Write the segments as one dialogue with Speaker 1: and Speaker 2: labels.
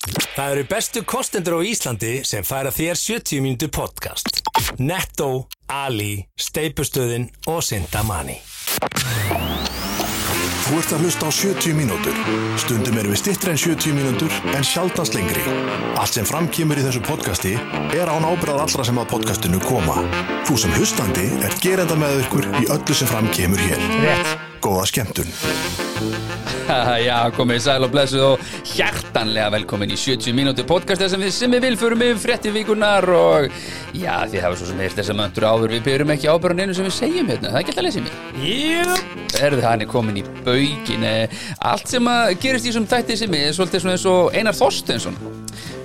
Speaker 1: Það eru bestu kostendur á Íslandi sem færa þér 70 mínútu podcast. Netto, Ali, Steipustöðin og Sindamani.
Speaker 2: Þú ert að hlusta á 70 mínútur. Stundum erum við stittri en 70 mínútur en sjaldast lengri. Allt sem framkýmur í þessu podcasti er án ábyrðað allra sem að podcastinu koma. Þú sem hlustandi er gerenda með ykkur í öllu sem framkýmur hér.
Speaker 3: Rétt.
Speaker 2: Góða skemmtun.
Speaker 4: Já, komið sæl og blessuð og hjartanlega velkomin í 70 mínúti podcasta sem við sem við vilförum yfir frétti vikunar og já, þið hafa svo sem heilt þess að möndur áður við byrjum ekki ábyrðan einu sem við segjum hérna, það er ekki alltaf lesið mér Erðu hann er komin í baugin allt sem að gerist í þessum þætti sem er svolítið svona eins og Einar Þorstensson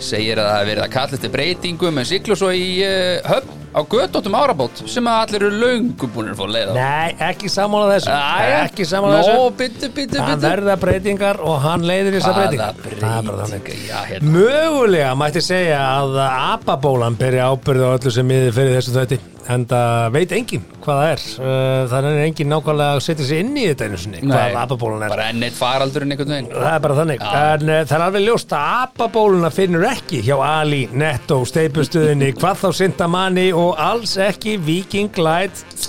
Speaker 4: segir að það hafi verið að kalla eftir breytingum en siklu svo í uh, höfn á göttóttum árabót sem að allir eru löngu búinir að fá leið á
Speaker 3: Nei, ekki sammála þessu
Speaker 4: Jæja.
Speaker 3: Ekki sammála
Speaker 4: Nó,
Speaker 3: þessu
Speaker 4: bitu, bitu,
Speaker 3: Það
Speaker 4: bitu
Speaker 3: verða breytingar og hann leiðir þessar breytingar Það er bara
Speaker 4: breytinga,
Speaker 3: þannig.
Speaker 4: já, hérna
Speaker 3: Mögulega mætti segja að apabólan beri ábyrði á öllu sem miður fyrir þessu þætti en það veit enginn hvað það er Uh, það er enginn nákvæmlega að setja sig inn í þetta einu sinni hvað apabólan er
Speaker 4: bara enn eitt faraldurinn einhvern veginn
Speaker 3: Það er bara þannig,
Speaker 4: Já.
Speaker 3: en uh, það er alveg ljóst að apabóluna finnur ekki hjá Ali, Netto, Steipustuðinni, hvað þá Sintamanni og alls ekki Viking Light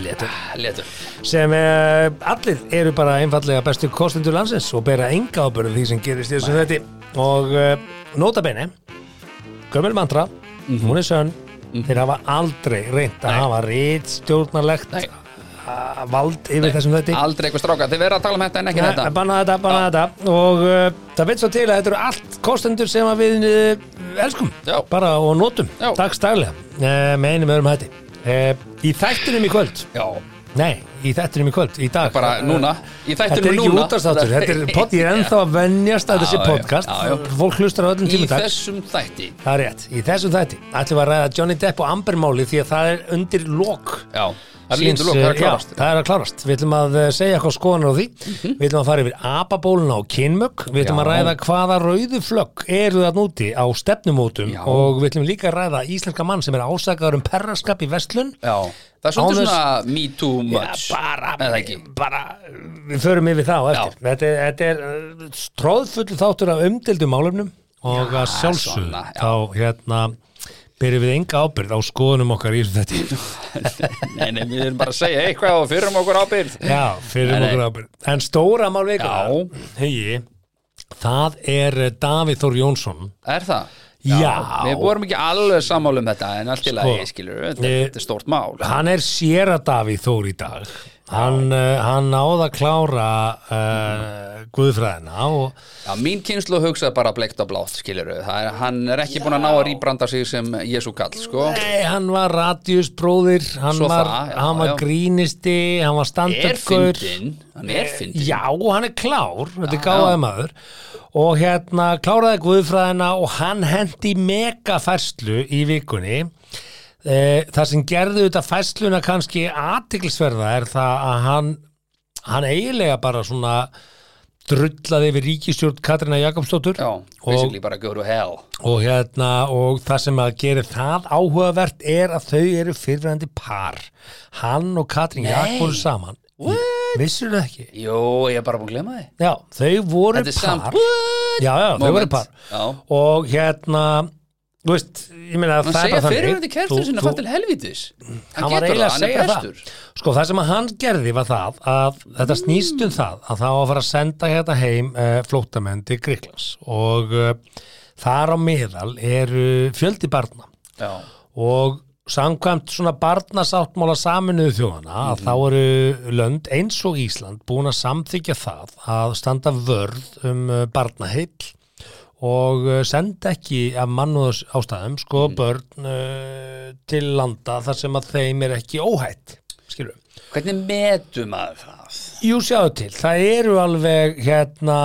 Speaker 4: letur, letur.
Speaker 3: sem uh, allir eru bara einfallega bestu kostendur landsins og bera enga ábyrðu því sem gerist í þessu þetta og uh, notabene gömul mantra, hún er sönn þeir hafa aldrei reynt að
Speaker 4: Mhm. Nei.
Speaker 3: hafa reitt stjórnarlegt
Speaker 4: Nei.
Speaker 3: vald yfir þessum þetta
Speaker 4: aldrei eitthvað stráka, þið verða að tala um þetta en ekki
Speaker 3: Nei,
Speaker 4: þetta
Speaker 3: Banna þetta, banna þetta og uh, það veit svo til að þetta eru allt kostendur sem að við uh, elskum
Speaker 4: Já.
Speaker 3: bara og notum
Speaker 4: Já.
Speaker 3: dagstaglega uh, með einum öðrum hætti uh, í þættinum í kvöld
Speaker 4: já,
Speaker 3: nei, í þættinum í kvöld, í dag Eh,
Speaker 4: bara núna í
Speaker 3: Þetta er
Speaker 4: þættinum
Speaker 3: ekki
Speaker 4: núna
Speaker 3: útastáttur, þetta er pod, ég er ennþá um að venjast að
Speaker 4: Já,
Speaker 3: þessi
Speaker 4: já,
Speaker 3: podcast,
Speaker 4: já, já.
Speaker 3: fólk hlustar á öllum
Speaker 4: í
Speaker 3: tímum dag
Speaker 4: þessum þætti
Speaker 3: Það er rétt, í þessum þætti ætlum við að ræða Johnny Depp og Amber máli því að það er undir lok
Speaker 4: já, það er lítið lók, það er
Speaker 3: Síns, eh,
Speaker 4: klárast Mhm.
Speaker 3: já, það er að klárast Við ætlum að eh, segja eitthvað skoðanur á því Við ætlum að fara yfir apabóluna og kynmögg Við ætlum
Speaker 4: Já.
Speaker 3: að ræða hvaða rauðu flögg eru það núti á stefnumótum
Speaker 4: Já.
Speaker 3: og við ætlum líka að ræða íslenska mann sem er ásakaður um perraskap í vestlun
Speaker 4: já, það er svolítið
Speaker 3: Ánus-
Speaker 4: svona me too much
Speaker 3: bara,
Speaker 4: Eða ekki.
Speaker 3: bara Við förum yfir það á eftir Þetta er, þetta er eh, tróðfull þáttur af umdildum málefnum og að sjálfsög
Speaker 4: svona, já.
Speaker 3: þá hérna byrjum við enga ábyrð á skoðunum okkar í þessu þetta
Speaker 4: nei, nei, við erum bara að segja eitthvað og fyrirum okkur ábyrð
Speaker 3: Já, fyrir
Speaker 4: Nei, nei.
Speaker 3: okkur ábyrgð. En stóra mál
Speaker 4: Já.
Speaker 3: vikunar, hegi, það er eh, Davíð Þór Jónsson.
Speaker 4: er það?
Speaker 3: Já.
Speaker 4: við vorum ekki alveg sammála um þetta en allt í lagi,
Speaker 3: Sko,
Speaker 4: skilur þetta
Speaker 3: eh,
Speaker 4: þetta er stórt mál
Speaker 3: Hann er séra Davíð Þór í dag. Hann, uh, hann náða að klára uh, guðfræðina og
Speaker 4: Já, mín kynslu hugsaði bara bleikt og blátt, skilur Það er, hann er ekki búin að ná að rýbranda sig sem Jésu kall, sko.
Speaker 3: nei, hann var radiusbróðir, hann
Speaker 4: Svo
Speaker 3: var,
Speaker 4: það, já,
Speaker 3: hann var
Speaker 4: já.
Speaker 3: grínisti, hann var
Speaker 4: Er
Speaker 3: standökkur.
Speaker 4: fyndin, hann er fyndin.
Speaker 3: Já, hann er klár, þetta er gáðaði maður og hérna kláraði guðfræðina og hann hendi megafærslu í vikunni Eh, Það sem gerði þetta fæsluna kannski aðtiklisverða er það að hann, hann eiginlega bara svona drullaði yfir ríkistjórn Katrina Jakobsdóttur
Speaker 4: Já,
Speaker 3: og,
Speaker 4: basically bara go to hell.
Speaker 3: og hérna og það sem að gera það áhugavert er að þau eru fyrrverandi par hann og Katrin Jakobsdóttur voru saman What? Vissirðu það ekki?
Speaker 4: Jú, ég er bara búin að glemma þið.
Speaker 3: Já, þau voru
Speaker 4: Þetta er samt,
Speaker 3: par
Speaker 4: what?
Speaker 3: Já, já, þau
Speaker 4: Moment.
Speaker 3: voru par
Speaker 4: Já.
Speaker 3: Og hérna, þú veist, ég meina að það er
Speaker 4: Hann segja
Speaker 3: bara þannig
Speaker 4: fyrirverandi
Speaker 3: Þú-
Speaker 4: kærtur sinna
Speaker 3: þú-
Speaker 4: fann til helvitis. Hann,
Speaker 3: hann var
Speaker 4: getur
Speaker 3: eiginlega
Speaker 4: það,
Speaker 3: að
Speaker 4: hann
Speaker 3: segja
Speaker 4: er
Speaker 3: það
Speaker 4: prestur.
Speaker 3: sko það sem að hann gerði var það að þetta snýst um það að það á að fara að senda hérna heim uh, flóttamenn til Gríklands og uh, þar á meðal eru fjöldi barna
Speaker 4: Já,
Speaker 3: og samkvæmt svona barnasáttmála saminuðu þjóðana að þá eru lönd eins og Ísland búin að samþykja það að standa vörð um uh, barnaheill og uh, senda ekki af mannúðas ástæðum sko börn uh, til landa þar sem að þeim er ekki óhætt skilur
Speaker 4: hvernig metum að það?
Speaker 3: Jú sjáðu til, það eru alveg hérna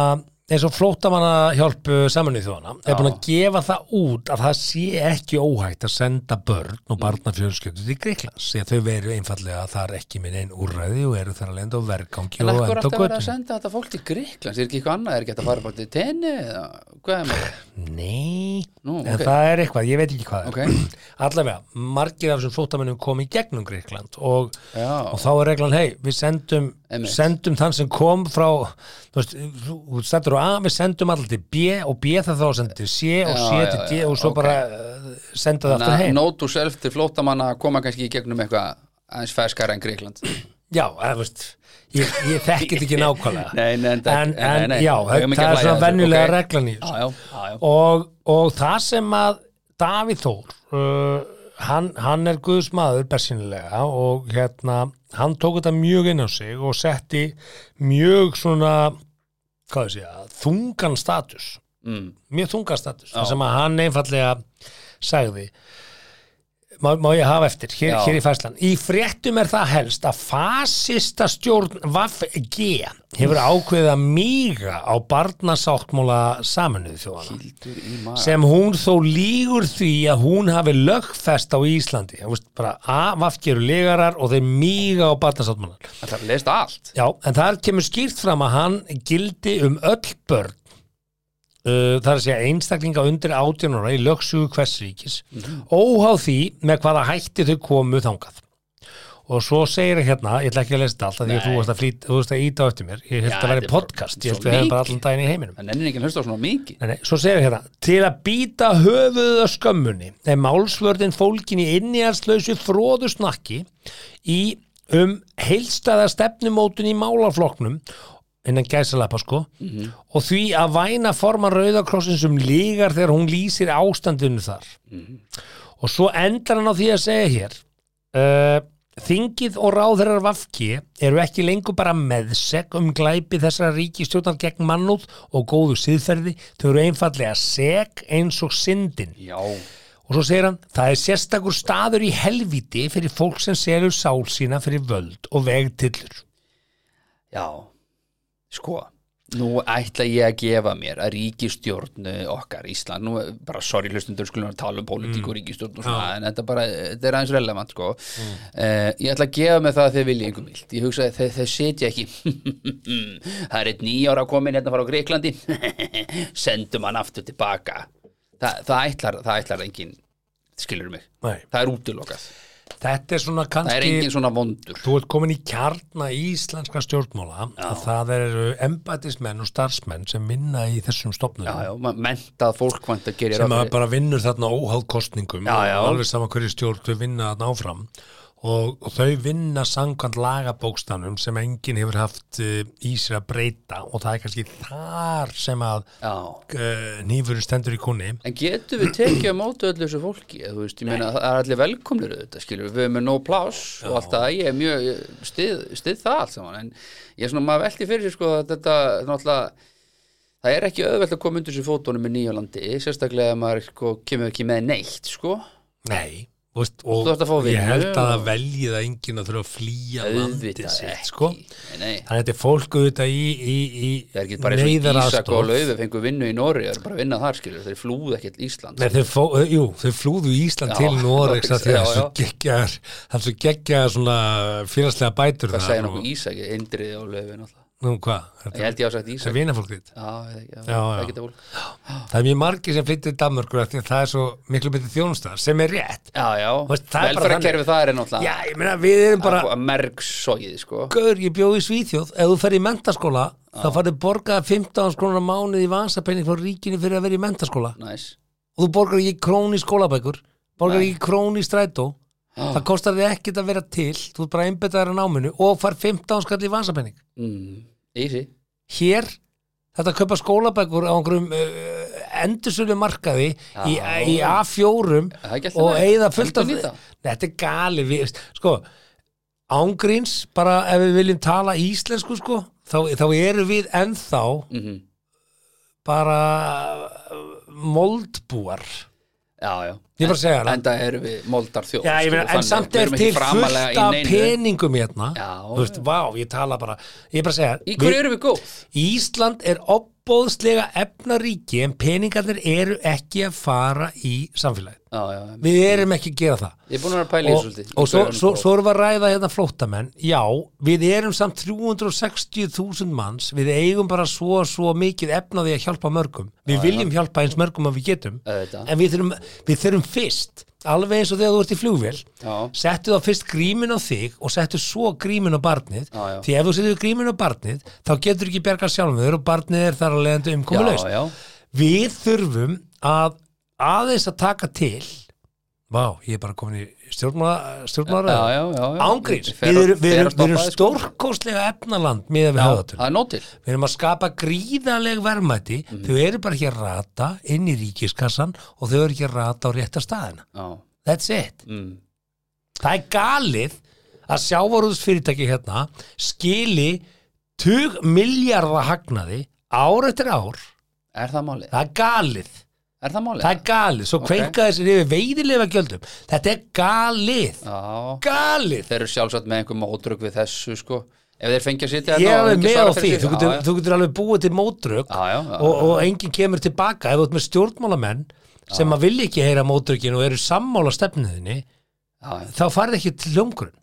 Speaker 3: eins og flóttamanna hjálpu samanuð þjóðana er búin að gefa það út að það sé ekki óhætt að senda börn og barnafjörnskjöldur til Greiklands því að þau veru einfallega að það er ekki minn einn úrræði og eru þar að lenda á vergangi
Speaker 4: En
Speaker 3: og enda á
Speaker 4: akkur átti að vera að
Speaker 3: göttunum
Speaker 4: senda þetta fólk til Gríklands? Er ekki eitthvað annað? Er ekki hægt að fara bara til tenni? Eða, hvað er maður?
Speaker 3: Nei,
Speaker 4: Nú,
Speaker 3: en
Speaker 4: ok.
Speaker 3: það er eitthvað, ég veit ekki hvað
Speaker 4: Ok.
Speaker 3: er. Allavega, margir af þessum flóttamennum kom í gegnum Gríkland og,
Speaker 4: Já.
Speaker 3: og þá er reglan, hei, við sendum,
Speaker 4: Einmitt.
Speaker 3: sendum þann sem kom frá, þú veist, þú þú stendur á A, við sendum allir til B og B það þá sendir til C og
Speaker 4: Já,
Speaker 3: C
Speaker 4: já,
Speaker 3: til D
Speaker 4: já,
Speaker 3: og svo
Speaker 4: ok.
Speaker 3: bara uh, senda það aftur
Speaker 4: Þannig að
Speaker 3: heim.
Speaker 4: Nót og self til flóttamanna að koma kannski í gegnum eitthvað aðeins ferskara en Greikland
Speaker 3: Já, eða, þú veist, ég, ég þekkit ekki nákvæmlega.
Speaker 4: Nei, nei, en-
Speaker 3: en, en,
Speaker 4: nei, nei,
Speaker 3: já,
Speaker 4: við eigum ekki
Speaker 3: það er
Speaker 4: að hlæja
Speaker 3: svona
Speaker 4: að þessu,
Speaker 3: venjulega
Speaker 4: ok.
Speaker 3: reglan í þessu.
Speaker 4: Já, já, já, já.
Speaker 3: og, og það sem að Davíð Þór uh, hann, hann er guðsmaður bersinilega og hérna hann tók þetta mjög inn á sig og setti mjög svona hvað þessi, þungan status
Speaker 4: Mm.
Speaker 3: mjög þungan status þar sem að hann einfallega sagði má, má ég hafa eftir, hér,
Speaker 4: Já.
Speaker 3: hér í fæslan í fréttum er það helst að fasista stjórn VFG hefur ákveðið að mýga á barnasáttmála saminuð þjóðana
Speaker 4: Hildur í maga
Speaker 3: sem hún þó lígur því að hún hafi lögfest á Íslandi Þú veist, bara AVAFG eru lígarar og þeir míga á barnasáttmálan
Speaker 4: Það er leist allt
Speaker 3: Já, en þar kemur skýrt fram að hann gildi um öll börn uh, það er að segja einstaklinga undir 18 ára í lögsugu hvers ríkis
Speaker 4: Mhm.
Speaker 3: óháð því með hvaða hætti þau komu þangað og svo segir það hérna, ég ætla ekki að lesa þetta allt af því að
Speaker 4: Nei.
Speaker 3: þú varst að, flýt, þú varst að íta á eftir mér ég held
Speaker 4: Já,
Speaker 3: að það
Speaker 4: þetta
Speaker 3: væri
Speaker 4: er bara
Speaker 3: podcast,
Speaker 4: svo
Speaker 3: ég held að við hefum bara allan
Speaker 4: mikið.
Speaker 3: daginn í heiminum
Speaker 4: Það nennir ekki að hlusta á svona mikið
Speaker 3: Nei, nei, svo segir hérna, til að býta höfuðuð af skömmunni er málsvörðin fólkin í innihalslausu fróðusnakki í um heilstæða stefnumótun í málaflokknum innan gæsalappa sko og því að væna forman rauðakrossin sem lígar um þegar hún lýsir ástandinu þar og svo endar hann á því að segja hér uh, Þingið og ráðherrar Vafki eru ekki lengur bara meðsegg um glæpi þessara ríkistjóðnar gegn mannúð og góðu siðferði, þau eru einfallega seg eins og syndin.
Speaker 4: Já,
Speaker 3: Og svo segir hann, það er sérstakur staður í helviti fyrir fólk sem selur sál sína fyrir völd og vegtillur.
Speaker 4: já Sko Nú ætla ég að gefa mér að ríkistjórn eh, okkar Ísland, nú eh, bara sorry hlustundur skulum að tala um pólitík
Speaker 3: Mm.
Speaker 4: og ríkistjórn og svona, en þetta bara, eh, þetta er aðeins relevant sko.
Speaker 3: Mm.
Speaker 4: Eh, ég ætla að gefa mér það að þeir vilja einhver vilt, ég hugsa að þeir, þeir setja ekki það er eitt nýjára komin hérna frá Greiklandi sendum hann aftur tilbaka Þa, það ætlar, það ætlar engin skilur mig,
Speaker 3: Nei.
Speaker 4: það er útilokað
Speaker 3: Þetta er svona
Speaker 4: það er
Speaker 3: kannski,
Speaker 4: engin svona vondur
Speaker 3: þú ert komin í kjarna í íslenska stjórnmála, að það eru embatismenn og starfsmenn sem vinna í þessum stofnum.
Speaker 4: já, já, ma- mentað fólk vant að gera
Speaker 3: sem að bara vinnur þarna óháð kostningum
Speaker 4: Já,
Speaker 3: og
Speaker 4: já.
Speaker 3: alveg sama hverju stjórn þau vinna þarna áfram og, og þau vinna samkvæmt lagabókstanum sem enginn hefur haft uh, í sér að breyta og það er kannski þar sem að
Speaker 4: já,
Speaker 3: uh, nýfurinn stendur í kunni
Speaker 4: En getum við tekið á móti öllu þessu fólki? Eða, þú veist, ég meina, það er allir velkomnir þetta, skilur, við, við erum með nóg pláss og allt það, ég er mjög, ég stið, stið það allt saman, en ég er svona, maður velti fyrir sér sko að þetta, náttúrulega, það er ekki auðvelt að koma undir sér fótunum með nýja landi, sérstaklega að maður sko, kemur ekki með neitt, sko,
Speaker 3: nei þú veist,
Speaker 4: Þú ert að fá
Speaker 3: og ég
Speaker 4: vinnu
Speaker 3: held að
Speaker 4: og-
Speaker 3: það velji það enginn að þurfa að flýja landið
Speaker 4: auðvitað
Speaker 3: sitt
Speaker 4: ekki,
Speaker 3: sko
Speaker 4: nei, nei.
Speaker 3: þannig að þetta er fólk auðvitað í, í, í
Speaker 4: Það er ekki bara eins og í Ísak
Speaker 3: neyðaraðstoð.
Speaker 4: og Laufi fengur vinnu í Nóri, það er bara að vinna þar, skilur, þeir flúðu ekkert Ísland.
Speaker 3: Nei, þau, fó, eh, jú, þau flúðu Ísland
Speaker 4: Já,
Speaker 3: til Noregs að því að
Speaker 4: já,
Speaker 3: þessu
Speaker 4: já.
Speaker 3: geggjaðar þessu geggjaðar svona félagslega bætur
Speaker 4: Hvað segja
Speaker 3: og,
Speaker 4: nokkuð Ísak, Indriði og Laufi, náttúrulega.
Speaker 3: nú hvað,
Speaker 4: Ég
Speaker 3: þetta
Speaker 4: held ég á sagt Ísak.
Speaker 3: er vinafólk þitt
Speaker 4: Já, ég veit ekki, já,
Speaker 3: Já,
Speaker 4: það
Speaker 3: já.
Speaker 4: geta fólk.
Speaker 3: það er mjög margir sem flyttir Danmörkur af því að það er svo miklu betri þjónustar sem er rétt
Speaker 4: Já, já,
Speaker 3: veist, það er bara
Speaker 4: velferðarkerfi það er
Speaker 3: já,
Speaker 4: náttúrulega
Speaker 3: ég meina við erum bara
Speaker 4: bara... mergsogið, sko
Speaker 3: gaur, ég bjóði í Svíþjóð, ef þú ferð í mentaskóla þá farið borgaða 15 krónar á mánuð í vansapenning frá ríkinu fyrir að vera í mentaskóla
Speaker 4: Næs,
Speaker 3: og þú borgar ekki krón í skólabækur borgar ekki krón í strætó
Speaker 4: Ah.
Speaker 3: það kostar þig ekkert að vera til þú er bara einbetaður að náminu og far 15 skall í vansapenning
Speaker 4: mm. easy
Speaker 3: hér þetta að kaupa skólabækur á einhverjum uh, endursölu markaði í,
Speaker 4: Já.
Speaker 3: í A4
Speaker 4: Það er ekki alltaf
Speaker 3: og
Speaker 4: leið.
Speaker 3: eigða fullt af
Speaker 4: Endurnýta.
Speaker 3: Nei, þetta er gali við, sko, ángríns bara ef við viljum tala íslensku sko, þá, þá erum við ennþá
Speaker 4: Mhm.
Speaker 3: bara uh, moldbúar
Speaker 4: Já, já,
Speaker 3: ég bara segja það
Speaker 4: enda erum við moldar þjóð
Speaker 3: Já, ég meina, en samt er til fullt af peningum hérna
Speaker 4: Já.
Speaker 3: Þú veist, vá, ég tala bara Ég er bara að segja
Speaker 4: Í hverju erum við góð?
Speaker 3: Ísland er ob óbóðslega efnaríki en peningarnir eru ekki að fara í samfélagið.
Speaker 4: já, já, já.
Speaker 3: Við erum ekki að gera það.
Speaker 4: Ég er búin að vera að pæla í
Speaker 3: og,
Speaker 4: þessu svolítið.
Speaker 3: og svo,
Speaker 4: Í
Speaker 3: svo,
Speaker 4: byrjun.
Speaker 3: svo erum við að ræða hérna flóttamenn já, við erum samt 360.000 manns við eigum bara svo, svo mikið efnaði að hjálpa mörgum við viljum hjálpa eins mörgum að við getum
Speaker 4: Auðvitað.
Speaker 3: en við þurfum, við þurfum fyrst alveg eins og þegar þú ert í flugvél
Speaker 4: Já.
Speaker 3: settu þá fyrst grímin á þig og settu svo grímin á barnið
Speaker 4: Já, já.
Speaker 3: því ef þú setur grímin á barnið þá getur ekki bjargað sjálfum þér og barnið er þar að leiðandi umkomulegst
Speaker 4: Já, já.
Speaker 3: við þurfum að aðeins að taka til Vá, ég er bara komin í stjórnmála, stjórnmála
Speaker 4: Já, já, já, já.
Speaker 3: Ángríns,
Speaker 4: Fer
Speaker 3: við
Speaker 4: að-
Speaker 3: erum, við
Speaker 4: fer að
Speaker 3: erum, við erum
Speaker 4: stoppa þig, sko.
Speaker 3: stórkóstlega efnaland miðað við
Speaker 4: Já,
Speaker 3: höfðatölu.
Speaker 4: það er nótil
Speaker 3: Við erum að skapa gríðaleg verðmæti,
Speaker 4: Mhm.
Speaker 3: þau eru bara ekki að rata inn í ríkiskassan og þau eru ekki að rata á rétta staðina.
Speaker 4: Já,
Speaker 3: That's it.
Speaker 4: mm.
Speaker 3: Það er galið að sjávarúðsfyrirtæki hérna skili tug miljardar hagnaði ár eftir ár.
Speaker 4: er það málið?
Speaker 3: Það er galið.
Speaker 4: Er það málið?
Speaker 3: Það er galið. Svo
Speaker 4: Ok.
Speaker 3: okay. kvenkaði sér yfir veiðilega gjöldum. Þetta er galið.
Speaker 4: Já,
Speaker 3: Galið.
Speaker 4: þeir eru sjálfsagt með einhver mótrök við þessu sko Ef þeir fengja að sitja
Speaker 3: Ég er
Speaker 4: hérna og
Speaker 3: alveg
Speaker 4: ekki
Speaker 3: með á
Speaker 4: svara
Speaker 3: því.
Speaker 4: fyrir
Speaker 3: Þú
Speaker 4: sig-
Speaker 3: getur,
Speaker 4: Já,
Speaker 3: þú getur alveg búið til mótrök
Speaker 4: Já, já, já,
Speaker 3: og, og enginn kemur tilbaka ef þú ert með stjórnmálamenn sem að vilja ekki heyra mótrökin og eru sammála stefniðinni,
Speaker 4: já, já.
Speaker 3: þá farið ekki til hljómgrunn.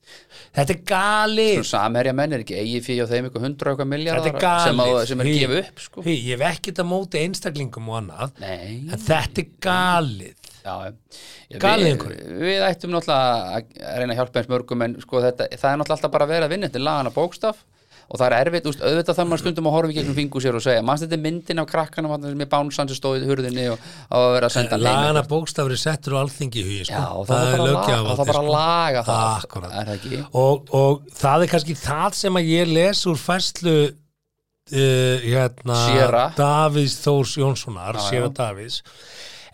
Speaker 3: Þetta er galið.
Speaker 4: Samherja menn er ekki eigi fyrir og þeim eitthvað hundra og eitthvað
Speaker 3: Þetta er
Speaker 4: miljardar sem,
Speaker 3: galið.
Speaker 4: að- sem er að
Speaker 3: Hí-
Speaker 4: gefa upp sko.
Speaker 3: hí, Ég hef ekkert að móti einstaklingum og annað,
Speaker 4: Nei,
Speaker 3: en þetta er galið.
Speaker 4: já, já.
Speaker 3: Galið
Speaker 4: við,
Speaker 3: einhverju.
Speaker 4: við ættum náttúrulega að að reyna að hjálpa eins mörgum en sko, þetta, það er náttúrulega alltaf bara að vera að vinna þetta er lagana bókstaf og það er erfitt, úst, auðvitað þarf maður stundum að horfa í gegnum fingur sér og segja, mannst þetta er myndin af krakkanum þarna sem er bánsan sem stóðið hurðinni og á að vera að senda hann heim.
Speaker 3: Lagana bókstafri settur á alþingi í hugi, sko.
Speaker 4: Já, og það, það, bara laga, það
Speaker 3: löggjafarvaldið,
Speaker 4: þarf bara að
Speaker 3: sko. Ah.
Speaker 4: laga það
Speaker 3: Akkúrat.
Speaker 4: Er það ekki?
Speaker 3: og, og það er kannski það sem að ég les úr fæslu uh, hérna,
Speaker 4: Séra.
Speaker 3: Davís Þórs Jónssonar
Speaker 4: já.
Speaker 3: Sera Davís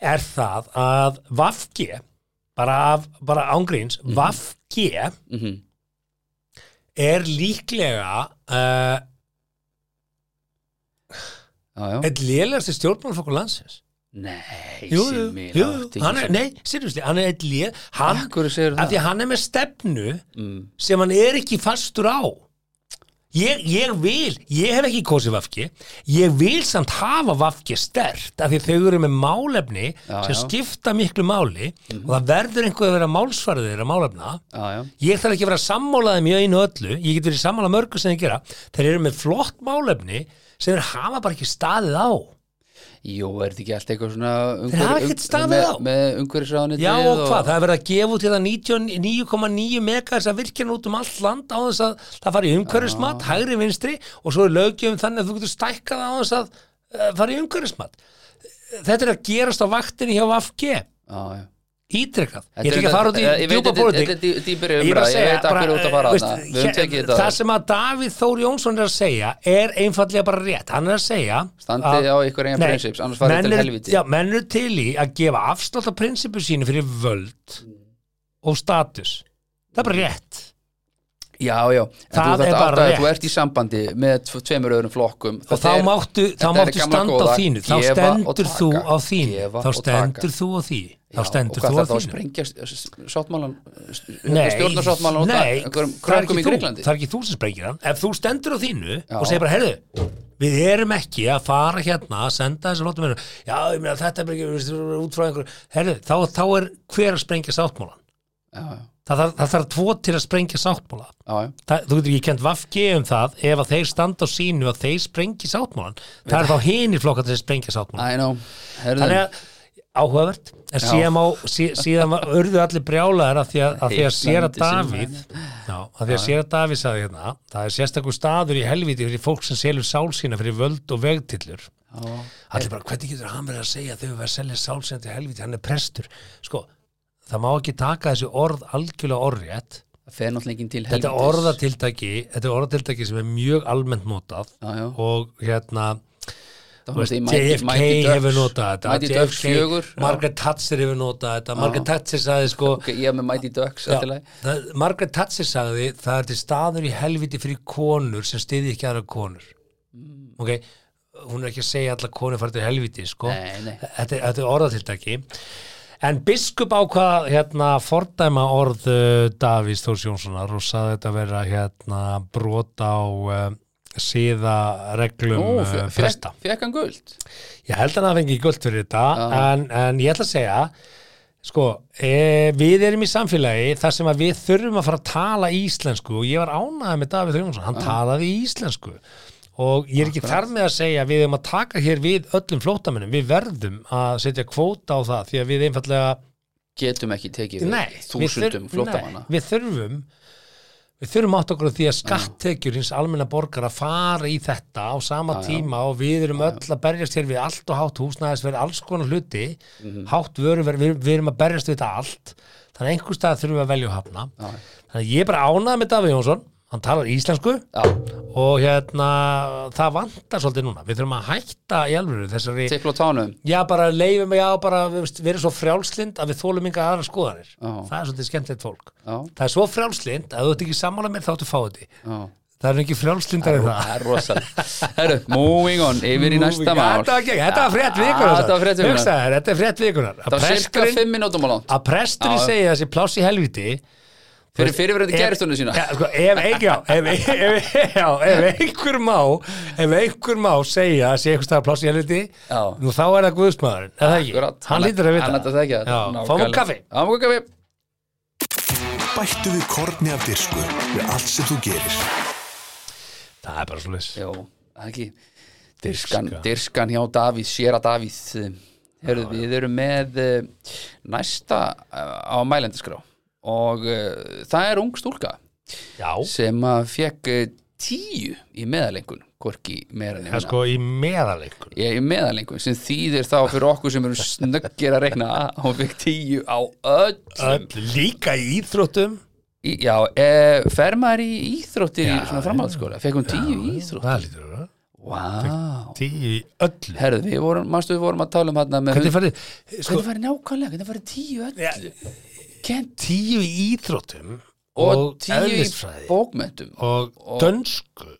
Speaker 3: er það að Vafge bara, af, bara ángríns
Speaker 4: Mhm.
Speaker 3: mm Vafge
Speaker 4: Mm
Speaker 3: er líklega uh,
Speaker 4: Já, já.
Speaker 3: eitt lélegasti stjórnmálfokkur landsins
Speaker 4: Nei,
Speaker 3: Jú, jú,
Speaker 4: Simmi,
Speaker 3: jú,
Speaker 4: láttu
Speaker 3: jú.
Speaker 4: ekki
Speaker 3: Hann er,
Speaker 4: svona.
Speaker 3: nei, sérjusli, hann er eitt léleg hann,
Speaker 4: Af hverju segirðu
Speaker 3: af
Speaker 4: það?
Speaker 3: því að hann er með stefnu
Speaker 4: Mm.
Speaker 3: sem hann er ekki fastur á ég, ég vil ég hef ekki kosið vafki ég vil samt hafa vafki stert af því þau eru með málefni
Speaker 4: Já,
Speaker 3: sem
Speaker 4: já. Mhm.
Speaker 3: skipta miklu máli og það verður einhver að vera málsvarið þeirra málefna
Speaker 4: Já, já,
Speaker 3: ég þarf ekki að vera sammálaðið mjög einu og öllu ég get verið sammála mörgu sem þeir gera þeir eru með flott málefni sem þeir hafa bara ekki staðið á
Speaker 4: Jú, er þetta ekki allt eitthvað svona
Speaker 3: Þeir hafa
Speaker 4: umhverju-
Speaker 3: ekkert
Speaker 4: um-
Speaker 3: staðið
Speaker 4: með,
Speaker 3: á.
Speaker 4: Með umhverjusráðanitið
Speaker 3: já og hvað, það er verið að gefa út hérna 99,9 megas að virkjana út um allt land á þess að það fari í umhverfismat, hægri vinstri og svo er lögjöfum þannig að þú getur stækkað á þess að uh, fari í umhverfismat þetta er að gerast á vaktinni hjá AFG,
Speaker 4: Já, já
Speaker 3: ítrekkað
Speaker 4: Þetta
Speaker 3: ég er ekki að fara út í
Speaker 4: þetta- ég veit,
Speaker 3: djúpa
Speaker 4: þetta-
Speaker 3: pólitík
Speaker 4: Þetta er dýpir
Speaker 3: Ég er bara
Speaker 4: umræð,
Speaker 3: að
Speaker 4: ég
Speaker 3: segja,
Speaker 4: veit að
Speaker 3: bara,
Speaker 4: hverju út að fara
Speaker 3: eh,
Speaker 4: þarna
Speaker 3: veist,
Speaker 4: Við höfum
Speaker 3: hér-
Speaker 4: tekið þetta
Speaker 3: Það
Speaker 4: áður.
Speaker 3: sem að Davíð Þór Jónsson er að segja er einfallega bara rétt. Hann er að segja
Speaker 4: Standið
Speaker 3: að-
Speaker 4: á ykkur eigin
Speaker 3: Nei,
Speaker 4: prinsips, annars farið
Speaker 3: menn
Speaker 4: til
Speaker 3: eru-
Speaker 4: helviti.
Speaker 3: Já, menn eru til í að gefa afslátt af prinsipu sínu fyrir völd
Speaker 4: Mm.
Speaker 3: og status. Það er bara rétt.
Speaker 4: Já, já, en
Speaker 3: Það
Speaker 4: þú
Speaker 3: er
Speaker 4: þarft að
Speaker 3: bara
Speaker 4: átta þig
Speaker 3: rétt.
Speaker 4: að þú ert í sambandi með tve- tveimur öðrum flokkum
Speaker 3: Og
Speaker 4: Þetta
Speaker 3: þá
Speaker 4: er-
Speaker 3: máttu, þá
Speaker 4: þetta er
Speaker 3: máttu
Speaker 4: gamla
Speaker 3: standa
Speaker 4: góða,
Speaker 3: á þínu. Þá
Speaker 4: gefa og
Speaker 3: stendur þú
Speaker 4: taka,
Speaker 3: á þínu.
Speaker 4: gefa
Speaker 3: Þá
Speaker 4: og taka.
Speaker 3: stendur þú á því. Þá
Speaker 4: Já,
Speaker 3: stendur
Speaker 4: og
Speaker 3: þú
Speaker 4: hvað
Speaker 3: á
Speaker 4: þarf þá að
Speaker 3: þínu.
Speaker 4: sprengja s- s- sáttmálan
Speaker 3: Nei,
Speaker 4: stjórnarsáttmálan út af
Speaker 3: nei, það er
Speaker 4: einhverjum
Speaker 3: ekki
Speaker 4: krökkum í
Speaker 3: þú.
Speaker 4: Greiklandi
Speaker 3: það er ekki þú sem sprengir hann ef þú stendur á þínu
Speaker 4: Já.
Speaker 3: og segir bara heyrðu, við erum ekki að fara hérna að senda þessu lótum hérna já, ég meina þetta er bara ekki við erum út frá einhverju heyrðu, þá, þá er hver að sprengja sáttmálan
Speaker 4: Já, já,
Speaker 3: það, það, það þarf tvo til að sprengja sáttmála
Speaker 4: já, já.
Speaker 3: það, þú getur ekki kent vafki um það ef að þeir standa á sínu að þeir sprengi sáttmálan það er þá hinir flokkar sem sprengja sáttmálan
Speaker 4: I know Herðu,
Speaker 3: þannig að áhugavert en síðan, má, sí, síðan var, urðu allir brjálaðar að því að, að, því að sér að
Speaker 4: Heillandi
Speaker 3: Davíð já, að því að sér að Davíð sagði hérna það er sérstakur staður í helviti fyrir fólk sem selur sál sína fyrir völd og vegtillur
Speaker 4: já,
Speaker 3: allir bara, hvernig getur hann verið að segja að þau verið að selja sál sína til helviti, hann er prestur sko, það má ekki taka þessi orð algjörlega orðrétt
Speaker 4: það fer náttúrulega enginn til
Speaker 3: þetta er
Speaker 4: helvítis.
Speaker 3: orðatiltæki þetta er orðatiltæki sem er mjög almennt notað
Speaker 4: Já, já.
Speaker 3: og hérna
Speaker 4: Það
Speaker 3: Þú veist,
Speaker 4: fannst í Mighty-
Speaker 3: JFK
Speaker 4: Mighty Ducks-
Speaker 3: hefur notað þetta
Speaker 4: Mighty Ducks
Speaker 3: JFK
Speaker 4: fjögur já.
Speaker 3: Margaret Thatcher hefur notað þetta Margaret Thatcher sagði sko
Speaker 4: Ok, ég er með Mighty Ducks
Speaker 3: já,
Speaker 4: allt í lagi.
Speaker 3: það, Margaret Thatcher sagði það er til staður í helviti fyrir konur sem stiði ekki aðra konur
Speaker 4: Mm.
Speaker 3: ok, hún er ekki að segja allar konur farið til helviti sko
Speaker 4: Nei, nei.
Speaker 3: Þetta, er- þetta er orðatiltæki en biskup ákvað hérna fordæma orð uh, Davís Þórs Jónssonar og sagði þetta vera hérna brot á uh, síðareglum
Speaker 4: Ó,
Speaker 3: uh,
Speaker 4: fe-
Speaker 3: fresta.
Speaker 4: fekk fekk hann guld
Speaker 3: Ég held að það fengi guld fyrir þetta
Speaker 4: Já.
Speaker 3: en, en ég ætla að segja sko, e, við erum í samfélagi þar sem að við þurfum að fara að tala íslensku og ég var ánægð með Davíð Þrjónsson hann talaði íslensku og ég er ekki þar með að segja að við erum að taka hér við öllum flótamennum, við verðum að setja kvóta á það því að við einfallega
Speaker 4: getum ekki tekið við
Speaker 3: nei,
Speaker 4: þúsundum
Speaker 3: við, þurf-
Speaker 4: flóttamanna
Speaker 3: nei, við þurfum við þurfum átt okkur á því að skatttekjur hins almenna borgar að fara í þetta á sama tíma og við erum öll að berjast hér við allt og hátt húsnæðisverð alls konar hluti,
Speaker 4: Mhm.
Speaker 3: hátt vöruverð við, við erum að berjast við þetta allt þannig að einhver stað þurfum við að velja og hafna þannig að ég er bara ánað með Davíð Jónsson hann talar íslensku
Speaker 4: já,
Speaker 3: og hérna það vantar svolítið núna, við þurfum að hætta í alvöru þessari,
Speaker 4: tipla á tánum
Speaker 3: Já, bara leifum já, bara við veist, verið svo frjálslind að við þólum yngar aðra skoðanir.
Speaker 4: Já.
Speaker 3: Það er svolítið skemmtilegt fólk.
Speaker 4: já,
Speaker 3: Það er svo frjálslind að þú ert ekki sammála mér þá áttu fáið því.
Speaker 4: já
Speaker 3: Það er ekki frjálslindar en það.
Speaker 4: það er rosalega herru, moving on, yfir í næsta mál
Speaker 3: Þetta var, gegn- þetta var frétt vikunar.
Speaker 4: Ah, þetta var frétt vikunar.
Speaker 3: Hugsaðu, þetta er frétt vikunar.
Speaker 4: það
Speaker 3: Að
Speaker 4: var cirka
Speaker 3: presturinn,
Speaker 4: 5 mínútum á langt
Speaker 3: að presturinn
Speaker 4: Já.
Speaker 3: segi þessi pláss í helviti.
Speaker 4: fyrir fyrirverandi
Speaker 3: Ef-
Speaker 4: gerðstunni sína
Speaker 3: Ja, sko, ef, ein- já, ef, ef, já, ef einhver má ef einhver má segja að sé einhver staðar pláss í helviti
Speaker 4: Já.
Speaker 3: nú þá er það guðsmaðurinn, er það ekki?
Speaker 4: Akkurat.
Speaker 3: Hann lítur að vita
Speaker 4: hann lítur að vita
Speaker 3: Já, Fáum okkur kaffi
Speaker 4: fáum okkur kaffi
Speaker 2: Bættu við korni af dirsku við allt sem þú gerir.
Speaker 3: Það er bara svo leys.
Speaker 4: Jó, það er ekki Dyrskan, dyrskan hjá Davíð, séra Davíð Herðu, við erum með eh, næsta eh, á mælendiskrá og uh, það er ung stúlka
Speaker 3: Já,
Speaker 4: sem að fekk uh, tíu í meðalengun, hvorki meira
Speaker 3: það er
Speaker 4: nefna
Speaker 3: sko í meðalengun.
Speaker 4: ég er meðalengun sem þýðir þá fyrir okkur sem eru snöggir að reikna að hún fekk tíu á öll
Speaker 3: Öll líka í íþróttum.
Speaker 4: í, já, e, fer maður í íþróttir í
Speaker 3: Já,
Speaker 4: svona framhaldsskóla, fekk hún tíu í íþrótt
Speaker 3: Það lítur það.
Speaker 4: wow.
Speaker 3: Tíu í öllu.
Speaker 4: herðu, við vorum, manstu við vorum að tala um hérna með
Speaker 3: Hvernig farið, sko,
Speaker 4: Hvernig farið nákvæmlega, hvernig farið tíu öll
Speaker 3: Ja.
Speaker 4: Kent
Speaker 3: tíu í íþróttum
Speaker 4: og,
Speaker 3: og,
Speaker 4: tíu í
Speaker 3: eðlisfræði
Speaker 4: bókmöntum
Speaker 3: og, dönsku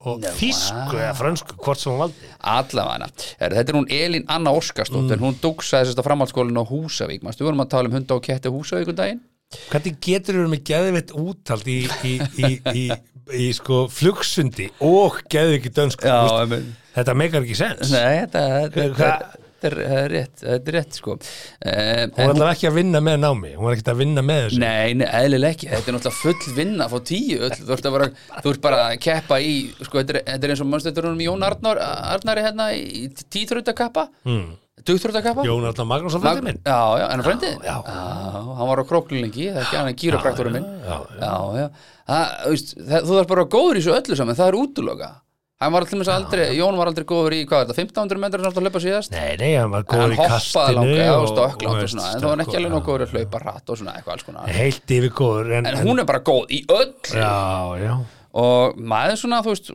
Speaker 3: og
Speaker 4: Nei,
Speaker 3: þýsku
Speaker 4: vá.
Speaker 3: eða frönsku, hvort sem hún valdi.
Speaker 4: allavega Þetta er hún Elín Anna Óskarsdóttir
Speaker 3: Mm.
Speaker 4: hún dugsaði sérst á framhaldsskólinu á Húsavík Manstu, við vorum að tala um hunda og ketti á Húsavík um daginn
Speaker 3: Hvernig getur þú með geðveitt úttald í, í, í, í, í, í sko flugsundi og geðveiki dönsku? Veistu,
Speaker 4: men
Speaker 3: Þetta meikar ekki sens.
Speaker 4: Nei, þetta, þetta,
Speaker 3: Hva-
Speaker 4: þetta, þetta, er, þetta er rétt Þetta er rétt, sko um,
Speaker 3: Hún
Speaker 4: en,
Speaker 3: var
Speaker 4: hún,
Speaker 3: allavega ekki að vinna með námi, hún var ekkert að vinna með þessu.
Speaker 4: Nei, nei, eðlilega ekki Þetta er náttúrulega full vinna að fá tíu öll Þú ert, að vera, þú ert bara að keppa í sko, þetta, er, þetta er eins og manstu, þetta er hún Jón Arnar, Arnari hérna í tíþrautakappa
Speaker 3: Hmm.
Speaker 4: mm. Dugþrautakappa
Speaker 3: Jón Arnar Magnússon
Speaker 4: Mag-
Speaker 3: fætti minn.
Speaker 4: Já, já, hann er frændið
Speaker 3: já.
Speaker 4: hann var á króklingi, það er ekki hann kýrapraktorum minn Já, já, Það, þú veist, það, Þú þarf bara góður í svo öllu saman, það er útloka Hann var alltaf aldrei, Jón var aldrei góður í, hvað er þetta, 1500 metrar sem hann átti að hlaupa síðast
Speaker 3: Nei, nei, hann var
Speaker 4: Hann
Speaker 3: góður í
Speaker 4: hoppaði
Speaker 3: kastinu
Speaker 4: langa,
Speaker 3: og- sko,
Speaker 4: og stökklátt
Speaker 3: og
Speaker 4: og svona En það var hann ekki
Speaker 3: stökk-
Speaker 4: alveg nóg góður að hlaupa rætt og svona eitthvað alls konar
Speaker 3: Heilt yfir góður en,
Speaker 4: En hún er bara góð í öll
Speaker 3: Já, já
Speaker 4: Og maður svona, þú veist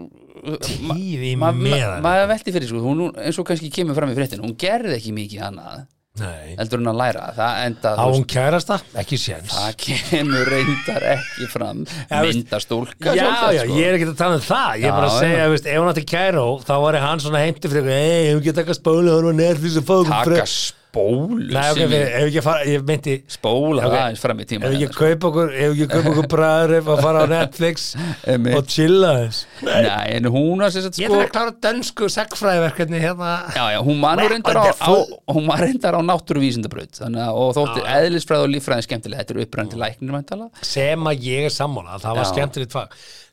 Speaker 4: ma-
Speaker 3: Tíð í
Speaker 4: ma- ma-
Speaker 3: meðan
Speaker 4: Maður velti fyrir, sko, hún, hún- eins og kannski kemur fram í fréttin Hún gerði ekki mikið annað
Speaker 3: Nei
Speaker 4: heldur hún að læra, það enda
Speaker 3: Á
Speaker 4: þú veist,
Speaker 3: hún kærasta? Ekki séns
Speaker 4: Það kemur reyndar ekki fram
Speaker 3: Já, veist-
Speaker 4: myndastúlka sko.
Speaker 3: Já, já, ég er ekki að tala um það Ég er bara að
Speaker 4: Já,
Speaker 3: segja, veist, ef hún átti kæró þá var hann svona heimti fyrir eitthvað Ei, hefur ekki að taka spólu og hún var nerðlis að fá okkur
Speaker 4: Taka
Speaker 3: frö-
Speaker 4: spólu
Speaker 3: Nei, ok,
Speaker 4: sem
Speaker 3: við-
Speaker 4: ég
Speaker 3: ef ekki að fara Ég meinti,
Speaker 4: Spóla
Speaker 3: Ok.
Speaker 4: okay. aðeins fram í tíma
Speaker 3: ef ekki að kaupa okkur ef ekki að kaupa okkur bræður ef að fara á Netflix
Speaker 4: Einmitt.
Speaker 3: og chilla þess
Speaker 4: hérna. Nei, en hún var sem sagt
Speaker 3: Ég
Speaker 4: sko
Speaker 3: þarf að klára dönsku segfræðverkefni hérna
Speaker 4: Já, já, hún man nú reyndar á, á,
Speaker 3: Wonderful.
Speaker 4: hún man reyndar á náttúruvísindabraut þannig að, og þótti
Speaker 3: Ah.
Speaker 4: eðlisfræð og líffræðin skemmtilega þetta eru upprænandi læknir mæntala
Speaker 3: sem að ég er sammála, það var
Speaker 4: Já.
Speaker 3: skemmtilegt fag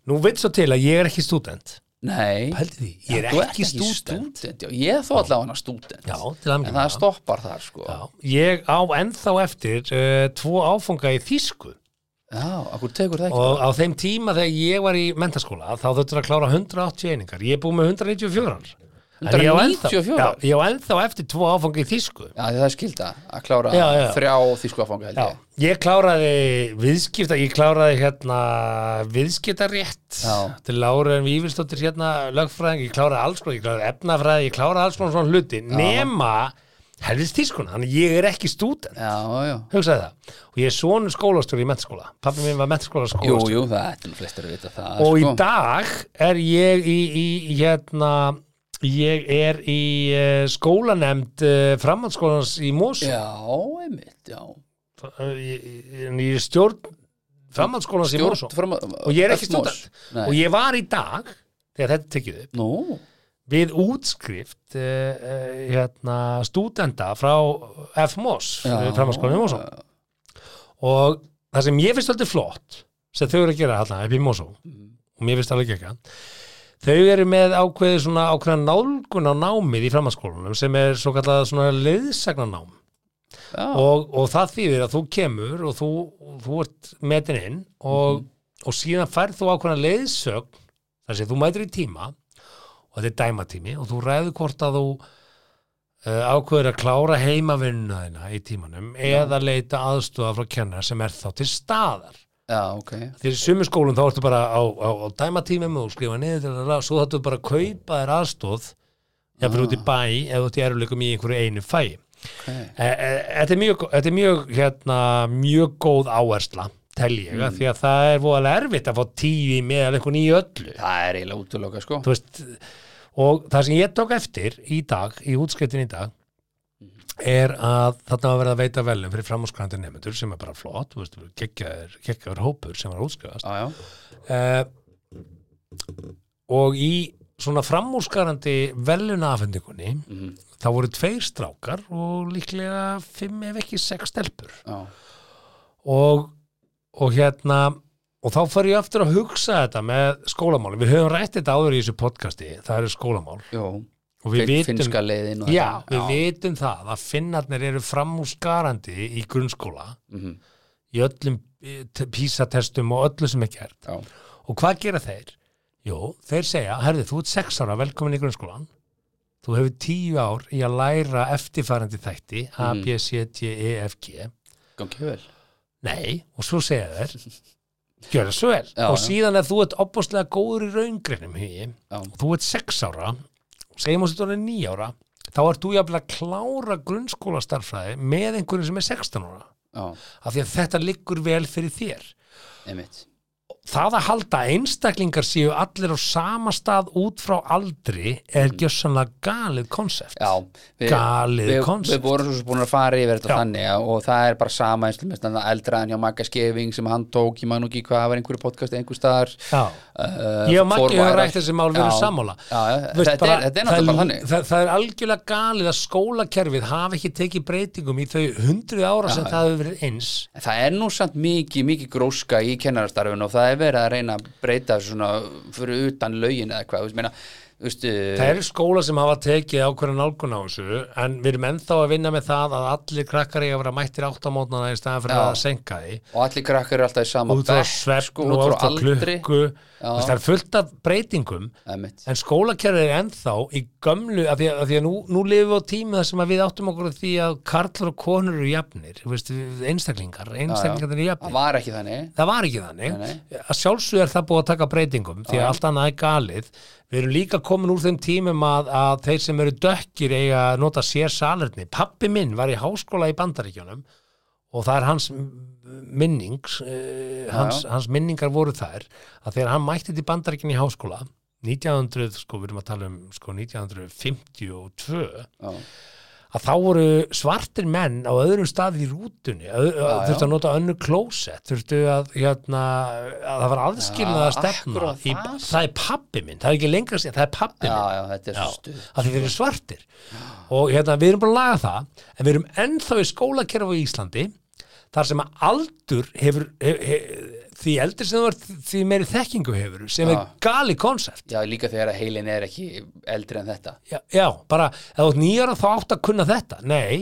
Speaker 3: nú veit svo til að ég er ekki stúdent
Speaker 4: Nei,
Speaker 3: pældi því, ég er
Speaker 4: þú ert
Speaker 3: ekki stúdent
Speaker 4: stúdent já, Ég þó allavega hana stúdent
Speaker 3: já, til
Speaker 4: En
Speaker 3: aðmyggjum
Speaker 4: það stoppar þar sko Já,
Speaker 3: ég á ennþá eftir uh, tvo áfunga í þýsku
Speaker 4: okkur tekur það ekki
Speaker 3: og á þeim tíma þegar ég var í mentaskóla þá þurftur að klára 180 einingar ég er búið með 194 En ég á ennþá-
Speaker 4: 194?
Speaker 3: já, ég á ennþá eftir tvo áfunga í þýsku
Speaker 4: Já, því það er skilda að klára
Speaker 3: Já, já.
Speaker 4: þrjá þýsku áfanga held
Speaker 3: Já,
Speaker 4: ég.
Speaker 3: ég kláraði viðskipta, ég kláraði hérna viðskiptarétt
Speaker 4: Já.
Speaker 3: til Láren Vífilstóttir hérna lögfræðing, ég kláraði alls konar, ég kláraði efnafræði, ég kláraði alls konar svona hluti, nema helvist tískuna, þannig að ég er ekki stúdent,
Speaker 4: Já, já.
Speaker 3: hugsaði það og ég er svonu skólastjóri í mentaskóla pappi minn var mentaskóla
Speaker 4: Jú,
Speaker 3: skólastjóri
Speaker 4: jú, það er nú flestir að vita það.
Speaker 3: og í
Speaker 4: sko.
Speaker 3: dag er ég í, í í hérna ég er í uh, skólanemnd uh, framhaldsskólans í eh, Mosó
Speaker 4: Já, einmitt, já.
Speaker 3: Ég- ég- en ég er stjórn framhaldsskólans í Mosó
Speaker 4: Stjórn fram að...
Speaker 3: og ég er ekki stúdent
Speaker 4: Nei.
Speaker 3: og ég var í dag þegar þetta er tekið upp
Speaker 4: Nú,
Speaker 3: við útskrift uh, uh, hérna, stúdenda frá FMOS,
Speaker 4: Já.
Speaker 3: framhanskólinni Mósó og það sem ég finnst alltaf flott sem þau eru að gera hérna upp í Mósó og mér finnst alveg ekki þau eru með ákveðið svona ákveðna nálgun á námið í framhanskólanum sem er svo kallað svona leiðsagnanám
Speaker 4: já,
Speaker 3: og, og það þýðir að þú kemur og þú, þú ert metin inn og, og síðan færð þú ákveðna leiðsögn þar sem þú mætir í tíma og þetta er dæmatími og þú ræður hvort að þú uh, ákveður að klára heimavinnuna þína í tímanum eða leita aðstofa frá kennara sem er þá til staðar
Speaker 4: já, ok
Speaker 3: því í sumu skólum þá ertu bara á, á, á dæmatímum og skrifa niður til það svo þáttu bara að kaupa þér aðstoð jafnir út í bæ eða út í eruleikum í einhverju einu fæi
Speaker 4: Ok.
Speaker 3: E- e- Þetta er mjög, þetta er mjög, hérna, mjög góð áhersla, tel ég, mm. því að það er voðalega erfitt að fá tíu í meðal einhvern í öllu.
Speaker 4: Það er eiginlega útuloka sko
Speaker 3: Þú Veist, og það sem ég tók eftir í dag, í útskiptin í dag, er að þarna var verið að veita velum fyrir framhúskrandi nefnendur sem er bara flott, þú veist, geggjaður, geggjaður hópur sem var að útskrifast.
Speaker 4: Já, já,
Speaker 3: Uh, og í svona framúrskarandi velunafendingunni
Speaker 4: Mhm.
Speaker 3: þá voru tveir strákar og líklega fimm ef ekki sex stelpur
Speaker 4: já,
Speaker 3: og, og hérna og þá fer ég aftur að hugsa þetta með skólamál, við höfum rætt þetta áður í þessu podcasti, það eru skólamál
Speaker 4: já
Speaker 3: og við
Speaker 4: Fin-
Speaker 3: vitum,
Speaker 4: Finnska leiðin og
Speaker 3: já,
Speaker 4: þetta.
Speaker 3: við vitum það að finnarnir eru framúrskarandi í grunnskóla
Speaker 4: Mhm.
Speaker 3: í öllum eh, t- písatestum og öllu sem er gert
Speaker 4: Já,
Speaker 3: Og hvað gera þeir? Jú, þeir segja, herði, þú ert sex ára, velkomin í grunnskólan. Þú hefur tíu ár í að læra eftirfarandi þætti, A, B, C, D, E, F, G.
Speaker 4: gangi vel
Speaker 3: Nei, og svo segja þeir, gjör það svo vel.
Speaker 4: Já,
Speaker 3: og
Speaker 4: já.
Speaker 3: síðan ef þú ert opbóðslega góður í raungrinum hugi,
Speaker 4: Já.
Speaker 3: og þú ert sex ára, og segjum að þú ert nýja ára, þá ert þú jafnilega að klára grunnskólastarfræði með einhverjum sem er 16 ára.
Speaker 4: Já,
Speaker 3: Af því að þetta liggur vel fyrir þér.
Speaker 4: einmitt
Speaker 3: það að halda að einstaklingar séu allir á sama stað út frá aldri er gjössanlega galið konsept
Speaker 4: Mm. Já, við,
Speaker 3: Galið
Speaker 4: við,
Speaker 3: konsept.
Speaker 4: við vorum svo sem búin að fara yfir þetta
Speaker 3: Já.
Speaker 4: þannig að- og það er bara sama eins og mest annað eldra en hjá Magga Skeving sem hann tók, ég man nú ekki hvað það var einhverju podcast einhver staðar
Speaker 3: Já.
Speaker 4: uh,
Speaker 3: ég og Maggi
Speaker 4: formaður-
Speaker 3: hefur rætt þessi mál verið
Speaker 4: Já,
Speaker 3: sammála
Speaker 4: já, já,
Speaker 3: Veist
Speaker 4: þetta, er, þetta er
Speaker 3: það,
Speaker 4: náttúrulega bara þannig
Speaker 3: það, það er algjörlega galið að skólakerfið hafi ekki tekið breytingum í þau hundruð ára sem það hefur verið eins
Speaker 4: En Það er nú samt mikið, mikið gróska í kennarastarfinu og það er verið að reyna að breyta þessu svona fyrir utan lögin eða hvað, þú veist, meina, þú veist,
Speaker 3: Það eru skóla sem hafa tekið ákveðan nálgun á þessu en við erum ennþá að vinna með það að allir krakkar eiga að vera mættir áttamótnana í staðan fyrir
Speaker 4: Já.
Speaker 3: að senka því
Speaker 4: eh, og allir krakkar eru alltaf í sama
Speaker 3: út frá
Speaker 4: bekk, sko,
Speaker 3: svefn
Speaker 4: út
Speaker 3: og
Speaker 4: frá
Speaker 3: út frá
Speaker 4: aldri.
Speaker 3: klukku Þú veist, það er fullt af breytingum
Speaker 4: Einmitt.
Speaker 3: en skólakerfið er ennþá í gömlu af því að, af því að nú, nú lifum við á tíma þar sem að við áttum okkur á því að karlar og konur eru jafnir þú veist, einstaklingar, einstaklingar eru
Speaker 4: Það
Speaker 3: jafnir
Speaker 4: var ekki þannig,
Speaker 3: það var ekki þannig
Speaker 4: Nei,
Speaker 3: að sjálfsög er það búið að taka breytingum því að allt annað er galið við erum líka komin úr þeim tímum að, að þeir sem eru dökkir eiga að nota sér salerni pappi minn var í háskóla í Bandaríkjunum og það er hans minnings eh, hans, hans minningar voru þær að þegar hann mætti til Bandaríkjun í háskóla 1900, sko við erum að tala um sko 1952
Speaker 4: já,
Speaker 3: að þá voru svartir menn á öðrum stað í rútunni öð-
Speaker 4: Já,
Speaker 3: þurftu
Speaker 4: já.
Speaker 3: að nota önnu klósett þurftu að, hérna, að það var aðskilnað að
Speaker 4: Já,
Speaker 3: stefna
Speaker 4: akkurat
Speaker 3: í,
Speaker 4: það.
Speaker 3: það er pappi minn, það er ekki lengra sér það er pappi
Speaker 4: já,
Speaker 3: minn,
Speaker 4: já, þetta er svo stuð.
Speaker 3: að þið eru svartir og hérna, við erum búin að laga það en við erum ennþá í skólakerfa í Íslandi þar sem að aldur hefur, he, he, því eldri sem þú ert því meiri þekkingu hefur sem
Speaker 4: Já.
Speaker 3: er gali konsept
Speaker 4: Já, líka þegar að heilin er ekki eldri en þetta.
Speaker 3: já, já, bara, ef þú ert nýjara þá átt að kunna þetta, nei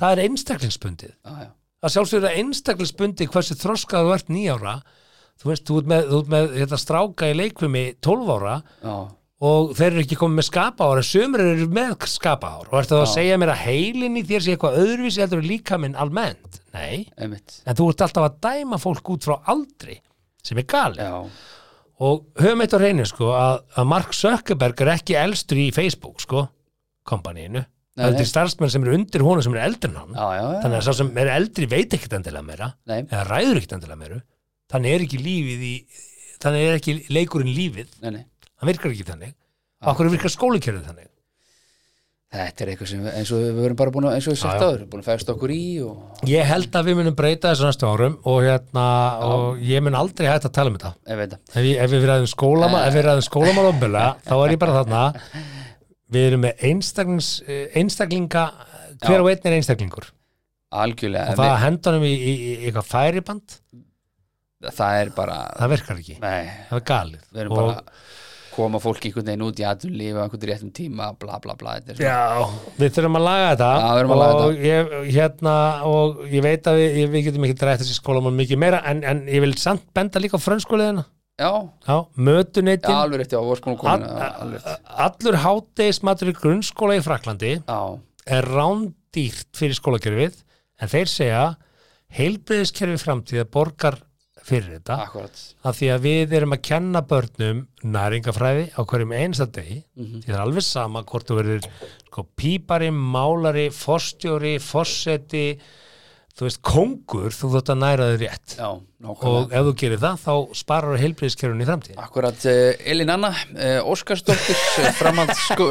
Speaker 3: það er einstaklingsbundið
Speaker 4: Já, já,
Speaker 3: að sjálfsögur að einstaklisbundi hversu þroskað þú ert nýjára þú veist, þú ert með, þú ert með hérna, stráka í leikvimi 12 ára
Speaker 4: já,
Speaker 3: og þeir eru ekki komið með skapahár en sömur eru með skapahár og ertu þá að segja mér að heilin í þér sé eitthvað öðruvísi heldur en líkaminn almennt nei,
Speaker 4: einmitt,
Speaker 3: en þú ert alltaf að dæma fólk út frá aldri sem er gali
Speaker 4: já,
Speaker 3: og höfum eitt á reyni sko að, að Mark Zuckerberg er ekki elstur í Facebook sko, kompaníinu
Speaker 4: Nei,
Speaker 3: það
Speaker 4: nei.
Speaker 3: er starfsmenn sem eru undir honum sem eru eldri en hann
Speaker 4: já, já, já,
Speaker 3: þannig að sá sem er eldri veit ekkert endilega meira
Speaker 4: nei,
Speaker 3: eða ræður ekkert endilega meiru þannig er ekki lífið í þannig er ekki leikurinn lífið
Speaker 4: nei, nei. Ah.
Speaker 3: hann virkar ekki þannig, okkur virkar skólikerfið þannig
Speaker 4: Þetta er eitthvað sem við- eins og við verum bara búin að, eins og við sagt
Speaker 3: já.
Speaker 4: áður, búin að fæðast okkur í og
Speaker 3: Ég held að við munum breyta þessu næstu árum og, hérna, og ég mun aldrei hægt að tala um þetta.
Speaker 4: ef þetta.
Speaker 3: Ef, ég, ef við ræðum skólamál, ef við ræðum skólamál ofnbjöla, þá er ég bara þarna. Við erum með einstaklings, eh, einstaklinga, hver
Speaker 4: Já. Eh,
Speaker 3: og einn er einstaklingur.
Speaker 4: Algjörlega,
Speaker 3: Og það að henda honum í, í, í eitthvað færiband,
Speaker 4: við, það er bara,
Speaker 3: það virkar ekki.
Speaker 4: nei,
Speaker 3: Það er galið.
Speaker 4: við erum
Speaker 3: Og-
Speaker 4: bara að koma fólki einhvern veginn út í aðun lífa, einhvern veginn réttum tíma, bla bla bla, þetta er svona.
Speaker 3: Já, við þurfum að laga þetta
Speaker 4: Já, við þurfum að laga
Speaker 3: og, ég, hérna, og ég veit að við, við getum ekki drætt þessi skólamál mikið meira en, en ég vil samt benda líka á frönskóliðina
Speaker 4: Já,
Speaker 3: Já,
Speaker 4: já,
Speaker 3: mötuneytin
Speaker 4: alveg rétt, já, vorskona
Speaker 3: all,
Speaker 4: komin, já, alveg rétt.
Speaker 3: allur hátegismatur í grunnskóla í Fraklandi
Speaker 4: Já,
Speaker 3: er rándýrt fyrir skólakerfið en þeir segja heilbriðiskerfi framtíða borgar fyrir þetta
Speaker 4: akkurat,
Speaker 3: af því að við erum að kenna börnum næringafræði á hverjum einsta degi
Speaker 4: Mhm.
Speaker 3: því það er alveg sama hvort þú verður sko, pípari, málari, forstjóri forseti þú veist, kóngur, þú þótt að næra þau rétt
Speaker 4: já, nákvæmlega.
Speaker 3: og ef þú gerir það, þá sparar heilbriðiskerfun í framtíð
Speaker 4: Akkurat, uh, Elin Anna, uh, Óskarsdóttir, framhaldssko,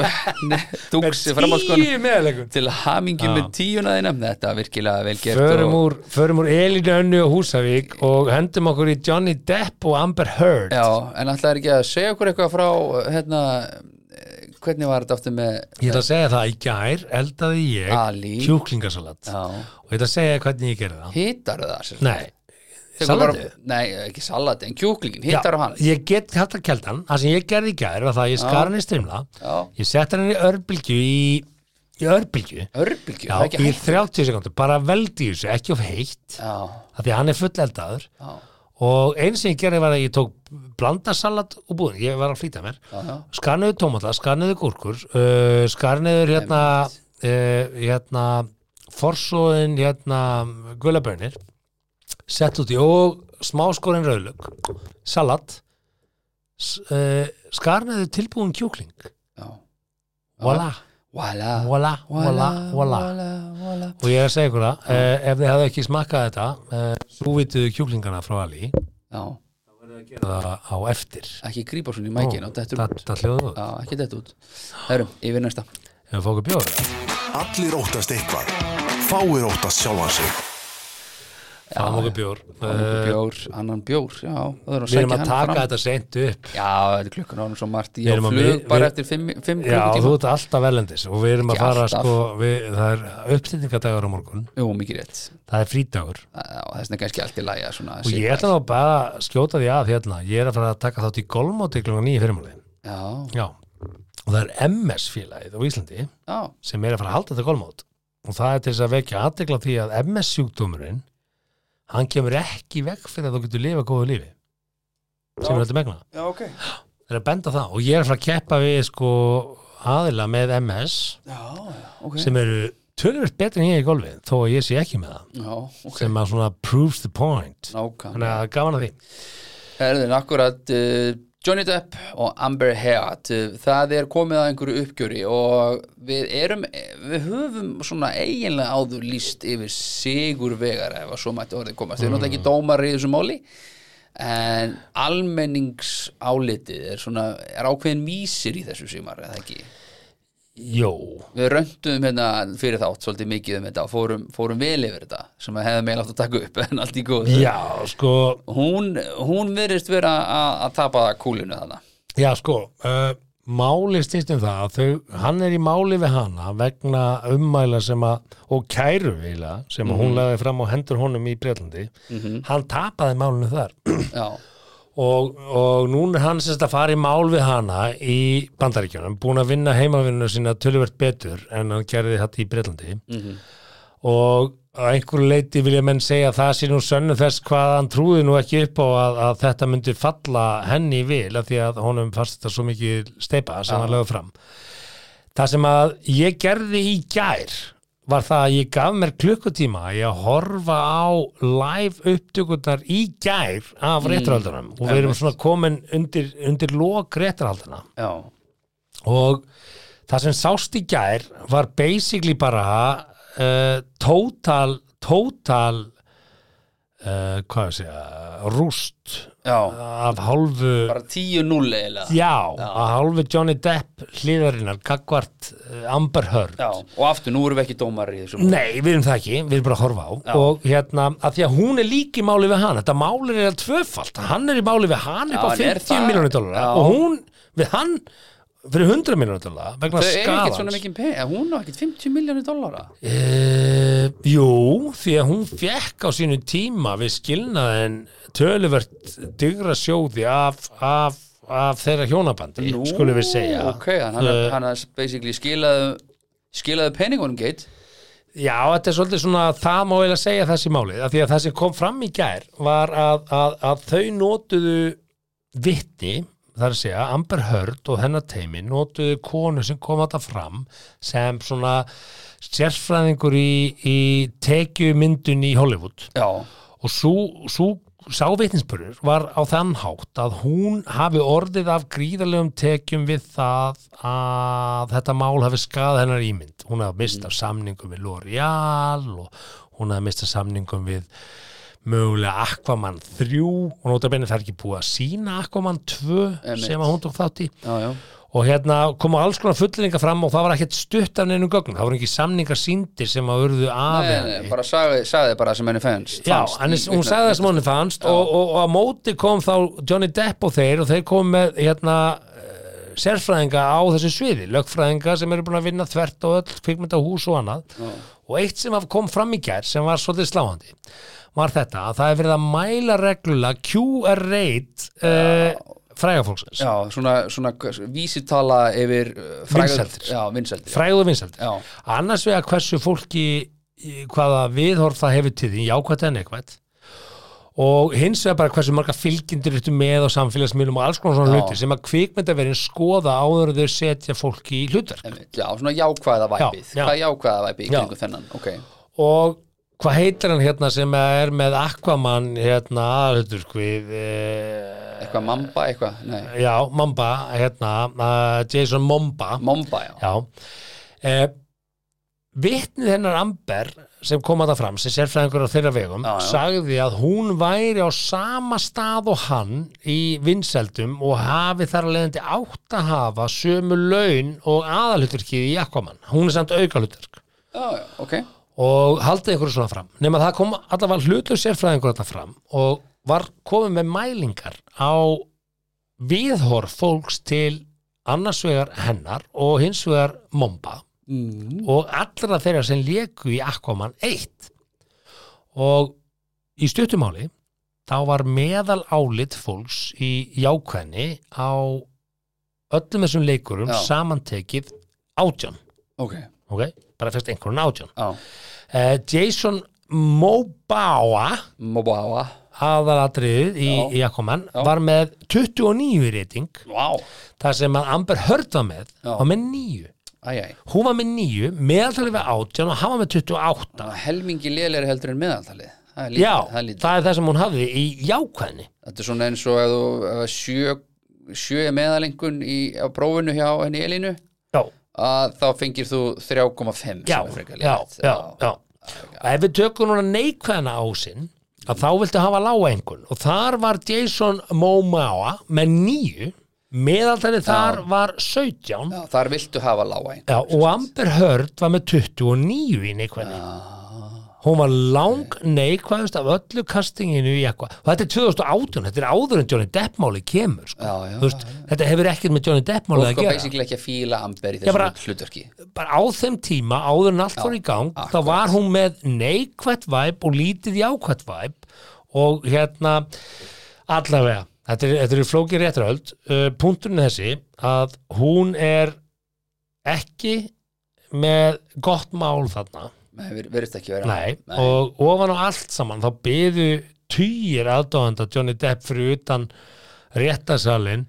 Speaker 4: dúks, framhaldsskon,
Speaker 3: meðalegum
Speaker 4: til hamingju með tíuna þína, þetta er virkilega vel gert
Speaker 3: Förum
Speaker 4: og,
Speaker 3: úr, förum úr Elinu Önnu og Húsavík og hendum okkur í Johnny Depp og Amber Heard
Speaker 4: já, en alltaf er ekki að segja okkur eitthvað frá, hérna, eh, hvernig var þetta aftur með,
Speaker 3: Ég ætla að segja það, í gær eldaði ég
Speaker 4: Ali.
Speaker 3: kjúklingasalat
Speaker 4: já,
Speaker 3: og ég ætla að segja hvernig ég gerði það
Speaker 4: hittar það, sér,
Speaker 3: Nei, salatið?
Speaker 4: nei, ekki salati, en kjúklingin, hittar hann,
Speaker 3: Ég get hægt að kelda hann, það sem ég gerði í gær var það að ég skar hann í strimla
Speaker 4: Já.
Speaker 3: ég sett hann í örbylgju í, í örbylgju
Speaker 4: örbylgju,
Speaker 3: Já,
Speaker 4: það er ekki
Speaker 3: í
Speaker 4: hægt,
Speaker 3: 30 sekundur, bara veldi í þessu, ekki of heitt
Speaker 4: já,
Speaker 3: af því að hann er fulleldaður
Speaker 4: já,
Speaker 3: og eins sem ég gerði var að ég tók blandasalat og búin, ég var að flýta mér
Speaker 4: já, já,
Speaker 3: skarniðu tómata, skarniðu gúrkur uh, skarniðu hérna uh, hérna forsóðin hérna gulabönir sett út í og smáskorinn rauðlög salat uh, skarniðu tilbúin kjúkling
Speaker 4: já,
Speaker 3: voila,
Speaker 4: voila,
Speaker 3: voila, voila, voila
Speaker 4: voila,
Speaker 3: og ég er að segja ykkur það, uh, ef þið hafðu ekki smakkað þetta uh, svo vituðu kjúklingana frá Ali
Speaker 4: já,
Speaker 3: það á eftir
Speaker 4: ekki grípa svona í mækinu, þetta er út.
Speaker 3: þetta hljóðu út,
Speaker 4: Já, ekki þetta út. Herru, yfir næsta.
Speaker 3: ef við fókum bjóður
Speaker 2: Allir óttast eitthvað. Fáir óttast sjálfan sig.
Speaker 3: fáum okkur bjór
Speaker 4: Annan
Speaker 3: Eh,
Speaker 4: bjór, annan bjór, já. Við
Speaker 3: Við erum að taka þetta seint upp
Speaker 4: Já, þetta er klukkan ánum svo margt.
Speaker 3: Við
Speaker 4: Ég
Speaker 3: erum
Speaker 4: á
Speaker 3: að
Speaker 4: flug
Speaker 3: við-
Speaker 4: bara
Speaker 3: við-
Speaker 4: eftir fimm, fimm
Speaker 3: Já, þú
Speaker 4: klukkutíma.
Speaker 3: ert alltaf velendis og við erum að
Speaker 4: Ekki
Speaker 3: fara
Speaker 4: alltaf.
Speaker 3: sko, við, það er uppstendingadagur á morgun
Speaker 4: Jú, mikið rétt.
Speaker 3: það er frídagur
Speaker 4: Já, Þess vegna kannski allt í læja svona.
Speaker 3: og ég ætla þá bara að skjóta því að hérna, ég er að fara að taka þátt í golfmóti klungan nýju fyrirmáli
Speaker 4: Já,
Speaker 3: Já, og það er MS félagið á Íslandi
Speaker 4: já,
Speaker 3: sem er að fara að halda þetta golfmót og það er til þess að vekja aðtegla því að MS sjúkdómurinn hann kemur ekki í veg fyrir að þú getur lifa góðu lífi sem er þetta megna
Speaker 4: já, ok.
Speaker 3: það er að benda á það og ég er að fara að keppa við sko aðila með MS
Speaker 4: Já, já, ok.
Speaker 3: sem eru tölvöld betri en ég í golfi þó að ég sé ekki með það
Speaker 4: Já, ok.
Speaker 3: sem að svona proves the point þannig
Speaker 4: Nákvæmlega.
Speaker 3: að gaman að því
Speaker 4: Herðin, akkurat uh, Johnny Depp og Amber Heard uh, það er komið að einhverju uppgjöri og við erum við höfum svona eiginlega áður líst yfir sigur vegar ef að svo mætti orðið komast, við erum
Speaker 3: Mm.
Speaker 4: náttúrulega ekki dómar í þessu máli en almenningsálitið er svona, er ákveðin vísir í þessu símar, eða ekki
Speaker 3: Jó,
Speaker 4: við röntum hérna fyrir þátt svolítið mikið um þetta og fórum, fórum vel yfir þetta sem að hefði meil átt að taka upp en allt í góð
Speaker 3: já, sko
Speaker 4: hún, hún verðist vera að- að tapa kúlinu þarna
Speaker 3: já, sko, uh, máli stýst um það að þau, hann er í máli við hana vegna ummæla sem að og kæru vila sem að hún lagði fram á hendur honum í Breitlandi hann tapaði málinu þar
Speaker 4: Já,
Speaker 3: og, og núna er hann sérst að fara í mál við hana í bandaríkjunum búin að vinna heimavinnuna sína töluvert betur en hann gerði þetta í Breitlandi og að einhverju leiti vilja menn segja að það sé nú sönnu þess hvað hann trúði nú ekki upp á að, að þetta myndi falla henni í vil af því að honum fannst þetta svo mikið steipa sem hann lögðu fram það sem að ég gerði í gær var það að ég gaf mér klukkutíma í að horfa á live upptökurnar í gær af réttarhaldunum og við erum svona komin undir, undir lok réttarhalduna
Speaker 4: já,
Speaker 3: og það sem sást í gær var eh, basically bara uh, total total uh, hvað ég segja, rúst
Speaker 4: já,
Speaker 3: af hálfu
Speaker 4: bara 10-0 eiginlega
Speaker 3: Já, að hálfu Johnny Depp hliðarinnar, gagvart Amber Heard
Speaker 4: Já, og aftur, nú erum við ekki dómar í þessum
Speaker 3: Nei, við erum það ekki, við erum bara að horfa á og hérna, að því að hún er líki máli við hann þetta máli er tvöfalt, hann er í máli við hann upp á
Speaker 4: hann er
Speaker 3: 50
Speaker 4: það.
Speaker 3: miljónu dólara
Speaker 4: Já.
Speaker 3: og hún við hann fyrir 100 miljónu dólara vegna
Speaker 4: Þau eru ekkert svona
Speaker 3: skalans
Speaker 4: mikið pening, hún á ekkert 50 miljónu dollara
Speaker 3: e, Jú, því að hún fekk á sínu tíma við skilnaðin töluvert digra sjóði af, af, af þeirra hjónabandi, skulum við segja
Speaker 4: Ok, hann, hann,
Speaker 3: Eh,
Speaker 4: uh, hann er basically skilaðu, skilaðu peningunum geit
Speaker 3: Já, þetta er svolítið svona, það má eiginlega segja þessi málið, af því að það sem kom fram í gær var að, að, að þau notuðu vitti, þar að segja, Amber Heard og hennar teimi notuðu konu sem kom þetta fram sem svona sérfræðingur í, í tekjumyndun í Hollywood
Speaker 4: Já,
Speaker 3: og svo, svo sá vitninsbörur var á þann hátt að hún hafi orðið af gríðarlegum tekjum við það að þetta mál hafi skað hennar ímynd. Hún hafi mistað
Speaker 4: Mm.
Speaker 3: samningum við L'Oreal og hún hafi mistað samningum við mögulega Aquaman 3 og notabenni það er ekki búið að sína Aquaman 2
Speaker 4: Einmitt.
Speaker 3: sem að hún tók þátt í
Speaker 4: já, já
Speaker 3: og hérna komu alls konar fulleringar fram og það var ekkert stutt af neinum gögnum, það voru ekki samningar síndir sem að urðu af
Speaker 4: Nei,
Speaker 3: henni
Speaker 4: nei, Eh, bara sagði, sagði bara sem henni fannst
Speaker 3: Já,
Speaker 4: fannst
Speaker 3: hann,
Speaker 4: í
Speaker 3: er- hún sagði það sem hún fannst og, og, og að móti kom þá Johnny Depp og þeir og þeir kom með hérna eh, sérfræðinga á þessu sviði, lögfræðinga sem eru búin að vinna þvert og öll kvikmyndahús og annað og eitt sem af- kom fram í gær sem var svolítið sláandi var þetta að það er verið að mæla reglulega QR-reit uh, frægafólksins,
Speaker 4: Já, svona, svona vísitala yfir uh, frægur-
Speaker 3: Vinsældir.
Speaker 4: Já, vinseldir
Speaker 3: frægu og vinsældir
Speaker 4: Já,
Speaker 3: annars vegar hversu fólki í- hvaða viðhorf það hefur til því jákvætt en neikvætt og hins vegar bara hversu marga fylgjendur ertu með á samfélagsmiðlum og alls konar svona
Speaker 4: Já.
Speaker 3: hluti sem að kvikmyndaverin skoða áður en þau setja fólki í hlutverk
Speaker 4: einmitt, já, svona jákvæða væpið
Speaker 3: Já, já.
Speaker 4: Hvað er jákvæða væpið í
Speaker 3: Já.
Speaker 4: kringu þennan? Ok,
Speaker 3: og hvað heitir hann hérna sem er með Aquaman hérna aðhlutur við eh,
Speaker 4: eitthvað mamba, eitthvað, nei
Speaker 3: já, Mamba hérna, uh, Jason Momba
Speaker 4: Momba, já,
Speaker 3: Já eh, Vitnið hennar Amber sem kom að það fram, sem sérfræðingur á þeirra vegum
Speaker 4: Já, já.
Speaker 3: sagði að hún væri á sama stað og hann í vinseldum og hafi þar að leiðandi átt að hafa sömu laun og aðalhuturkið í Aquaman hún er samt aukaluturk
Speaker 4: já, já ok
Speaker 3: og haldið einhverju svona fram nema það kom allavega hlutlu sérfræðingur þetta fram og var komið með mælingar á viðhorf fólks til annars vegar hennar og hins vegar momba
Speaker 4: mm.
Speaker 3: og allra þeirra sem leku í Aquaman 1 og í stuttumáli þá var meðal álit fólks í jákvæðni á öllum þessum leikurum
Speaker 4: Já.
Speaker 3: samantekið átján
Speaker 4: Ok,
Speaker 3: ok, bara fyrst einhverjum átján
Speaker 4: já,
Speaker 3: uh, Jason Mobawa
Speaker 4: Mobawa
Speaker 3: aðalatriðið í,
Speaker 4: Já.
Speaker 3: í Aquaman
Speaker 4: Já.
Speaker 3: var með 29 reyting
Speaker 4: Vá,
Speaker 3: þar sem að Amber Heard var með
Speaker 4: Já.
Speaker 3: var með 9
Speaker 4: æj, æj
Speaker 3: hún var með 9, meðaltalið var 18 og hann var með 28
Speaker 4: Það var helmingi lélegri heldur en meðaltalið það er lítið,
Speaker 3: Já,
Speaker 4: það er lítið.
Speaker 3: það er það sem hún hafði í jákvæðni
Speaker 4: þetta er svona eins og að þú ef að sjö, sjö er meðalengun í, á prófinu hjá henni Elínu
Speaker 3: Já,
Speaker 4: að þá fengir þú 3,5 sem
Speaker 3: já,
Speaker 4: er frekar
Speaker 3: já,
Speaker 4: lélegt.
Speaker 3: já, já. Og ef við tökum núna neikvæðna á sinn að þá viltu hafa lága engun og þar var Jason Momoa með nýju meðaltalið þar var 17
Speaker 4: Já, þar viltu hafa lága einn
Speaker 3: Já, og Amber Heard var með 29 í neikvæðni. Hún var lang neikvæðust af öllu kastinginu í eitthvað. Og þetta er 2018, þetta er áður en Johnny Depp-máli kemur, sko.
Speaker 4: Já, já,
Speaker 3: Þú veist, þetta hefur ekkert með Johnny Depp-máli
Speaker 4: og
Speaker 3: að
Speaker 4: sko
Speaker 3: gera.
Speaker 4: basically ekki að fíla amber í
Speaker 3: Já,
Speaker 4: þessu
Speaker 3: bara-
Speaker 4: hlutverki
Speaker 3: Bara á þeim tíma, áður en allt fór í gang, þá var hún með neikvætt væp og lítið jákvætt væp og hérna, allavega, þetta er, þetta er flókið réttaröld. Uh, punkturinn er þessi að hún er ekki með gott mál þarna.
Speaker 4: Nei, vir- virðist ekki vera
Speaker 3: Nei,
Speaker 4: Nei.
Speaker 3: og ofan á allt saman þá byðu týjir aðdóðanda Johnny Depp fyrir utan réttasalinn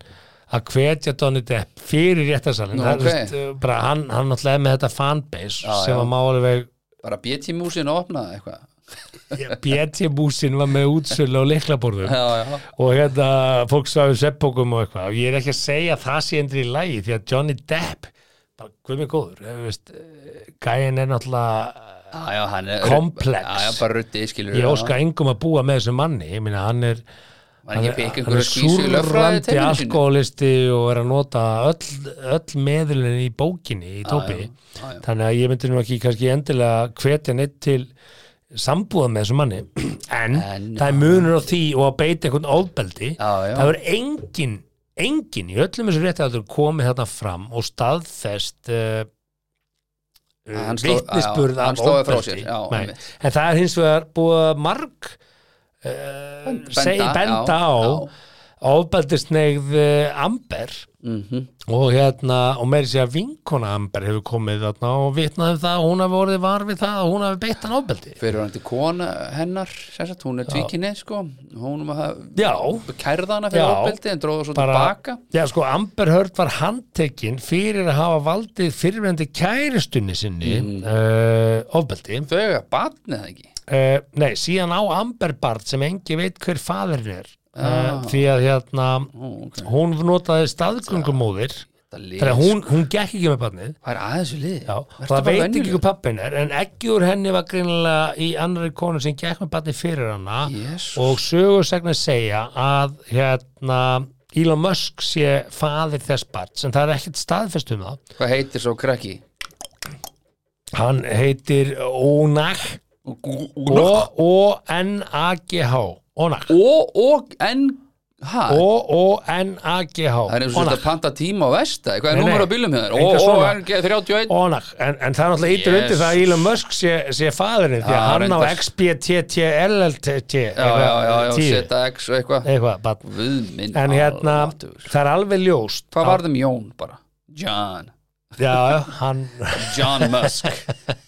Speaker 3: að hvetja Johnny Depp fyrir réttasalinn
Speaker 4: Nú,
Speaker 3: Það er,
Speaker 4: ok.
Speaker 3: þú veist, uh, bara hann, hann náttúrulega er með þetta fanbase
Speaker 4: Já,
Speaker 3: sem
Speaker 4: já.
Speaker 3: að málega
Speaker 4: bara BT-músin og opna eitthvað
Speaker 3: BT-búsin var með útsölu á leiklaborðum
Speaker 4: já, já,
Speaker 3: og hérna fólk svaðu seppókum og eitthvað og ég er ekki að segja að það sé endur í lagi því að Johnny Depp bara guð mig góður eh, veist, eh, gæinn er náttúrulega
Speaker 4: Já, já, hann er
Speaker 3: Komplex.
Speaker 4: Já, já, bara ruttið, skilur
Speaker 3: ég óska engum að búa með þessum manni ég meina hann er
Speaker 4: Hann er ekki
Speaker 3: hann
Speaker 4: pikk einhverja
Speaker 3: er
Speaker 4: skvísu í löffræði
Speaker 3: súrlandi alkoholisti og er að nota öll, öll meðlunni í bókinni í tópi
Speaker 4: já, já.
Speaker 3: þannig að ég myndi nú ekki kannski endilega hvetja neitt til sambúða með þessum manni en,
Speaker 4: En-
Speaker 3: það er munur á því og að beita einhvern ofbeldi
Speaker 4: Já, já.
Speaker 3: það er engin engin í öllum þessu rétti að komið þarna fram og staðfest uh,
Speaker 4: Hann sló-
Speaker 3: vitnisburð
Speaker 4: já, hann
Speaker 3: af
Speaker 4: slóði frá
Speaker 3: ofbeldi
Speaker 4: sér, já,
Speaker 3: Nei.
Speaker 4: einmitt.
Speaker 3: en það er hins vegar búið að marg uh, segi benda á ofbeldisneigð eh, Amber
Speaker 4: Mhm.
Speaker 3: og hérna og meiri sér að vinkona Amber hefur komið þarna og vitnaði um það og hún hafi orðið var við það og hún hafi beitt hann ofbeldi
Speaker 4: Fyrir hann til kona hennar sem sagt, hún er tvíkinni, sko hún um að
Speaker 3: já,
Speaker 4: kærða hana fyrir
Speaker 3: Já.
Speaker 4: ábeldi en dróða svo
Speaker 3: bara
Speaker 4: tilbaka
Speaker 3: já sko Amber Heard var handtekinn fyrir að hafa valdið fyrirvendi kæristunni sinni mm. ofbeldi
Speaker 4: Þau eiga batnið það ekki
Speaker 3: uh, nei, síðan á Amber Bart sem engi veit hver faðurinn er uh, því að hérna hún notaði staðgöngumóðir
Speaker 4: Það
Speaker 3: þannig að hún, hún gekk ekki með barnið
Speaker 4: Það er aðeins við liði
Speaker 3: já, og það veit ekki hvað pappin er en ekki úr henni var greinilega í annari konu sem gekk með barnið fyrir hana
Speaker 4: Jesús.
Speaker 3: og sögursegna segja að hérna Elon Musk sé faðir þess barns en það er ekkert staðfest um það
Speaker 4: Hvað heitir svo krakki?
Speaker 3: hann heitir Onag O-N-A-G-H Onag
Speaker 4: O-O-N-H
Speaker 3: O-O-N-A-G-H
Speaker 4: Það er eins og sérst að panta tíma á vesta Hvað er
Speaker 3: Nei,
Speaker 4: númur
Speaker 3: nei.
Speaker 4: á bílum hér?
Speaker 3: Enga svona.
Speaker 4: O-O-N-G-31
Speaker 3: Onag, en, en það er náttúrulega ítur undir
Speaker 4: Jesus.
Speaker 3: það að Elon Musk sé, sé faðurinn því að
Speaker 4: Já,
Speaker 3: hann
Speaker 4: reyndar.
Speaker 3: á XBTTLLTT
Speaker 4: Já, já, já, já,
Speaker 3: tíu,
Speaker 4: ZX og eitthvað
Speaker 3: eitthvað barn.
Speaker 4: Guð minn
Speaker 3: en hérna,
Speaker 4: almáttugur.
Speaker 3: það er alveg ljóst
Speaker 4: Hvað varð um Jón bara? John
Speaker 3: að- Já, hann,
Speaker 4: John Musk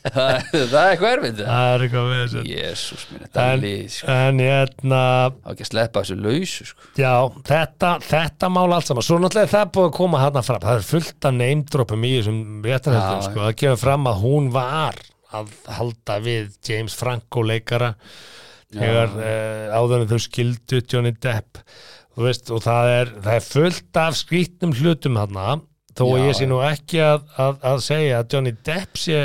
Speaker 4: Það það er eitthvað erfitt það.
Speaker 3: það er eitthvað með þessu
Speaker 4: Jésús minn, þetta er
Speaker 3: en,
Speaker 4: lið sko.
Speaker 3: en hérna,
Speaker 4: Á ekki að sleppa þessu lausu sko.
Speaker 3: já, þetta, þetta mál allt saman, svo náttúrulega er það búið að koma hann fram, það er fullt af neymdropum í þessum
Speaker 4: Já,
Speaker 3: réttarhaldum,
Speaker 4: já.
Speaker 3: sko, það kemur fram að hún var að halda við James Franco leikara þegar uh, áður en þau skildu Johnny Depp þú veist, og það er, það er fullt af skrýtnum hlutum þarna þó að
Speaker 4: Já,
Speaker 3: ég sé nú ekki að, að, að segja að Johnny Depp sé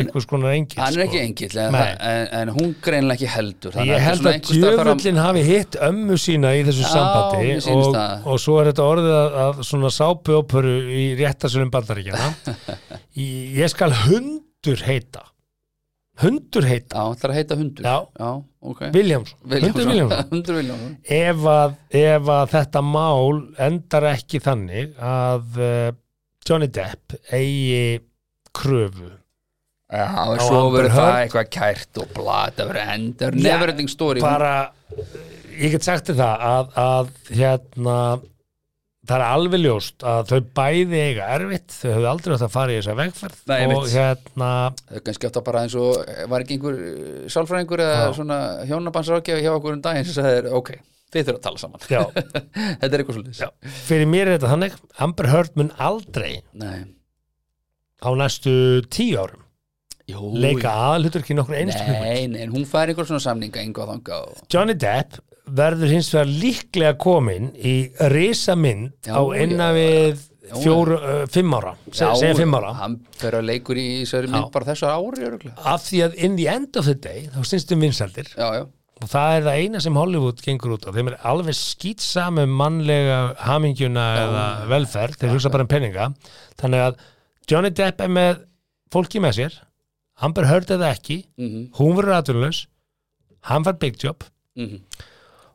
Speaker 3: einhvers konar engill
Speaker 4: Hann er
Speaker 3: sko.
Speaker 4: ekki engill en,
Speaker 3: Nei.
Speaker 4: en, en hún greinlega ekki heldur þannig
Speaker 3: Ég
Speaker 4: þetta er
Speaker 3: held
Speaker 4: svona
Speaker 3: að
Speaker 4: einhvers staðar fara-
Speaker 3: djöfullin hafi hitt ömmu sína í þessu
Speaker 4: Já, mér
Speaker 3: sambandi
Speaker 4: sýnist
Speaker 3: og,
Speaker 4: það.
Speaker 3: og svo er þetta orðið að, að svona sápuóperu í réttarsölum bandaríkjana Í- Ég skal hundur heita Hundur heita
Speaker 4: Já, hann ætlar að heita hundur
Speaker 3: Já.
Speaker 4: ok
Speaker 3: Viljámsson, Hundur Viljámsson
Speaker 4: Hundur Viljámsson
Speaker 3: ef að, ef að þetta mál endar ekki þannig að uh, Johnny Depp eigi kröfu
Speaker 4: Já, og
Speaker 3: Á
Speaker 4: svo
Speaker 3: Amber
Speaker 4: verður það
Speaker 3: Heard.
Speaker 4: eitthvað kært og blad Það verður endur, never ending story
Speaker 3: bara, ég get sagt þér það að, að hérna það er alveg ljóst að þau bæði eiga erfitt, þau höfðu aldrei átt að fara í þessa vegferð
Speaker 4: Nei,
Speaker 3: og
Speaker 4: einmitt.
Speaker 3: hérna
Speaker 4: Það er kannski átt að bara eins og var ekki einhver eh, sálfræðingur eða svona hjónabandsrákjafi hjá okkur um daginn sem sagði þér, ok, þið þurfa að tala saman
Speaker 3: já,
Speaker 4: Þetta er eitthvað svolítið
Speaker 3: fyrir mér er þetta þannig Amber Heard mun aldrei
Speaker 4: Nei,
Speaker 3: á næstu tíu árum
Speaker 4: jú
Speaker 3: leika aðalhutur ekki nokkur einstu
Speaker 4: Nei, nei, en hún fær einhver svona samninga einhvað þanga og
Speaker 3: Johnny Depp verður hins vegar líklega komin í risamynd
Speaker 4: Já,
Speaker 3: á einna við
Speaker 4: já.
Speaker 3: fjóru, uh, fimm ára, se,
Speaker 4: Já,
Speaker 3: segja fimm ára
Speaker 4: Hann fer að leikur í þessari mynd bara þessu ári örugglega.
Speaker 3: af því að in the end of the day þá syns um vinsaldir
Speaker 4: Já, já,
Speaker 3: og það er það eina sem Hollywood gengur út á þeim er alveg skýtsam um mannlega hamingjuna eða velferð þeir hugsa bara um peninga þannig að Johnny Depp er með fólki með sér hann bara hörði það ekki
Speaker 4: Mhm,
Speaker 3: hún verður aðtunlaus hann fær big job
Speaker 4: mhm.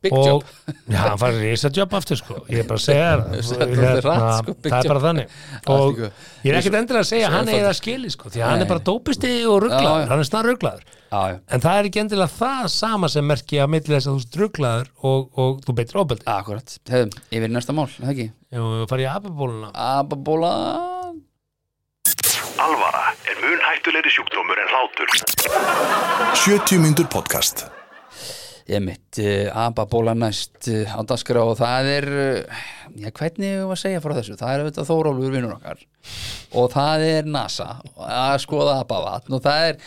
Speaker 4: big
Speaker 3: og
Speaker 4: job
Speaker 3: já, hann fær risajobb aftur sko ég er bara að segja það
Speaker 4: Þetta er rætt, sko, big
Speaker 3: það er bara þannig
Speaker 4: Allt í
Speaker 3: og
Speaker 4: góðu.
Speaker 3: ég er ekkert endilega að segja að hann
Speaker 4: einfalt.
Speaker 3: eigi það skili sko því að hann
Speaker 4: Nei.
Speaker 3: er bara dópisti og
Speaker 4: Já, já.
Speaker 3: rugglaður hann er snar rugglaður
Speaker 4: Já, já,
Speaker 3: en það er ekki endilega það sama sem merki að milli þess að þú ert rugglaður og, og þú beitir ofbeldi
Speaker 4: akkurat Hefðum, yfir í næsta mál, er það ekki
Speaker 3: og farið í apabóluna
Speaker 4: Ababóla
Speaker 5: Alvara er mun hættulegri sjúkdómur en hlátur.
Speaker 2: 70 mínútur podcast
Speaker 4: Ég mitt, uh, Ababóla næst uh, á dagskrá og það er uh, Já, hvernig eigum við að segja frá þessu? Það er auðvitað Þórólfur vinnur okkar og það er NASA að skoða Abavatn og það er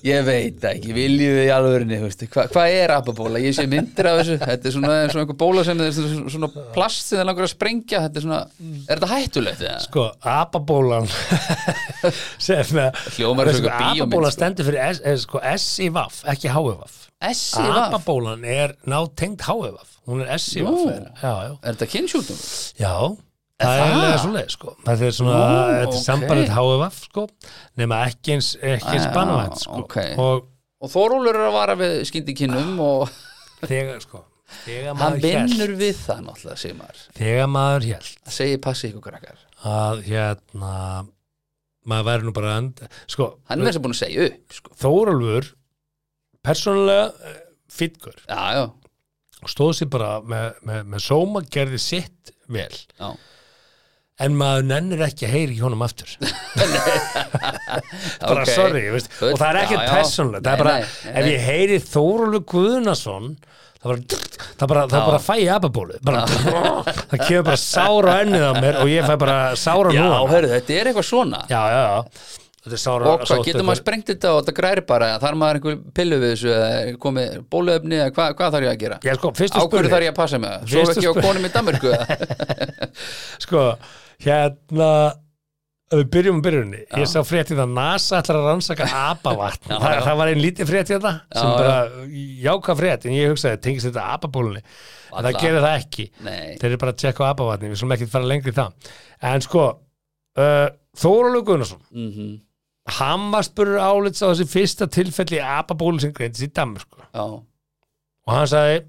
Speaker 4: Ég veit það ekki, viljum við í alvörinni veistu, hva, Hvað er apabóla? Ég sé myndir af þessu Þetta er svona, svona einhver bóla sem er svona, svona plast sem það langar að sprengja Þetta er svona, er þetta hættulegt? eða?
Speaker 3: Sko, apabólan sem að
Speaker 4: Hljómar eins og einhver bíómynd,
Speaker 3: apabólan
Speaker 4: sko.
Speaker 3: stendur fyrir S, eh, sko, S-I-V-A-F, ekki H-I-V-A-F
Speaker 4: Essi, hvað?
Speaker 3: Apabólan er nátengd H-I-V-A-F hún er
Speaker 4: Nú.
Speaker 3: S-I-V-A-F er- Já, já,
Speaker 4: Er þetta kynnsjúkdómur?
Speaker 3: já Það er
Speaker 4: það?
Speaker 3: eiginlega svoleið, sko. Það er svona,
Speaker 4: Nú,
Speaker 3: þetta er
Speaker 4: ókei.
Speaker 3: sambarið HFF, sko, nema ekki eins, ekki eins
Speaker 4: Já,
Speaker 3: banvægt, sko.
Speaker 4: ókei.
Speaker 3: Og
Speaker 4: Og Þorólur er að vara við skyndikinnum og
Speaker 3: þegar sko þegar
Speaker 4: hann
Speaker 3: maður
Speaker 4: vinnur
Speaker 3: hélt
Speaker 4: við það náttúrulega, segir maður.
Speaker 3: þegar maður hélt
Speaker 4: Það segir passi ykkur krakkar.
Speaker 3: að hérna maður væri nú bara and, sko,
Speaker 4: Hann er verið sem búin að segja upp, sko.
Speaker 3: Þóralfur persónulega fitkur
Speaker 4: Já, já,
Speaker 3: stóð sér bara með, með, með sóma gerði sitt vel
Speaker 4: já.
Speaker 3: en maður nennir ekki að heyri hjónum aftur bara
Speaker 4: Ok.
Speaker 3: sorry, veist,
Speaker 4: Full-
Speaker 3: og það er
Speaker 4: já,
Speaker 3: ekkert
Speaker 4: já.
Speaker 3: persónulegt það er
Speaker 4: Nei,
Speaker 3: bara,
Speaker 4: nei, nei,
Speaker 3: ef
Speaker 4: nei.
Speaker 3: ég heyri Þórólfur Guðnason það bara, það bara, það
Speaker 4: Já.
Speaker 3: bara fæ ég ababólu bara, það kemur bara sára ennið á mér og ég fæ bara sára
Speaker 4: Já,
Speaker 3: núna
Speaker 4: hörðu, þetta er eitthvað svona.
Speaker 3: já, já, já þetta er sára
Speaker 4: og hvað, getur maður sprengt þetta og þetta græri bara, þar maður einhver pillu við þessu, eða komið bóluefni, eða hvað, hvað þarf ég að gera?
Speaker 3: já, sko,
Speaker 4: Á
Speaker 3: fyrstu
Speaker 4: hverju þarf
Speaker 3: spurning
Speaker 4: ég að passa mig? Svo
Speaker 3: Fyrstu
Speaker 4: ekki á
Speaker 3: spurning.
Speaker 4: konum í Danmarku?
Speaker 3: sko, hérna ef við byrjum um byrjunni ég sá fréttið að NASA ætlar að rannsaka apavatn, það,
Speaker 4: já.
Speaker 3: það var einn lítið frétt þetta sem
Speaker 4: Já,
Speaker 3: bara jáka frétt en ég hugsaði, tengist þetta apabólunni en það
Speaker 4: Varla.
Speaker 3: gerir það ekki
Speaker 4: Nei.
Speaker 3: þeir eru bara að tjekka á apavatni, við slum ekki fara lengri í það en sko uh, Þóralu Gunnarsson,
Speaker 4: Mm
Speaker 3: Mhm. hann var spurður álits á þessi fyrsta tilfelli apabólu sem greindis í Danmarku
Speaker 4: Já,
Speaker 3: og hann sagði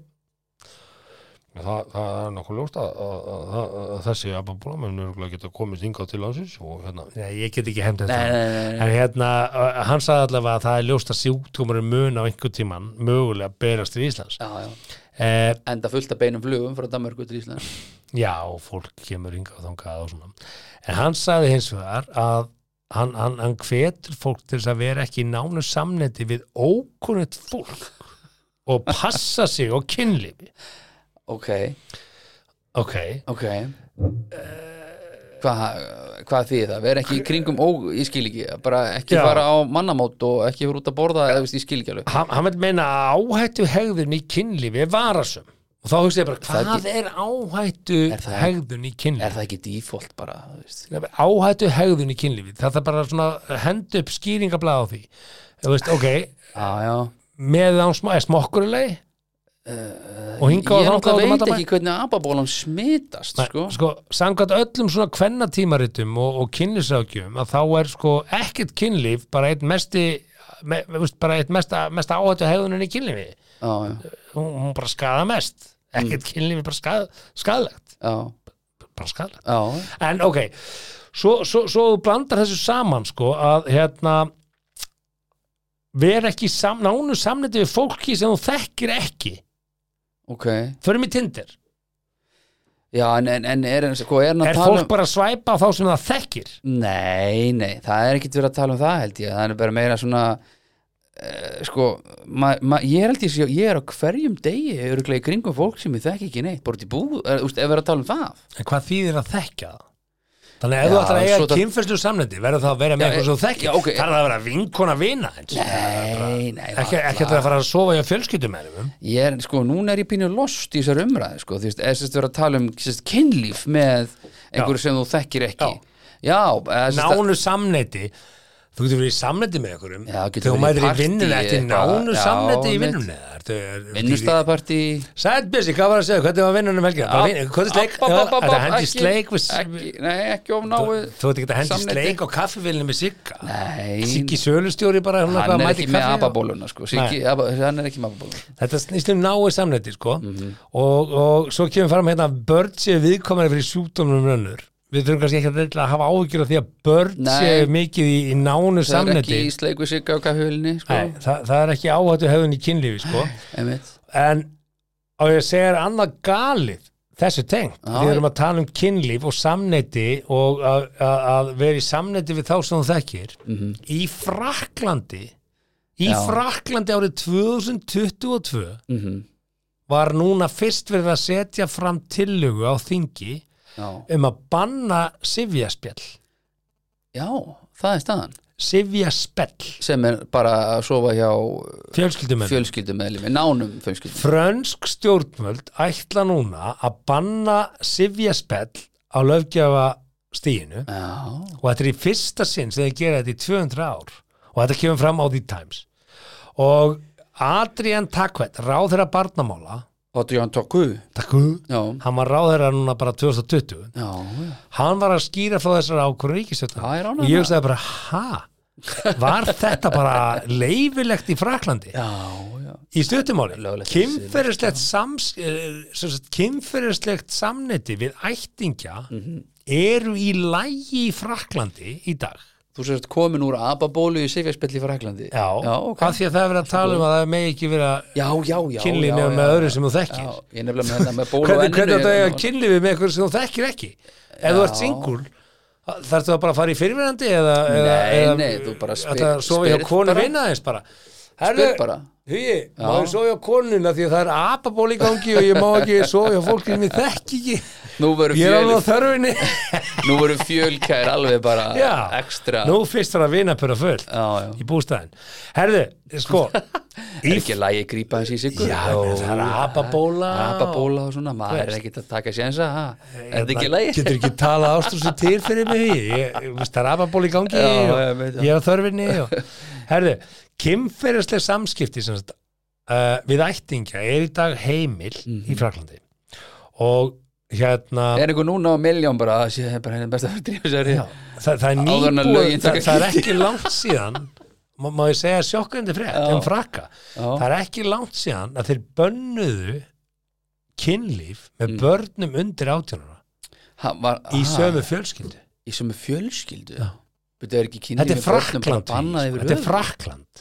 Speaker 3: Það, það er nokkuð ljóst að, að, að, að, að þessi apabóla menn er geta komist hingað til landsins og hérna Nei, ég get ekki hefndið
Speaker 4: nei,
Speaker 3: þetta
Speaker 4: nei, nei, nei.
Speaker 3: En hérna, uh, hann sagði allavega að það er ljóst að sjúkdómur mun á einhver tíman mögulega berast til Íslands
Speaker 4: Já, já.
Speaker 3: eh,
Speaker 4: Enda fullt af beinum flugum frá Danmarku til Ísland.
Speaker 3: Já, fólk kemur hingað og þangað og svona. En hann sagði hins vegar að hann, hann, hann hvetur fólk til þess að vera ekki í nánu samnetti við ókunnett fólk og passa sig á kynlífi.
Speaker 4: Ok,
Speaker 3: Ok,
Speaker 4: ok. Eh, Hvað hvað þýðir það? Vera ekki í kringum og ég skil ekki, bara ekki
Speaker 3: Já.
Speaker 4: fara á mannamót og ekki vera út að borða, eða veist, ég skil ekki alveg.
Speaker 3: hann, hann vil meina að áhættu hegðun í kynlífi er varasum. Og þá hugsa ég bara,
Speaker 4: Það er
Speaker 3: hvað er áhættu
Speaker 4: Er það-
Speaker 3: hegðun í kynlífi?
Speaker 4: Er það ekki default bara, þú veist?
Speaker 3: áhættu hegðun í kynlífi það er bara svona hend upp skýringablað á því þú veist, ok,
Speaker 4: Já, Ah, já.
Speaker 3: með án smá, er smokkurulegi og hinga
Speaker 4: Eh, Ég
Speaker 3: og þangað út um
Speaker 4: náttúrulega veit
Speaker 3: allan bæ.
Speaker 4: ekki hvernig ababólan smitast,
Speaker 3: Nei,
Speaker 4: sko.
Speaker 3: sko, samkvæmt öllum svona kvennatímaritum og, og kynlisrákjum að þá er sko ekkert kynlíf bara eitt mesti me, me, veist, bara eitt mesta, mesta áhættu hegðunin í kynlífi
Speaker 4: Já, já,
Speaker 3: hún, hún bara skaða mest
Speaker 4: Mm.
Speaker 3: ekkert kynlífi er bara skað, skaðlegt
Speaker 4: já,
Speaker 3: bara skaðlegt
Speaker 4: já.
Speaker 3: En ok, svo, svo, svo þú blandar þessu saman sko að hérna vera ekki í sam, nánu samniti við fólki sem þú þekkir ekki
Speaker 4: Ok,
Speaker 3: förum í Tinder.
Speaker 4: já, en, en, en er, sko, er hann að
Speaker 3: Er
Speaker 4: tala
Speaker 3: fólk
Speaker 4: um
Speaker 3: bara að svæpa á þá sem það þekkir?
Speaker 4: Nei, nei, það er ekkit verið að tala um það held ég, það er bara meira svona uh, sko, ma, ma, ég er held ég sé- ég er á hverjum degi öruglega í kringum fólk sem ég þekki ekki neitt bara út í búð, er, úst, ef verið að tala um það
Speaker 3: En hvað þýðir að þekka það? Þannig að ef
Speaker 4: Já,
Speaker 3: þú ætlar að
Speaker 4: svo
Speaker 3: eiga
Speaker 4: það-
Speaker 3: kynferðslu samnendi verður það að vera með
Speaker 4: Já,
Speaker 3: eitthvað sem þú
Speaker 4: e-
Speaker 3: þekkir
Speaker 4: já, ok.
Speaker 3: þarf það að vera vinkona vina eins.
Speaker 4: Nei, nei,
Speaker 3: ekki,
Speaker 4: varla.
Speaker 3: ekki að það að fara að sofa hjá fjölskyldum erum
Speaker 4: ég er, sko, núna er ég pínu lost í þessar umræði, sko, þú veist, er sérst verið að tala um sérst, kynlíf með einhverju sem þú þekkir ekki Já, eða sem sagt-
Speaker 3: nánu samneiti þú getur verið í samneiti með einhverjum
Speaker 4: Já, getur
Speaker 3: þegar þú
Speaker 4: verið í
Speaker 3: mætir í
Speaker 4: partí
Speaker 3: vinnunni eftir
Speaker 4: eitthvað,
Speaker 3: nánu
Speaker 4: já,
Speaker 3: samneiti í
Speaker 4: einmitt.
Speaker 3: vinnunni eða ertu- er-
Speaker 4: vinnustaðapartí
Speaker 3: Sæt Bjössi, hvað var að segja, hvernig var vinnunum um helgina? Bara vin- Hvað er sleik?
Speaker 4: App, app, app, app,
Speaker 3: Það er hendi
Speaker 4: ekki-
Speaker 3: sleik við
Speaker 4: ekki- Nei, ekki of náið
Speaker 3: Þú veit ekki að hendi
Speaker 4: samneyti.
Speaker 3: sleik og kaffivillinu með Sigga
Speaker 4: Nei,
Speaker 3: Siggi sölustjóri bara hún
Speaker 4: hann
Speaker 3: eitthvað að
Speaker 4: er
Speaker 3: mæta í
Speaker 4: ekki með
Speaker 3: kaffi og-
Speaker 4: ababóluna sko. Siggi, aba, hann er ekki með ababóluna
Speaker 3: Þetta snýst um náið samneiti sko
Speaker 4: Mhm.
Speaker 3: og, og svo kemur fram hérna að börn séu viðkomari fyrir sjúkdómum rönnur Við þurfum kannski ekki að reyna að hafa áhyggjur af því að börn
Speaker 4: Nei.
Speaker 3: séu mikið í, í nánu
Speaker 4: það er ekki
Speaker 3: samneiti
Speaker 4: í sleik við sigga og kaffihulni sko.
Speaker 3: Nei, það, það er ekki áhættu hefðun í kynlífi sko.
Speaker 4: Einmitt.
Speaker 3: en á ég að segja er annað galið þessu tengt,
Speaker 4: Já,
Speaker 3: við erum að tala um kynlíf og samneiti og að, að, að vera í samneiti við þá sem þú þekkir í Fraklandi í
Speaker 4: Mhm. Já.
Speaker 3: Fraklandi árið 2022
Speaker 4: Mhm.
Speaker 3: var núna fyrst verið að setja fram tillögu á þingi
Speaker 4: Já.
Speaker 3: um að banna sifjaspjall
Speaker 4: Já, það er staðan
Speaker 3: Sivja Spell,
Speaker 4: sem er bara að sofa hjá
Speaker 3: fjölskyldumenn
Speaker 4: fjölskyldum meðlum, nánum fjölskyldum
Speaker 3: Frönsk stjórnmöld ætla núna að banna Sivja Spell á löfgjafa stíinu
Speaker 4: Já,
Speaker 3: og þetta er í fyrsta sinn sem þeir gera þetta í 200 ár og þetta kemur fram á The Times og Adrian Takvet ráð þeirra barnamála
Speaker 4: og Jón Tóku
Speaker 3: Takku
Speaker 4: Já,
Speaker 3: hann var ráð þeirra núna bara 2020
Speaker 4: já, já.
Speaker 3: hann var að skýra frá þessari ákvörðu ríkistjórnar
Speaker 4: Það er ánægð
Speaker 3: og
Speaker 4: með
Speaker 3: ég hugsaði bara, ha var þetta bara leifilegt í Fraklandi
Speaker 4: já, já.
Speaker 3: í stuttumáli,
Speaker 4: Löglegt.
Speaker 3: kynferðislegt sams, eh, sem sagt, kynferðislegt samneiti við ættingja
Speaker 4: Mhm.
Speaker 3: eru í lægi í Fraklandi í dag
Speaker 4: Þú sérst komin úr ababólu í Sifjarspell í Fraklandi
Speaker 3: já,
Speaker 4: já, ok.
Speaker 3: af því að það er verið að tala um að það megi ekki vera
Speaker 4: já, já, já já,
Speaker 3: kynlífi
Speaker 4: já,
Speaker 3: með
Speaker 4: já.
Speaker 3: öðru sem þú
Speaker 4: Já,
Speaker 3: þekkir
Speaker 4: ég er nefnilega með þetta með bólu
Speaker 3: hvernig, hvernig
Speaker 4: á
Speaker 3: þetta er
Speaker 4: enninu hérna
Speaker 3: að kynlífi með eitthvað sem þú þekkir ekki ef þú ert singul þarftu það bara að fara í fyrirverandi eða, eða,
Speaker 4: Nei,
Speaker 3: eða
Speaker 4: nei, þú bara spyr-
Speaker 3: þetta sofa hjá
Speaker 4: spyr
Speaker 3: konu
Speaker 4: bara.
Speaker 3: vinna aðeins bara
Speaker 4: Spyr bara.
Speaker 3: Hugi, má ég sofa hjá konuna því að það er apaból í gangi og ég má ekki sofa hjá fólki sem ég þekki ekki
Speaker 4: Nú voru
Speaker 3: ég er alveg á
Speaker 4: fjöl,
Speaker 3: þörfinni
Speaker 4: nú voru fjölkær alveg bara
Speaker 3: já,
Speaker 4: ekstra
Speaker 3: nú fyrst var að vinna pura full
Speaker 4: Já, já.
Speaker 3: í bústæðin herðu, sko í
Speaker 4: Er ekki lægi grípa hans í sigur?
Speaker 3: Já, menn, það er apabóla
Speaker 4: Apabóla og svona, maður er
Speaker 3: veist.
Speaker 4: ekkert að taka sénsa ha? Er þetta ekki lægi?
Speaker 3: Getur ekki talað ástúrsu til fyrir mig ég, ég, ég, veist, Það er apabóli í gangi
Speaker 4: Já,
Speaker 3: og,
Speaker 4: ég veit það.
Speaker 3: Ég er að þörfinni og, Herðu, kynferðisleg samskipti sem sagt, uh, við ættingja er í dag heimil
Speaker 4: Mhm.
Speaker 3: í Fraklandi og hérna
Speaker 4: Er einhver núna á miljón bara að sé bara hérna henni best að vera drífa sér í?
Speaker 3: já, það, það er
Speaker 4: Áður en að
Speaker 3: nýbúið
Speaker 4: lögin
Speaker 3: það,
Speaker 4: taka
Speaker 3: það er
Speaker 4: gildi.
Speaker 3: ekki langt síðan má, má ég segja sjokkandi frétt um frakka það er ekki langt síðan að þeir bönnuðu kynlíf
Speaker 4: Mm.
Speaker 3: með börnum undir átjónuna
Speaker 4: Ha, var,
Speaker 3: í
Speaker 4: ha,
Speaker 3: sömu fjölskyldu
Speaker 4: Í sömu fjölskyldu? Já Þetta er ekki kynlíf
Speaker 3: Þetta er
Speaker 4: með börnum bara
Speaker 3: Frakland
Speaker 4: bannað
Speaker 3: Hugi.
Speaker 4: yfir
Speaker 3: Þetta er
Speaker 4: höfuð.
Speaker 3: Frakland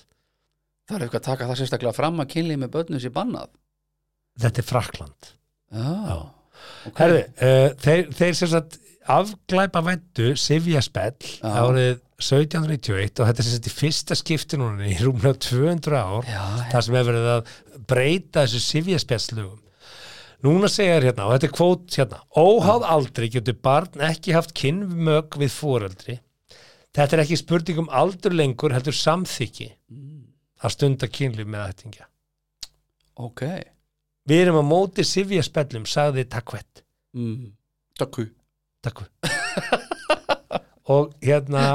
Speaker 4: Það er eitthvað að taka það sérstaklega fram að kynlíf með börnum sé bannað
Speaker 3: Þetta er Frakland
Speaker 4: Já, ok.
Speaker 3: Herði, uh, þeir, þeir sem sagt afglæpa væntu Sivja Spell
Speaker 4: Já.
Speaker 3: árið 1791 og þetta er sem sagt í fyrsta skipti núna í rúmlega 200 ár
Speaker 4: Já,
Speaker 3: þar sem hefur verið að breyta þessu Sivja Spell-lögum Núna segja þér hérna, og þetta er kvót hérna, óháð aldri getur barn ekki haft kynmök við foreldri. Þetta er ekki spurning um aldur lengur, heldur samþykki
Speaker 4: mm,
Speaker 3: að stunda kynlíf með ættingja.
Speaker 4: ok
Speaker 3: Við erum að móti Sivja spellum, sagði Takvett.
Speaker 4: mm. Takku
Speaker 3: Takku. og hérna,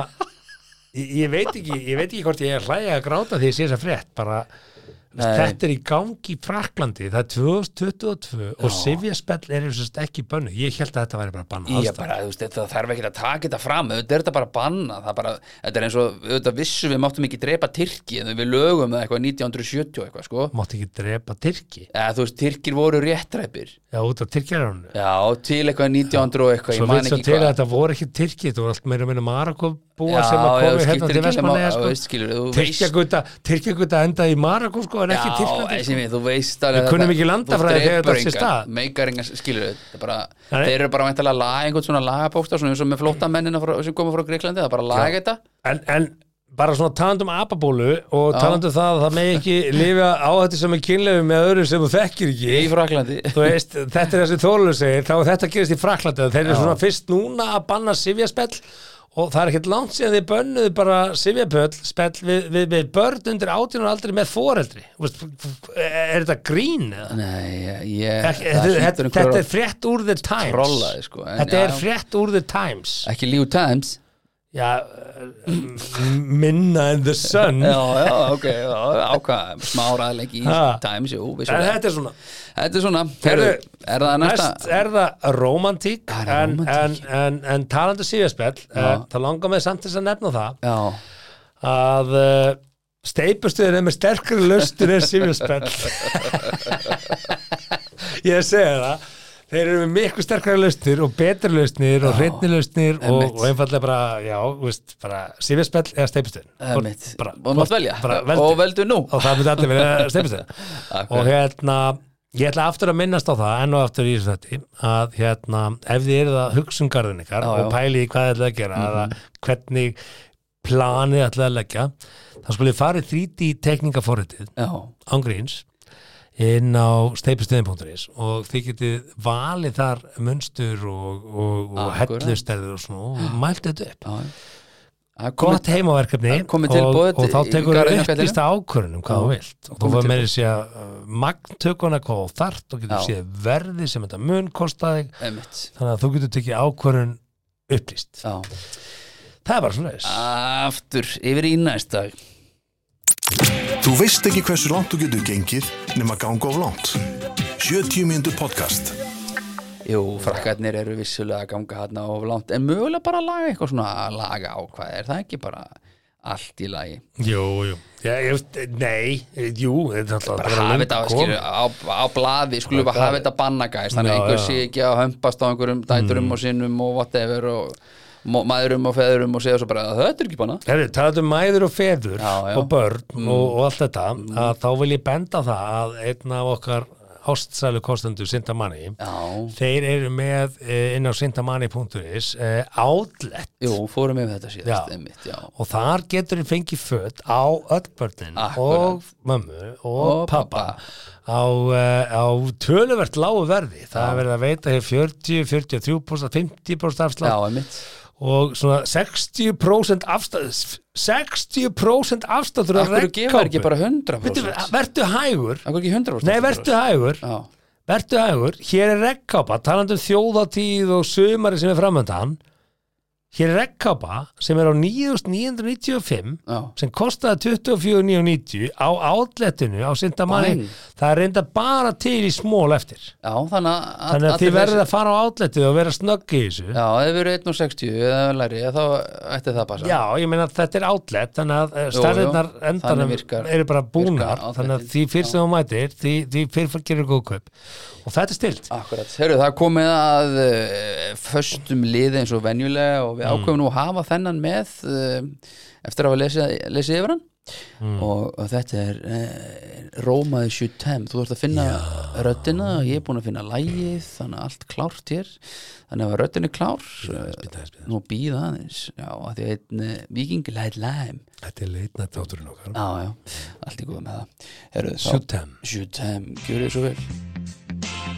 Speaker 3: ég, ég veit ekki, ég veit ekki hvort ég er hlæja að gráta því ég sé þess að frétt, bara
Speaker 4: Nei.
Speaker 3: þetta er í gangi í Fraklandi, það er 2022 og Sivja spell er eins og ekki bönnu. Ég held að þetta væri bara banna
Speaker 4: Ég bara, þú veist, þetta þarf ekki að taka þetta fram auðvitað er þetta bara að banna, það bara þetta er eins og, auðvitað vissu við máttum ekki drepa Tyrki en við lögum það eitthvað 1970 og eitthvað, sko
Speaker 3: Mátti ekki drepa Tyrki,
Speaker 4: eða þú veist, Tyrkir voru réttræpir
Speaker 3: já út af Tyrkjaránunu.
Speaker 4: já, til eitthvað 1900 og eitthvað,
Speaker 3: Svo
Speaker 4: Sko, ég man
Speaker 3: veit svo
Speaker 4: ekki
Speaker 3: til að
Speaker 4: hvað
Speaker 3: þetta voru ekki Tyrki, þetta voru allt meira meina Marakobúa
Speaker 4: Já,
Speaker 3: sem að
Speaker 4: já,
Speaker 3: komu
Speaker 4: skiptir
Speaker 3: hérna
Speaker 4: ekki
Speaker 3: til Vestmanlega,
Speaker 4: máli, já,
Speaker 3: sko.
Speaker 4: veist, skilur, þú veist-
Speaker 3: Tyrkjaguta, Tyrkjaguta endaði í Marakó, sko, en ekki
Speaker 4: Já,
Speaker 3: Tyrklandi.
Speaker 4: sem ég, þú veist
Speaker 3: Við
Speaker 4: alveg að
Speaker 3: kunnum
Speaker 4: það-
Speaker 3: ekki landafræði
Speaker 4: þú
Speaker 3: þegar þetta
Speaker 4: drepur
Speaker 3: sé
Speaker 4: engan,
Speaker 3: stað.
Speaker 4: meikar engan, skilur þetta er bara,
Speaker 3: Nei.
Speaker 4: þeir eru bara væntalega að laga einhvern svona lagabókstaf, svona eins og með flóttamennina frá- sem koma frá Greiklandi, það er bara að laga þetta
Speaker 3: En, en bara svona talandum apabólu og talandum það að það megi ekki lifa á þetta sem er kynlefi með öðru sem þú þekkir
Speaker 4: í
Speaker 3: ekki.
Speaker 4: Fraklandi
Speaker 3: Þú veist, þetta er þessi þólu segir, þá er þetta gerist í Fraklandi, að þeir eru svona fyrst núna að banna sifjaspell og það er ekkert langt síðan þeir bönnuðu bara sifjapöll spell við, við, við börn undir átjónar aldrei með foreldri. Þú Veist, er þetta grín eða?
Speaker 4: Nei, ég, ég
Speaker 3: Ekki- þetta,
Speaker 4: það
Speaker 3: þetta,
Speaker 4: hlýtur einhver
Speaker 3: þetta
Speaker 4: að
Speaker 3: er frétt úr The Times
Speaker 4: trollaði, sko, en
Speaker 3: Þetta
Speaker 4: já,
Speaker 3: er
Speaker 4: já.
Speaker 3: frétt úr The Times
Speaker 4: ekki líf times
Speaker 3: Já, m- minna en The Sun
Speaker 4: Já, já, ok, já, ákvað smáraðleik í
Speaker 3: Ha.
Speaker 4: times, jú,
Speaker 3: En
Speaker 4: vissulega
Speaker 3: þetta er svona
Speaker 4: Þetta er svona, heyrðu, er það
Speaker 3: Næst
Speaker 4: næsta?
Speaker 3: er það romantík
Speaker 4: Það er
Speaker 3: en, en,
Speaker 4: rómantík.
Speaker 3: en, en talandi síðaspell uh, þá langar mig samt þess að nefna það
Speaker 4: Já,
Speaker 3: að uh, steipustuðin er með sterkri löstur en síðaspell Ég segi það Þeir eru með miklu sterkari lausnir og betri lausnir og hreinni lausnir og,
Speaker 4: einmitt.
Speaker 3: og einfallega bara, já, þú veist, bara síðaspell eða steipustuðin.
Speaker 4: það er mitt
Speaker 3: Bara-
Speaker 4: Og mátt velja,
Speaker 3: Bara veldu.
Speaker 4: og veldu nú
Speaker 3: og það myndi allir verið stefnstöð og hérna ég ætla aftur að minnast á það enn og aftur í þessu þetta að hérna ef þið eruð að hugsa um garðin ykkar
Speaker 4: Já, já. Mhm.
Speaker 3: og pæli í hvað þið ætlaði að gera eða hvernig planið ætlaði að leggja þá skulle farið 3D tekningaforritið
Speaker 4: Já,
Speaker 3: ángríns inn á steipistöðin.is og þið getið valið þar munstur og, og, og
Speaker 4: Akkúrat.
Speaker 3: hellustæður og svona og mælt þetta upp
Speaker 4: já, Það er
Speaker 3: gott heimaverkefni
Speaker 4: Það komið tilboð
Speaker 3: og, og þá
Speaker 4: í
Speaker 3: tekur
Speaker 4: garðinn
Speaker 3: það
Speaker 4: á
Speaker 3: upplýsta ákvörunum um hvað þú vilt og þú
Speaker 4: komið
Speaker 3: var meiri sé að uh, magntökuna hvað þú þart og getur
Speaker 4: Já.
Speaker 3: séð verði sem þetta mun kostaði
Speaker 4: Einmitt.
Speaker 3: þannig að þú getur tekið ákvörun upplýst
Speaker 4: Já.
Speaker 3: það er bara svona þess
Speaker 4: Aftur yfir í næsta
Speaker 2: Þú veist ekki hversu langt þú getur gengið nema ganga of langt. 70 mínútur podcast.
Speaker 4: Jú, frakkarnir eru vissulega að ganga hérna of langt en mögulega bara að laga eitthvað svona að laga ákvæði, er það ekki bara allt í lagi?
Speaker 3: jú, jú, já, ég, veist, nei eh, jú, þetta er
Speaker 4: Bara hafa þetta á, skilur, á, á blaði, skulum bara hafa þetta bannagæst þannig að
Speaker 3: Já,
Speaker 4: einhver
Speaker 3: já. Mm.
Speaker 4: sé ekki að hömpast á einhverjum dæturum og sinnum og whatever og mo- mæðrum og feðurum og segja svo bara þetta er ekki banna
Speaker 3: Herri, talaðu um mæður og feður
Speaker 4: Já, Mm. já.
Speaker 3: og börn og, og allt þetta að þá vil ég benda á það að einn af okkar ástsælu kostendur Sintamanni
Speaker 4: Já,
Speaker 3: þeir eru með eh, inn á sintamanni.is eh, outlet
Speaker 4: jú, fórum við þetta síðast
Speaker 3: Já.
Speaker 4: einmitt, já,
Speaker 3: og þar getur þið fengið fött á öll börnin
Speaker 4: Akkurat.
Speaker 3: og mömmu og,
Speaker 4: Og
Speaker 3: pappa,
Speaker 4: pabba.
Speaker 3: á, eh, á töluvert lágu verði það er verið að veita hér 40, 43% 50%
Speaker 4: já,
Speaker 3: afslátt
Speaker 4: einmitt
Speaker 3: og svona 60% afslátt 60% afsláttur af
Speaker 4: Akkur gefa
Speaker 3: regnkápu.
Speaker 4: ekki bara
Speaker 3: Bíddu,
Speaker 4: 100% Akkur
Speaker 3: vertu hægur
Speaker 4: ekki 100%
Speaker 3: nei vertu hægur
Speaker 4: Já,
Speaker 3: Vertu hægur, hér er rekkápa, talandi um þjóðatíð og sömari sem er framöndan. Hér er rekkápa sem er á 9.995
Speaker 4: já,
Speaker 3: sem kostaði 24.990 á átlettinu á Sindamanni.
Speaker 4: Bæn.
Speaker 3: Það er reynda bara til í smól eftir.
Speaker 4: já, þannig að
Speaker 3: Þannig að
Speaker 4: allir
Speaker 3: þið verður
Speaker 4: þessir-
Speaker 3: að fara á átletið og vera snögg í þessu.
Speaker 4: Já, ef við erum 1.60 eða læri, þá ætti það að passa
Speaker 3: Já, ég meina að þetta er átlett þannig að eh,
Speaker 4: jú.
Speaker 3: stærðirnar endanum
Speaker 4: Þannig virkar-
Speaker 3: eru bara búnar
Speaker 4: virkar
Speaker 3: þannig að
Speaker 4: outletin.
Speaker 3: því fyrst sem þú mætir því, því fyrst gerir góð kaup og þetta er stilt
Speaker 4: Akkurat, heyrðu, það er komið að uh, föstum liði eins og venjulega og við ákveðum nú að hafa þennan með uh, eftir að hafa lesið, lesið yfir hann og, og þetta er uh, Rómaði 75 þú ert að finna röddina og ég er búin að finna lægið, þannig að allt klárt hér þannig að ef röddin er klár uh, nú býða aðeins já, að því að einn uh, vikingi læt læm
Speaker 3: Þetta er leitna þátturinn okkar
Speaker 4: Já, já, allt í góð með það Heyrðu, þá-
Speaker 3: Sjutem
Speaker 4: Sjutem, gjör þið svo vel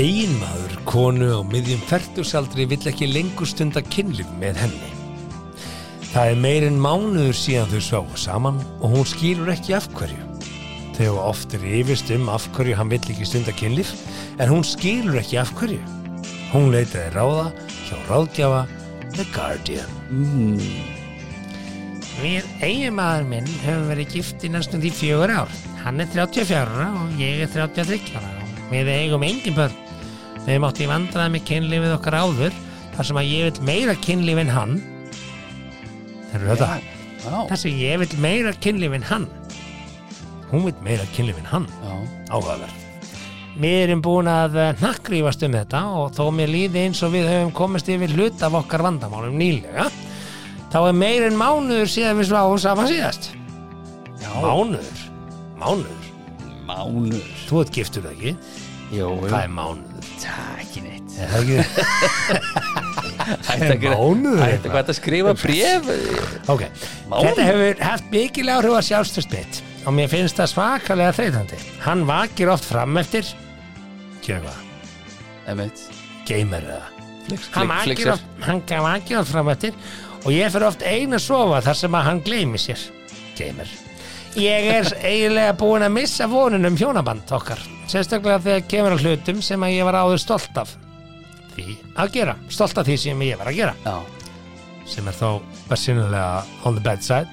Speaker 3: Eginmaður konu á miðjum færtusaldri vill ekki lengur stunda kynlif með henni. Það er meir en mánuður síðan þau sváu saman og hún skýrur ekki af hverju. Þau hafa oft rifist um af hverju hann vill ekki stunda kynlif en hún skýrur ekki af hverju. Hún leitaði ráða hjá ráðgjafa The Guardian. Mm. Við eiginmaður minn höfum verið gift í næstum því fjögur ár. Hann er 34 ára og ég er 33 ára. og Við eigum engin börn. Við höfum átt í vandraði með kynlífið okkar áður þar sem að ég vil meira kynlíf en hann. Þeir eru þetta.
Speaker 4: Já,
Speaker 3: Þar sem ég vil meira kynlíf en hann. Hún vil meira kynlíf en hann.
Speaker 4: já,
Speaker 3: Áhugaverð. Við erum búin að nakkrífast um þetta og þó mér líði eins og við höfum komist yfir hlut af okkar vandamálum nýlega þá er meir en mánuður síðan við sváum saman síðast.
Speaker 4: já
Speaker 3: Mánuður? Mánuður?
Speaker 4: Mánur
Speaker 3: Þú ert giftur það ekki?
Speaker 4: Jó,
Speaker 3: Það er mánuður.
Speaker 4: Takk í neitt
Speaker 3: Er það ekki?
Speaker 4: Hætti
Speaker 3: er mánuður
Speaker 4: Hætti
Speaker 3: eitthvað.
Speaker 4: hvað þetta skrifa bréf
Speaker 3: Ok.
Speaker 4: Mánuður?
Speaker 3: Þetta hefur haft mikil áhrif að sjálfstöðst mitt og mér finnst það svakalega þreytandi. Hann vakir oft fram eftir Kjöfa.
Speaker 4: Emmett
Speaker 3: Geimer það. Hann vakir
Speaker 4: Flixir
Speaker 3: oft, hann vakir oft fram eftir og ég fer oft ein að sofa þar sem að hann gleymi sér. Geimer. Ég er eiginlega búin að missa vonunum hjónaband okkar. Sérstaklega þegar kemur að hlutum sem að ég var áður stolt af. Því að gera. Stolt af því sem ég var að gera.
Speaker 4: Já,
Speaker 3: sem er þá versinulega on the bad side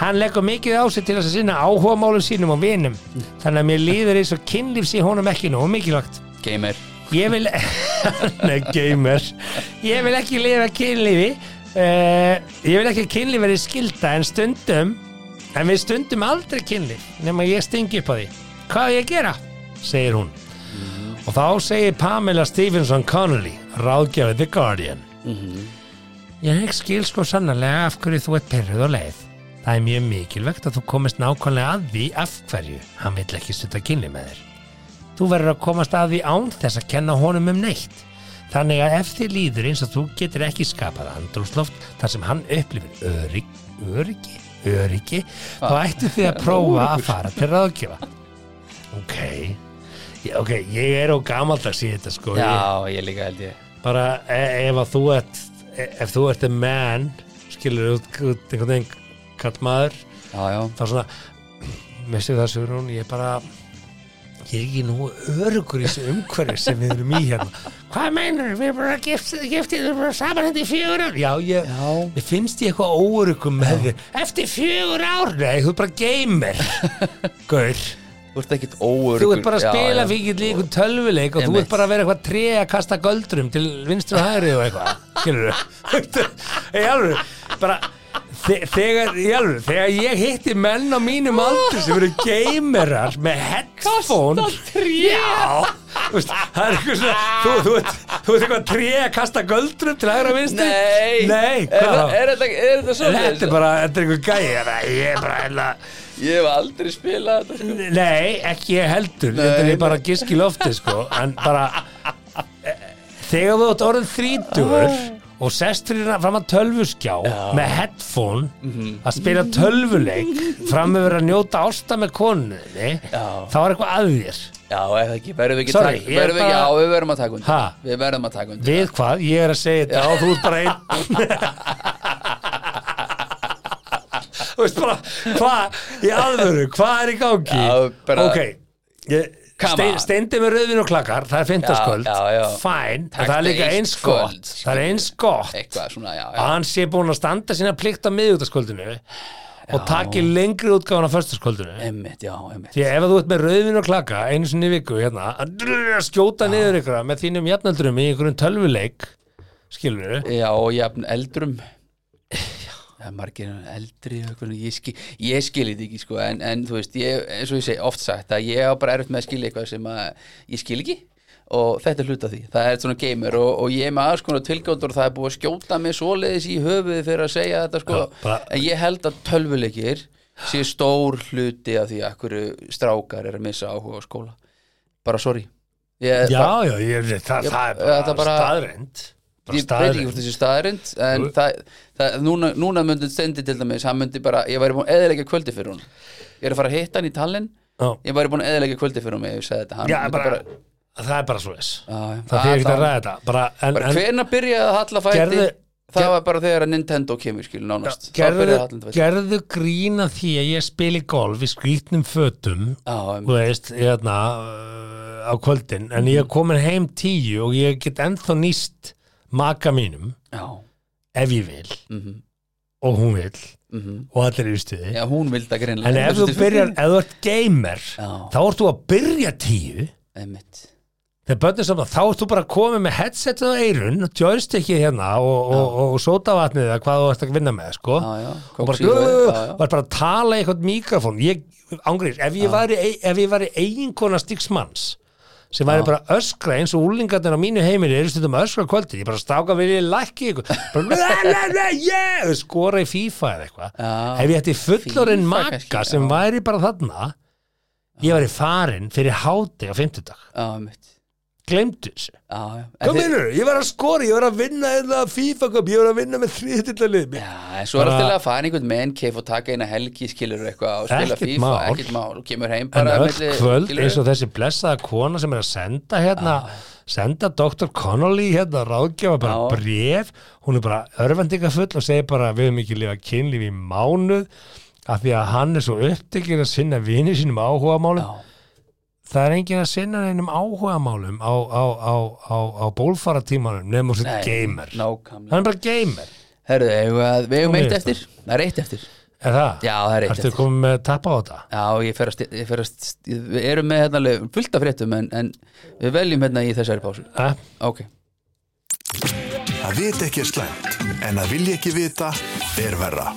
Speaker 3: Hann leggur mikið á sig til þess að sinna áhuga málum sínum og vinum þannig að mér líður eins og kynlíf sé honum ekki nógu mikilvægt
Speaker 4: gamer
Speaker 3: Ég vil Nei, gamer Ég vil ekki lifa kynlífi uh, Ég vil ekki að kynlíf verið skilda en stundum en við stundum aldrei kynlíf nema ég stingi upp á því Hvað á ég að gera? segir hún og þá segir Pamela Stevenson Connolly ráðgjafið The Guardian Ég skil sko sannarlega af hverju þú ert perruð og leið. Það er mjög mikilvægt að þú komist nákvæmlega að því af hverju hann vill ekki stutta kynni með þér. Þú verður að komast að því án þess að kenna honum um neitt. Þannig að ef þið líður eins og þú getur ekki skapað andrúsloft þar sem hann upplifir örygg, öryggi, öryggi, þá ættu þið að prófa að fara til ráðgjöfa. ok Já, ok, ég er á gamaldags í þetta sko ég,
Speaker 4: Já, ég líka held ég
Speaker 3: bara e ef að þú ert e ef þú ert a man skilur út, út einhvern veginn kallmaður
Speaker 4: Já, já,
Speaker 3: þá svona misti það sigur hún, ég bara ég er ekki nú örugur í þessu umhverfi sem við erum í hérna hvað meinar, við erum bara giftið gift, við erum bara saman hérna í fjögur ár já, ég,
Speaker 4: Já.
Speaker 3: mér finnst ég eitthvað órugum með þér, eftir fjögur ár nei, þú er bara gamer gaur,
Speaker 4: þú ert ekkit óörgur
Speaker 3: þú ert bara að
Speaker 4: já,
Speaker 3: spila
Speaker 4: já.
Speaker 3: fyrir líkun tölvuleik og þú
Speaker 4: Einmitt.
Speaker 3: ert bara að vera eitthvað tré að kasta göldrum til vinstri og hægri og eitthvað skilur þú, ég alveg bara þe- þegar, í alveg, þegar ég hitti menn á mínum aldri sem eru gamerar með headphone
Speaker 4: tré.
Speaker 3: já, þú veist, það er eitthvað svona þú, þú, ert, þú ert eitthvað tré að kasta göldrum til hægri og vinstri
Speaker 4: Nei,
Speaker 3: nei,
Speaker 4: er,
Speaker 3: hvað
Speaker 4: það-
Speaker 3: þá?
Speaker 4: er, þetta- er þetta svo
Speaker 3: þetta er bara, þetta er eitthvað gæi ég bara, ég er bara, hérna
Speaker 4: Ég hef aldrei spilað þetta sko.
Speaker 3: Nei, ekki ég heldur Þetta er
Speaker 4: nei.
Speaker 3: ég bara gisk í lofti sko En bara eh, Þegar þú átt orðin þrítugur Og sest fyrir hérna fram að tölvuskjá Með headphone
Speaker 4: Mhm.
Speaker 3: Að spila tölvuleik Fram yfir að njóta ásta með konunni
Speaker 4: Já.
Speaker 3: Þá er eitthvað að þér
Speaker 4: Já, ef ekki, verðum við ekki
Speaker 3: Sorry,
Speaker 4: taka-
Speaker 3: ég er
Speaker 4: verðum við ekki,
Speaker 3: bara-
Speaker 4: Já, við verðum að taka undir
Speaker 3: Ha?
Speaker 4: Við verðum að taka undir
Speaker 3: Við hvað, ég er að segja þetta og þú ert bara einn Þú veist bara, hvað í alvöru, hvað er í gangi
Speaker 4: Já, bara-
Speaker 3: Ok, ég,
Speaker 4: Come
Speaker 3: stein,
Speaker 4: on.
Speaker 3: steindi með rauðin og klakkar það er fimmtaskvöld,
Speaker 4: Já, já, já.
Speaker 3: fæn en
Speaker 4: Taktu
Speaker 3: það er líka
Speaker 4: eitt
Speaker 3: eins
Speaker 4: kvöld,
Speaker 3: gott það er eins gott
Speaker 4: Eitthvað svona, já, já
Speaker 3: að hann sé búin að standa sína plikt á miðugtaskvöldinu og taki lengri útgáfan á föstaskvöldinu
Speaker 4: Emmitt, já, emmitt
Speaker 3: Því að ef þú ert með rauðvin og klaka einu sinni í viku hérna að drrrr, skjóta niður ykkur með þínum jafnaldrum í einhverjum tölvuleik skilur við
Speaker 4: Já, og jafn eldrum Það er margir en eldri og eitthvað, ég, skil, ég skilji þetta ekki sko, en, en þú veist, ég, eins og ég segi oft sagt að ég á bara erfitt með að skilja eitthvað sem að ég skil ekki og þetta er hluta því, það er svona gamer og, og ég er með aðeins konar tilgjóndur og það er búið að skjóta mig svoleiðis í höfuði fyrir að segja þetta sko,
Speaker 3: Já, bara-
Speaker 4: en ég held að tölvuleikir sé stór hluti af því að hverju strákar er að missa áhuga á skóla bara sorry ég,
Speaker 3: Já,
Speaker 4: bara,
Speaker 3: já, ég, það,
Speaker 4: Ég-
Speaker 3: það er
Speaker 4: þetta
Speaker 3: bara,
Speaker 4: bara-
Speaker 3: staðrend bara
Speaker 4: ég veit ekki
Speaker 3: staðrend
Speaker 4: hvort þessi staðarind en
Speaker 3: Jú.
Speaker 4: það, það, núna, núna myndi stendi til dæmis, hann myndi bara, ég væri búin að eðilegja kvöldi fyrir hún ég er að fara að hitta hann í tallinn
Speaker 3: Já.
Speaker 4: ég væri búin að eðilegja kvöldi fyrir hún ef ég sagði þetta hann
Speaker 3: Já,
Speaker 4: myndi
Speaker 3: bara, það er bara svo þess
Speaker 4: Já, já.
Speaker 3: Það fyrir ekki
Speaker 4: Að
Speaker 3: að
Speaker 4: þá-
Speaker 3: ræða þetta bara, en,
Speaker 4: bara
Speaker 3: en,
Speaker 4: hvernig byrjaði að halla fæti
Speaker 3: Gerðu-
Speaker 4: það
Speaker 3: ger-
Speaker 4: var bara þegar að Nintendo kemur skil nánast, þá byrjaði að halla
Speaker 3: gerðu,
Speaker 4: fæti
Speaker 3: gerðu grína því að ég spili golf í skrýtnum fötum þú veist, hérna uh, á kvöldin, en ég er komin heim tíu og ég get ennþá nýst maka mínum
Speaker 4: já,
Speaker 3: ef ég vil
Speaker 4: mhm,
Speaker 3: og hún vil
Speaker 4: mhm
Speaker 3: og allir eru í stuði
Speaker 4: já, hún vildi að greinlega
Speaker 3: en ef þú byrjar, ef þú ert gamer
Speaker 4: Já.
Speaker 3: þá ert þú að byrja tíu
Speaker 4: Einmitt.
Speaker 3: þegar börnir saman, þá ert þú bara að koma með headsetið á eirun, joystickið hérna og, og, og, og sótavatnið eða hvað þú ert að vinna með sko.
Speaker 4: já, já,
Speaker 3: og bara,
Speaker 4: kóksíðu, já, já.
Speaker 3: var bara að tala í eitthvað mikrofón ég, ángriðis, ef ég væri ef ég væri eiginkona stíksmanns sem væri bara að öskra eins og úlingarnir á mínu heimili eru stundum að öskra á kvöldin ég bara stáka vil ég lækki ykkur bara, la, la, la, yeah, skora í FIFA eða eitthvað
Speaker 4: Já.
Speaker 3: ef ég ætti fullorinn
Speaker 4: FIFA
Speaker 3: maka
Speaker 4: kannski,
Speaker 3: sem
Speaker 4: já.
Speaker 3: væri bara þarna ég væri farin fyrir háti á 50 dag
Speaker 4: já, einmitt
Speaker 3: glemdu þessu
Speaker 4: já, já. En
Speaker 3: Hvað
Speaker 4: þið-
Speaker 3: minnur, ég var að skora, ég var að vinna eða FIFA Cup, ég var að vinna með þriðtillalið
Speaker 4: Já, en svo er
Speaker 3: Bara-
Speaker 4: alltaf að fara í einhvern menn keif og taka eina helgi, skilur eitthvað og spila
Speaker 3: Ekkert
Speaker 4: FIFA,
Speaker 3: mál.
Speaker 4: ekkert mál og kemur heim
Speaker 3: en
Speaker 4: bara
Speaker 3: öll
Speaker 4: milli-
Speaker 3: kvöld
Speaker 4: skilurðu?
Speaker 3: eins og þessi blessaða kona sem er að senda hérna, senda Dr. Connolly hérna ráðgjafa bara
Speaker 4: Já.
Speaker 3: bréf hún er bara örvendingafull og segir bara við höfum ekki lifað kynlíf í mánuð af því að hann er svo upptekinn að sinna vini sínum áhugamálum
Speaker 4: Já.
Speaker 3: það er enginn að sinna neinum áhugamálum á, á, á, á, á bólfaratímanum nefnum þessi
Speaker 4: Nei,
Speaker 3: gamer
Speaker 4: nákvæmlega.
Speaker 3: hann er bara gamer
Speaker 4: Herðu, eigum við að- við eigum
Speaker 3: Komið
Speaker 4: eitt
Speaker 3: eftir.
Speaker 4: eftir Það er eitt eftir
Speaker 3: er það?
Speaker 4: Já, það er eitt
Speaker 3: Ertu
Speaker 4: eftir
Speaker 3: komið með tappa á þetta?
Speaker 4: Já, ég fer að, sti- ég fer að sti- Við erum með hérna alveg fullt af fréttum en, en við veljum hérna í þessari pásu
Speaker 3: Eh?
Speaker 4: Ok,
Speaker 2: Að vita ekki er slæmt, en að vilja ekki vita er verra.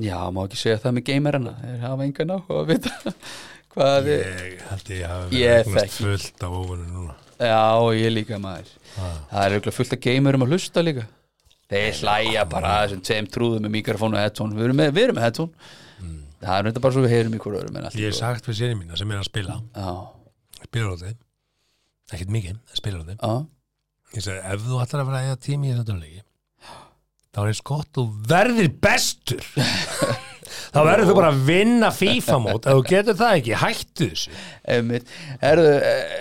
Speaker 4: já, má ekki segja það með gamerana Þeir hafa engan á að vita hvað við
Speaker 3: Ég held ég hafi
Speaker 4: Ég
Speaker 3: verið
Speaker 4: þekki.
Speaker 3: fullt af óvunni núna
Speaker 4: Já, ég líka maður Það er auðvitað fullt af geimurum að hlusta líka Þeir hlæja bara að þessum tveim trúðum með mikrofónu og headphone Við erum með, við erum með headphone Það er auðvitað bara svo við heyrum í hverju örum en allt í
Speaker 3: Ég hef
Speaker 4: góðu.
Speaker 3: sagt við séri mína sem er að spila
Speaker 4: Já,
Speaker 3: spilar á þeim, ekkert mikið en spilar á þeim,
Speaker 4: já,
Speaker 3: ég sagði ef þú ætlar að vera að eða tími í þessum töluleiki þá er eins gott þú verðir bestur þá verður þú bara að vinna FIFA mót ef þú getur það ekki, hættu þessu
Speaker 4: Einmitt. Herðu, eh,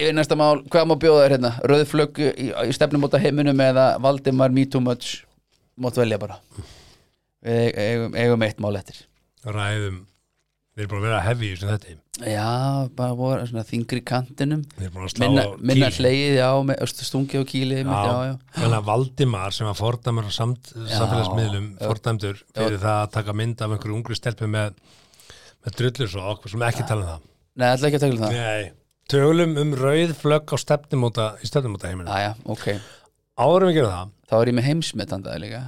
Speaker 4: yfir næsta mál, hvað má bjóða þér hérna? Rauðflögg í, í stefnumóta heiminum eða Valdimar Me Too Much? Mátt velja bara. Við eig- eigum, eigum eitt mál eftir.
Speaker 3: ræðum, við erum bara að vera að hefja sem þetta,
Speaker 4: Já, bara voru svona þingri kantinum.
Speaker 3: við erum bara að slá
Speaker 4: Minna,
Speaker 3: á
Speaker 4: minna
Speaker 3: kýlinn.
Speaker 4: hlegið, já, með östu stungi á kýli. Já, já, já.
Speaker 3: Þannig að Valdimar sem var fordæmur á samt, samfélagsmiðlum, fordæmdur fyrir það að taka mynd af einhverju ungri stelpu með, með drullur svo okkur sem ekki tala um það.
Speaker 4: Nei, ætla ekki að tegla það.
Speaker 3: Nei. Tölum um rauð flögg á stefnumóta í stefnumóta heiminu.
Speaker 4: Já, já, ok.
Speaker 3: Árum við gerum það,
Speaker 4: Þá er ég með heimsmetandaði líka.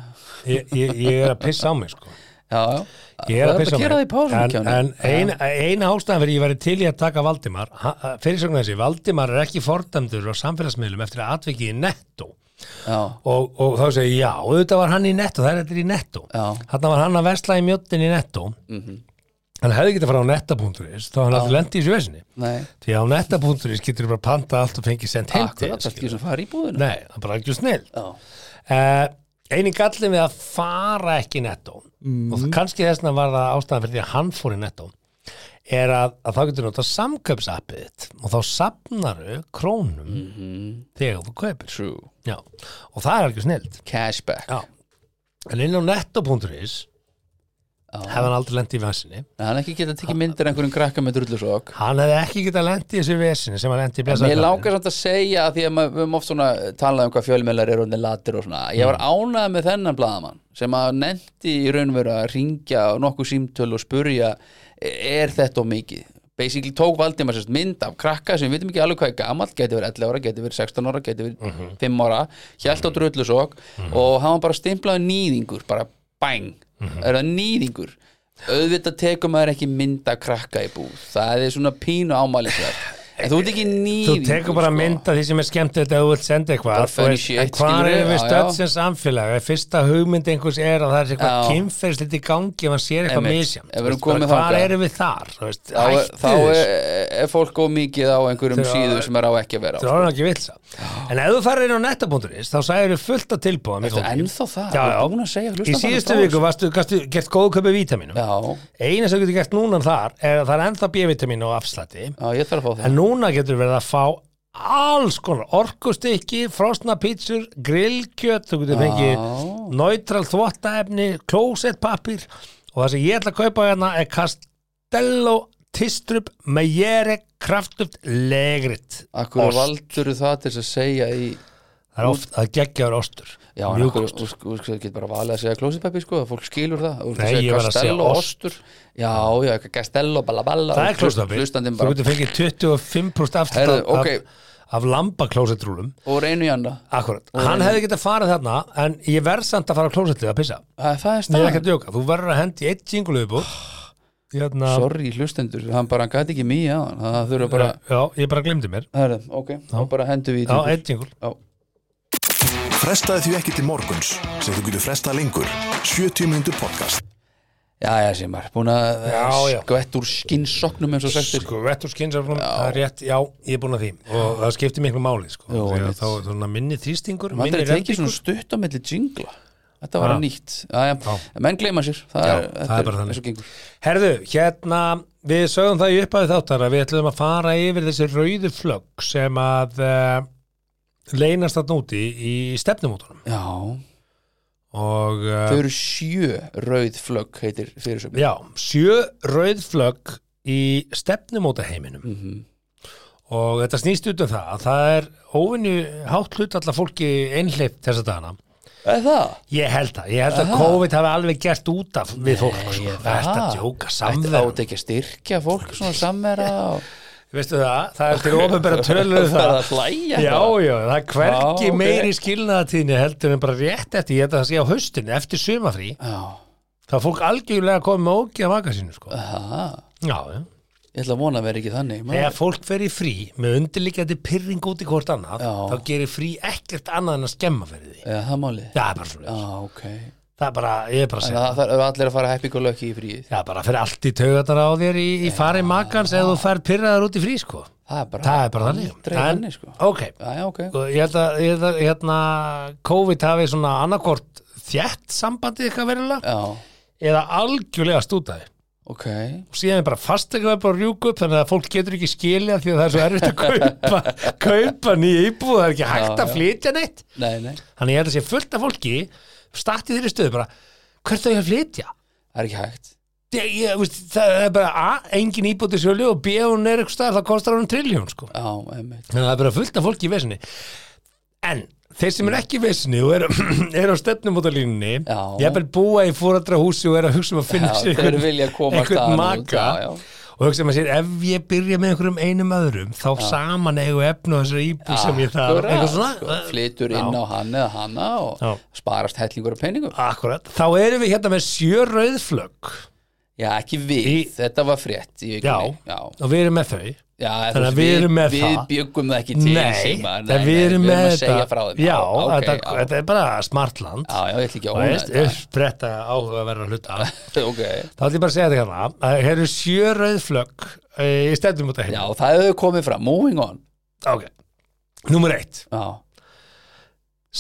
Speaker 3: ég, ég, ég er að pissa á mig sko.
Speaker 4: Já, já.
Speaker 3: Ég er að
Speaker 4: Þú þarft
Speaker 3: pissa á
Speaker 4: gera það í
Speaker 3: mig.
Speaker 4: pásunum,
Speaker 3: En,
Speaker 4: Kjáni.
Speaker 3: en
Speaker 4: Já.
Speaker 3: ein, eina ástæðan fyrir ég væri til í að taka Valdimar, fyrirsögnu þessi, Valdimar er ekki fordæmdur á samfélagsmiðlum eftir að atvikið í nettó.
Speaker 4: Já,
Speaker 3: og, og þá segi ég, já, auðvitað var hann í netto það er þetta er í netto
Speaker 4: Já. Mhm.
Speaker 3: þarna var hann að vesla í mjöttin í netto hann hefði getið að fara á netta.is þá hann hefði lendið í þessu vesinni
Speaker 4: nei.
Speaker 3: því að á netta.is getur þú bara panta allt og fengið sendt heim til
Speaker 4: Akkurat, það er
Speaker 3: þér,
Speaker 4: ekki
Speaker 3: skilur.
Speaker 4: sem fara í búðinu.
Speaker 3: nei, það er bara ekki snill
Speaker 4: Já,
Speaker 3: uh, eini gallin við að fara ekki í netto og
Speaker 4: Mhm.
Speaker 3: það, kannski þessna var það ástæðan fyrir því að hann fór í netto er að, að þá getur þú notað samköpsappið þitt og þá sapnaru krónum
Speaker 4: Mhm.
Speaker 3: þegar þú kaupir
Speaker 4: true.
Speaker 3: já. og það er ekki snilt
Speaker 4: Cashback.
Speaker 3: Já. En inn á netto.is hefði hann aldrei lent í vesinni.
Speaker 4: Nei, hann ekki geta tekið myndir af einhverjum krakka með drullusokk
Speaker 3: Hann hefði ekki getað lent í þessu vesinni sem hann lent í blessaðar.
Speaker 4: Mér langar samt að segja að því að maður- við höfum oft svona talað um hvað fjölmjölar eru og latir og svona Ég var ánægð með þennan blaðamann sem að nefndi í raun og veru að ringja og nokkuð símtöl og spurja er þetta og mikið Basically tók Valdimar sérst mynd af krakka sem við veitum ekki alveg hvað er gamall, geti verið 11 ára, geti verið 16 ára, geti verið 5 ára Hjælt á drullusokk og hann var bara stimplaði nýðingur, bara bang, er það nýðingur auðvitað tekur maður ekki mynda krakka í búð, það er svona pínu ámælisverð en þú ert ekki
Speaker 3: Þú
Speaker 4: nýðingur
Speaker 3: tekur bara mynd af því sem er skemmt þetta ef þú vilt senda eitthvað.
Speaker 4: Bara
Speaker 3: Þú
Speaker 4: funny
Speaker 3: veist,
Speaker 4: sko. shit,
Speaker 3: en Hvar
Speaker 4: skilurðu,
Speaker 3: er við
Speaker 4: já,
Speaker 3: stödd
Speaker 4: já.
Speaker 3: sem samfélag? Ef fyrsta hugmynd einhvers er að það er eitthvað
Speaker 4: Já.
Speaker 3: kynferðslit í gangi ef hann sér eitthvað
Speaker 4: Einmitt.
Speaker 3: misjant.
Speaker 4: Ef
Speaker 3: Þú
Speaker 4: við erum
Speaker 3: veist, bara
Speaker 4: komin
Speaker 3: Hvar
Speaker 4: þangað.
Speaker 3: erum við þar? Þú veist,
Speaker 4: þá, er- þá
Speaker 3: Hættu
Speaker 4: er,
Speaker 3: þessu.
Speaker 4: er fólk of mikið á einhverjum
Speaker 3: Þegar-
Speaker 4: síðu sem er á ekki að vera á
Speaker 3: Þú er orðin ekki vitsa. En ef þú farir inn á netta.is þá sæður þú fullt að tilbúða.
Speaker 4: Ertu ennþá það?
Speaker 3: Já,
Speaker 4: Þú ert búin að segja
Speaker 3: já. Í
Speaker 4: hlustandans
Speaker 3: síðustu
Speaker 4: frá
Speaker 3: viku varstu, gastu, gert góð köpi vítaminum.
Speaker 4: Já,
Speaker 3: eina sem þú getur gert núna þar er að það er ennþá B-vitamin og afslætti
Speaker 4: já, ég þarf að fá það
Speaker 3: en núna getur verið að fá alls konar orkustykki, frosna pítsur grillkjöt, þú getur fengið neutral þvottaefni, klósettpapir og það sem ég ætla að kaupa hérna er Castello Tistrup Mejere Kraftuft Legrit
Speaker 4: Akkur
Speaker 3: Ost.
Speaker 4: valdur það til þess að segja í
Speaker 3: það er oft að geggjaður ostur
Speaker 4: Já, en akkur, þú þú- þú getur bara valið að segja klósitpeppi sko, fólk skilur það Þú ert
Speaker 3: Nei, ég var að segja
Speaker 4: Castello,
Speaker 3: ost.
Speaker 4: ostur Já, já, Castello, balla balla
Speaker 3: það
Speaker 4: og
Speaker 3: er klósettpapir,
Speaker 4: Hlustandinn
Speaker 3: þú
Speaker 4: bara
Speaker 3: getur fengið 25% afslætt
Speaker 4: Herðu,
Speaker 3: af,
Speaker 4: ok.
Speaker 3: af, af lambaklósettrúlum
Speaker 4: og reynu í anda
Speaker 3: Akkurat, hann hefði getað farið þarna en ég verð samt að fara á klósettið að pissa
Speaker 4: Það það
Speaker 3: Ég er
Speaker 4: er
Speaker 3: ekki
Speaker 4: staðan
Speaker 3: að djóka, þú verður að hendi eitt jingulu upp úr hérna,
Speaker 4: Sorry, hlustendur, hann bara hann gæti ekki mýja Það þurfa bara,
Speaker 3: Já, ég bara glemdi mér
Speaker 4: herðu, ok, þá bara hendur við í
Speaker 3: Já,
Speaker 4: þetta.
Speaker 3: eitt jingul
Speaker 4: Já.
Speaker 2: Frestaði því ekki til morguns sem þú getur frestað lengur 70 mínútur podcast
Speaker 4: Já, já, Simar, búin að eh,
Speaker 3: Já, já.
Speaker 4: skvett úr skinnsokknum eins og sagtir
Speaker 3: Sko, vett og skynsaflum, það er rétt, já, ég er búin að því og það skiptir miklu máli, sko
Speaker 4: Jú,
Speaker 3: Þegar
Speaker 4: einmitt.
Speaker 3: þá er svona minni þrýstingur,
Speaker 4: Það
Speaker 3: minni
Speaker 4: er tekið
Speaker 3: rembingur.
Speaker 4: svona stutt á milli jingla Þetta var
Speaker 3: Já.
Speaker 4: nýtt já, já. Menn gleyma sér, það,
Speaker 3: Já,
Speaker 4: er,
Speaker 3: það
Speaker 4: þetta
Speaker 3: er bara þannig.
Speaker 4: eins og gengur.
Speaker 3: Herðu, hérna, við sögum það í upphæðu þáttar að við ætlum að fara yfir þessi rauðu flögg sem að uh, leynast þarna úti í stefnumótunum
Speaker 4: Já,
Speaker 3: og uh,
Speaker 4: þau eru sjö rauð flögg heitir fyrirsögn
Speaker 3: Já, sjö rauð flögg í stefnumóta heiminum
Speaker 4: Mhm.
Speaker 3: og þetta snýst út um það að það er óvinni hátt hlut allar fólki einhleipt þessa dagana.
Speaker 4: Er það?
Speaker 3: Ég held það, ég held að COVID hafi alveg gert út af við fólk. sko. Það er þetta
Speaker 4: það.
Speaker 3: að djóka
Speaker 4: Þetta
Speaker 3: samverð.
Speaker 4: átt ekki að styrkja fólk svona samvera og
Speaker 3: Veistu það, það er til ofinbæra tölur um
Speaker 4: Það er
Speaker 3: það.
Speaker 4: að hlæja
Speaker 3: Já, já, það er hvergi
Speaker 4: Já, ok.
Speaker 3: meiri skilnaðatíðni heldur en bara rétt eftir, ég held að það sé á haustinni eftir sumafrí,
Speaker 4: já
Speaker 3: það er fólk algjörlega komið með ógið að vaka sínu, sko.
Speaker 4: Aha.
Speaker 3: Já, já.
Speaker 4: Ah. Ég ætla að vona að vera ekki þannig maður.
Speaker 3: Þegar fólk fer í frí með undirliggjandi pyrring út í hvort annað
Speaker 4: Já.
Speaker 3: þá gerir frí ekkert annað en að skemma fyrir því
Speaker 4: Já, það máli Já,
Speaker 3: Það er bara svona
Speaker 4: ok
Speaker 3: Það er bara, ég er bara að
Speaker 4: Þannig
Speaker 3: segja
Speaker 4: að það er allir að fara happy go lucky í fríið
Speaker 3: Það er bara fyrir allt í taugatara á þér í, í fari makans eða þú fær pyrraðar út í frí sko
Speaker 4: Það er bara,
Speaker 3: Það er bara þannig
Speaker 4: aldrei
Speaker 3: En,
Speaker 4: þannig, sko.
Speaker 3: Ok,
Speaker 4: Já, já, ok
Speaker 3: og ég held að, ég held að hérna, COVID hafi svona annarkort þjætt sambandið eitthvað verilega
Speaker 4: Já,
Speaker 3: eða algjörlega stútaði
Speaker 4: ok,
Speaker 3: og síðan er bara fastegna bara að rjúka upp þannig að fólk getur ekki skilja því að það er svo erfitt að kaupa, kaupa nýja íbúð það er ekki hægt
Speaker 4: Já,
Speaker 3: að
Speaker 4: já.
Speaker 3: flytja neitt
Speaker 4: nei, nei
Speaker 3: þannig ég held að sé fullt af fólki statt í þeirri stöðu bara hvert þau að flytja
Speaker 4: það er ekki hægt
Speaker 3: Ég, ég, veist, það er bara A, engin íbúti sjölu og B, hún er eitthvað staðar, það kostar hún trilljón sko.
Speaker 4: já, einmitt,
Speaker 3: Þannig að það er bara fullt af fólki í vesinni En þeir sem er ekki í vesinni og eru er á stefnumótalínunni
Speaker 4: Mm. Já.
Speaker 3: ég er bara búa í fóraldrahúsi og er að hugsa um að
Speaker 4: já,
Speaker 3: finna sér
Speaker 4: þeir vilja komast
Speaker 3: einhvern
Speaker 4: þaðan út,
Speaker 3: maka
Speaker 4: já, já.
Speaker 3: og hugsa um að sér ef ég byrja með einhverjum einum öðrum þá saman eigu efnu á þessari íbú sem ég þarf
Speaker 4: Akkurat,
Speaker 3: eitthvað svona eh,
Speaker 4: sko, flytur inn á hann eða hanna og
Speaker 3: Já.
Speaker 4: sparast hellingur af peningum
Speaker 3: Akkurat, þá erum við hérna með sjö rauðflögg
Speaker 4: já, ekki við,
Speaker 3: Í-
Speaker 4: þetta var frétt í
Speaker 3: Já,
Speaker 4: vikunni. já,
Speaker 3: og við erum með þau
Speaker 4: já
Speaker 3: Þannig að við erum með
Speaker 4: við
Speaker 3: það.
Speaker 4: bjögum það ekki til Sigmar,
Speaker 3: nei, nei, við erum með
Speaker 4: að segja frá þeim
Speaker 3: Já,
Speaker 4: ok,
Speaker 3: þetta,
Speaker 4: já.
Speaker 3: þetta er bara smart land
Speaker 4: já, já, ég ætla ekki
Speaker 3: og
Speaker 4: að
Speaker 3: veist,
Speaker 4: óna
Speaker 3: uppbretta áhugaverða hluta
Speaker 4: þetta ok,
Speaker 3: þá ætlum ég bara að segja þetta hérna að það eru sjö rauð flögg eh, í stefnum út af
Speaker 4: já,
Speaker 3: hérna
Speaker 4: það hefur komið fram moving on,
Speaker 3: ok, númer eitt
Speaker 4: já,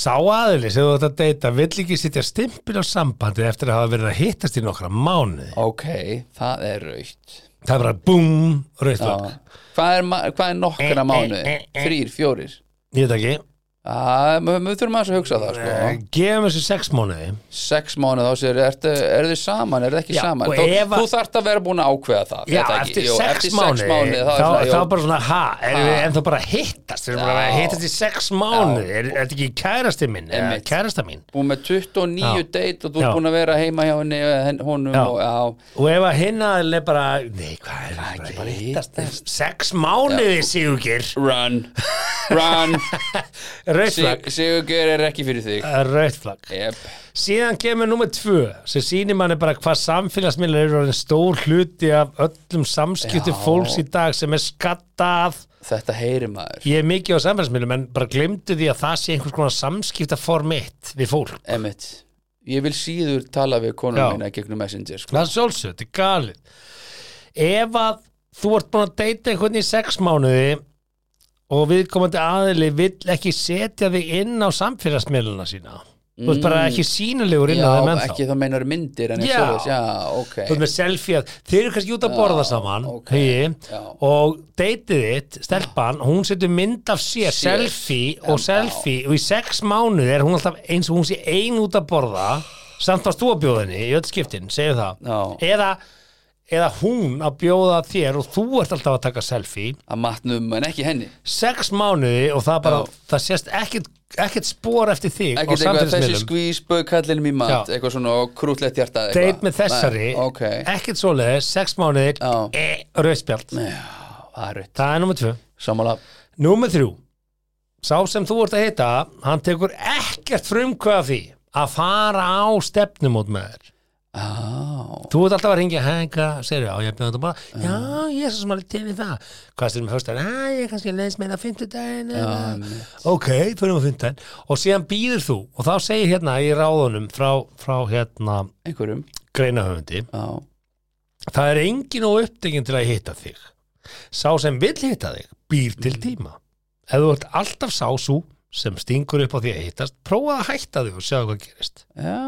Speaker 3: sá aðili sem þú ætti að deyta vill ekki sitja stimpil á sambandi eftir að hafa verið að hittast í nokkra mánuði
Speaker 4: ok það er raukt
Speaker 3: það er bara búm, rauð
Speaker 4: já.
Speaker 3: flögg
Speaker 4: hvað er, ma- hvað er
Speaker 3: Eh,
Speaker 4: nokkra mánuði þrýr, fjórir
Speaker 3: ég veit ekki,
Speaker 4: Já, við við þurfum aðeins að hugsa það sko.
Speaker 3: Eh, gefum þessu sex mánuði
Speaker 4: sex mánuð þá sér, er, er þið saman, er þið ekki
Speaker 3: Já,
Speaker 4: saman
Speaker 3: og
Speaker 4: þú,
Speaker 3: ef að-
Speaker 4: þú þarft að vera búin að ákveða það
Speaker 3: Já,
Speaker 4: er það ekki?
Speaker 3: eftir
Speaker 4: Jú,
Speaker 3: sex
Speaker 4: eftir
Speaker 3: mánuði
Speaker 4: mánuði
Speaker 3: þá,
Speaker 4: þá, er
Speaker 3: þá
Speaker 4: svona,
Speaker 3: bara svona, ha, erum
Speaker 4: Ha.
Speaker 3: við ennþá bara að hittast við erum bara að
Speaker 4: Já.
Speaker 3: hittast í sex mánuði er er þetta ekki kærasti minn, eða
Speaker 4: Einmitt.
Speaker 3: kærasta mín
Speaker 4: jú, búin með 29 date og þú
Speaker 3: Já.
Speaker 4: er búin að vera heima hjá henni eh, henn- honum
Speaker 3: Já.
Speaker 4: og já,
Speaker 3: og ef að hinna er bara nei, hvað er
Speaker 4: Hvað,
Speaker 3: það,
Speaker 4: ekki
Speaker 3: bara
Speaker 4: bara
Speaker 3: að hittast sex mánuði, Sigurgir
Speaker 4: run run,
Speaker 3: rauðflag
Speaker 4: Sig- Sigurgeir er ekki fyrir þig
Speaker 3: rauðflag,
Speaker 4: yep.
Speaker 3: síðan kemur nummer tvö sem sýnir manni bara hvað samfélagsmiðlar eru orðin stór hluti af öllum samskipti
Speaker 4: Já.
Speaker 3: fólks í dag sem er skattað
Speaker 4: þetta heyri maður
Speaker 3: ég er mikið á samfélagsmiðlum en bara glemdu því að það sé einhvers konar samskiptaform mitt við fólk
Speaker 4: Emmett, ég vil síður tala við
Speaker 3: Já.
Speaker 4: konum mína gegnum messenger sko.
Speaker 3: Það er sjálfsögð, þetta er galið Ef að þú ert búin að deyta einhvern í sex mánuði og viðkomandi aðili vill ekki setja þig inn á samfélagsmiðluna sína þú ert bara ekki sínulegur inn
Speaker 4: já,
Speaker 3: á þeim ennþá
Speaker 4: ekki þá meinar myndir en
Speaker 3: Já.
Speaker 4: já, já ok
Speaker 3: þú ert með selfie að þeir eru kannski út að borða saman
Speaker 4: ok,
Speaker 3: hegi,
Speaker 4: já.
Speaker 3: og deytið þitt, stelpan hún setur mynd af sér,
Speaker 4: Sér,
Speaker 3: selfie
Speaker 4: en
Speaker 3: og selfie og í sex mánuði er hún alltaf eins og hún sé ein út að borða samt varst þú að bjóða henni í öll skiptin, segir það
Speaker 4: Já.
Speaker 3: eða, eða hún að bjóða þér og þú ert alltaf að taka selfie
Speaker 4: að matnum en ekki henni
Speaker 3: sex mánuði og það bara
Speaker 4: Já.
Speaker 3: það sést ekkert, ekkert spór eftir þig á
Speaker 4: ekkert eitthvað þessi
Speaker 3: samfélagsmiðlum
Speaker 4: skvísböð kallinum í mat
Speaker 3: Já.
Speaker 4: eitthvað svona krútlegt hjartað eitthvað.
Speaker 3: deit með þessari,
Speaker 4: Nei, ok,
Speaker 3: ekkert svoleiði sex mánuðir,
Speaker 4: Já.
Speaker 3: e, rauðspjald
Speaker 4: það er rutt
Speaker 3: það er nummer tvö
Speaker 4: sammála,
Speaker 3: Númer þrjú Sá sem þú ert að heita Hann tekur ekkert frumkvæða því Að fara á stefnumót með þér
Speaker 4: á,
Speaker 3: Þú ert alltaf að ringja Hæga, segir já, ég bjóðum þetta bara Já, ég er svo sem alveg til í það Hvað styrir með höstar? Æ, ég er kannski leðis meina fimmtudaginn eða- Ok, fyrir með fimmtudaginn Og síðan býður þú Og þá segir hérna í ráðunum frá, frá hérna
Speaker 4: einhverjum
Speaker 3: greinahöfundi
Speaker 4: á,
Speaker 3: Það er engin og upptekinn til að hitta þig. Sá sem vill hitta þig býr til tíma. Ef þú ert alltaf sá svo sem stingur upp á því að hittast, prófa að hætta þig og sjá hvað gerist.
Speaker 4: já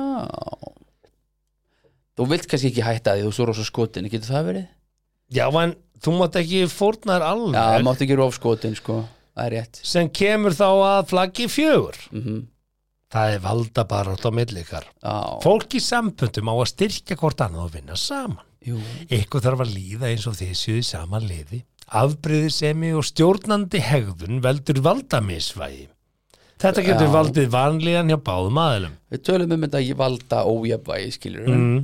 Speaker 4: þú vilt kannski ekki hætta því þú svo rosa skotin, getur það verið?
Speaker 3: Já, en þú mátt ekki fórnaður
Speaker 4: já, það
Speaker 3: alveg
Speaker 4: máttu ekki rof skotin sko, það er rétt
Speaker 3: sem kemur þá að flaggi fjögur.
Speaker 4: mm
Speaker 3: Það er valda bara á milli ykkar.
Speaker 4: á,
Speaker 3: Fólk í samböndum á að styrkja hvort annað og vinna saman.
Speaker 4: jú,
Speaker 3: Eitthvað þarf að líða eins og þið séu í sama liði. Afbriðisemi og stjórnandi hegðun veldur valdamisvægi. Þetta getur
Speaker 4: Já.
Speaker 3: valdið vanlíðan hjá báðum aðilum.
Speaker 4: við tölum um þetta ég valda ójafvægi, skilur mm.
Speaker 3: Mm.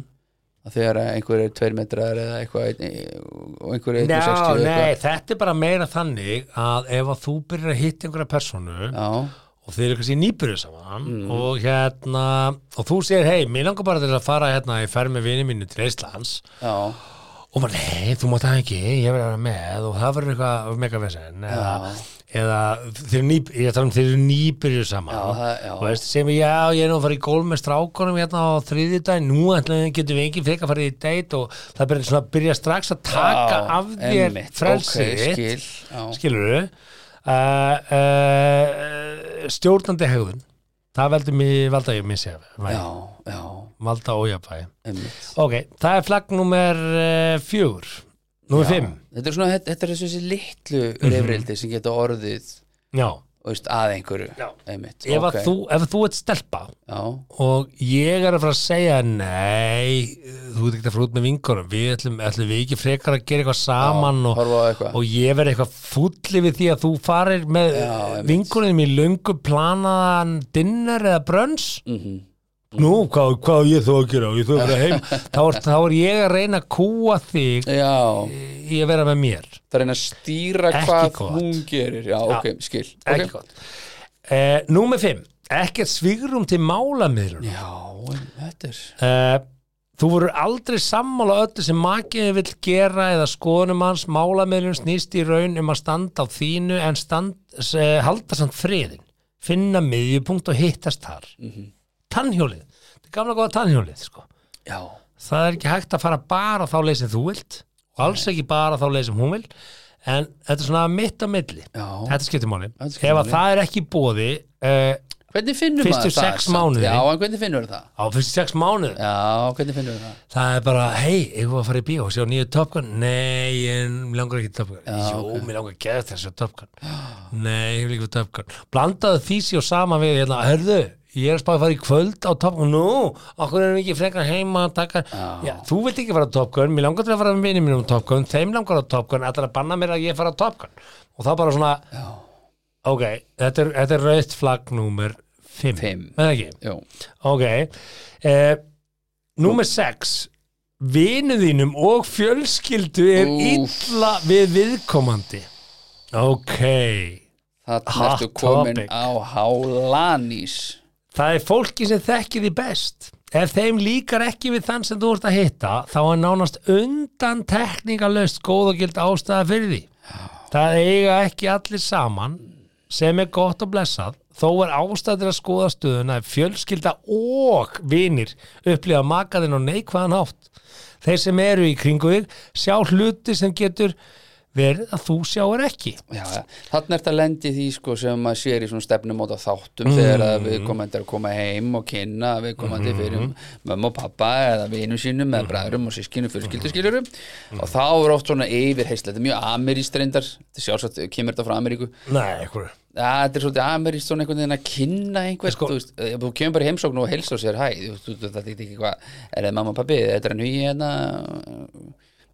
Speaker 4: þegar að einhver er tveir metrar eða eitthvað einn- og einhver er
Speaker 3: Já,
Speaker 4: 160
Speaker 3: nei,
Speaker 4: eitthvað.
Speaker 3: þetta er bara meira þannig að ef að þú byrjar að hitta einhverja personu
Speaker 4: já, Mm.
Speaker 3: og þeir eru kannski nýbyrjuð saman og hérna, og þú segir, hei, mér langar bara til að fara hérna í ferð með vini mínu til Íslands
Speaker 4: já
Speaker 3: og maður, nei, þú mátt það ekki, ég verður að vera með og það verður eitthvað mega vesen eða, eða þeir, eru ný, ég tala um þeir eru nýbyrjuð saman
Speaker 4: Já, það- já.
Speaker 3: og veist, sem ég, já, ég er nú að fara í gólf með strákunum hérna á þriði dag, nú ætlum getum við ekki frekar að fara í date og það byrja, svona, byrja strax að taka
Speaker 4: Já,
Speaker 3: af þér
Speaker 4: einmitt,
Speaker 3: frelsið
Speaker 4: ok,
Speaker 3: þitt,
Speaker 4: skil, já.
Speaker 3: skilurðu uh, uh, eh, stjórnandi hegðun það veldur mér, valda ég missi
Speaker 4: já, já,
Speaker 3: valda ójafvægi
Speaker 4: einmitt
Speaker 3: ok, það er flagg nummer uh, fjögur nummer fimm
Speaker 4: Þetta er svona, þetta, þetta er þessi litlu
Speaker 3: Mhm.
Speaker 4: reyfrildi sem geta orðið
Speaker 3: já,
Speaker 4: þú veist, að einhverju
Speaker 3: Já.
Speaker 4: einmitt,
Speaker 3: ef,
Speaker 4: ok.
Speaker 3: okay. þú, ef þú ert stelpa
Speaker 4: Já,
Speaker 3: og ég er að fara að segja nei, þú ert ekki að fara út með vingunum við ætlum, ætlum við ekki frekar að gera eitthvað saman og,
Speaker 4: horfa á eitthvað.
Speaker 3: og ég verð eitthvað fulli við því að þú farir með
Speaker 4: Já, einmitt.
Speaker 3: vingunum í löngu planaðan dinner eða brönns
Speaker 4: Mhm.
Speaker 3: nú, hvað, hvað á ég þú að gera ég þú að vera heim þá, er, þá er ég að reyna að kúa þig
Speaker 4: já,
Speaker 3: í að vera með mér
Speaker 4: það er henni að stýra
Speaker 3: Ekki
Speaker 4: hvað
Speaker 3: gott.
Speaker 4: hún gerir Já, ok, skil
Speaker 3: ekki
Speaker 4: Ok.
Speaker 3: gott eh, Númer 5 ekkert svigrum til málamiðlun
Speaker 4: Já, en þetta er
Speaker 3: Eh, Þú voru aldrei sammála öllu sem makiði vill gera eða skoðunum hans málamiðlun snýst í raun um að standa á þínu en stand, s- eh, halda samt friðin finna miðjupunkt og hittast þar
Speaker 4: Mhm.
Speaker 3: Tannhjólið, þetta er gamla góða tannhjólið sko.
Speaker 4: Já,
Speaker 3: það er ekki hægt að fara bara þá leið sem þú vilt og alls ekki bara þá leið sem hún vil en þetta er svona mitt á milli
Speaker 4: Já.
Speaker 3: þetta skiptir máli
Speaker 4: Þetta
Speaker 3: ef
Speaker 4: skiptir
Speaker 3: að
Speaker 4: máli.
Speaker 3: það er ekki bóði uh,
Speaker 4: hvernig finnur
Speaker 3: Fyrstu
Speaker 4: maður það?
Speaker 3: sex
Speaker 4: samt?
Speaker 3: mánuði.
Speaker 4: Já, en hvernig finnur það?
Speaker 3: á fyrst sex mánuð
Speaker 4: Já, hvernig finnur það?
Speaker 3: það er bara, hei, ég var að fara í bíó og sjá nýju Top Gun, nei, en mér langar ekki í Top Gun, jú, okay. mér langar að geða þessu Top Gun, nei, ég vil ekki fá Top Gun blandaðu þýsi og sama við hérna, hörðu, ég er að spáði að fara í kvöld á Top Gun, nú, okkur erum við ekki frekar heima að taka, já, þú vilt ekki fara á Top Gun, mér langar til að fara með vinni mínum á Top Gun, þeim langar á Top Gun, ætlar að banna mér að ég fara á Top Gun, og það bara svona ok, þetta er, þetta er rauðt flagg númer 5,
Speaker 4: Fimm.
Speaker 3: eða ekki?
Speaker 4: Jú,
Speaker 3: Ok eh, Númer 6 Vinu þínum og fjölskyldu er
Speaker 4: Úff.
Speaker 3: illa við viðkomandi Ok
Speaker 4: þannig
Speaker 3: Hot
Speaker 4: ertu komin
Speaker 3: topic.
Speaker 4: á hálanís
Speaker 3: Það er fólki sem þekkir því best Ef þeim líkar ekki við þann sem þú ert að hitta þá er nánast undan tekningalöst góð og gild ástæða fyrir því Það eiga ekki allir saman sem er gott og blessað þó er ástæður að skoða stöðuna ef fjölskylda og vinir upplifa makaðinn og neikvæðan hátt þeir sem eru í kringu þig sjá hluti sem getur verið að þú sjáir ekki
Speaker 4: Já, já. þannig ertu að lendi því sko sem maður sér í svona stefnumóta þáttum þegar að við komandi er að koma heim og kynna að við komandi fyrir mömmu og pappa eða vinum sínum eða bræðurum og sískinu fjölskylduskiljurum og þá er oft svona yfirheysla þetta er mjög ameríst reyndar, þetta er sjálfsagt kemur þetta frá Ameríku
Speaker 3: Nei, ekkur
Speaker 4: Já, þetta er svolítið ameríst svona einhvern veginn að kynna einhver,
Speaker 3: Sko-
Speaker 4: þú veist, ef þú kemur bara í heimsókn og helst á sér, hæ, þú veist, þú- þú- þetta er ekki hvað, er það mamma og pappi, þetta er hann hugi hérna,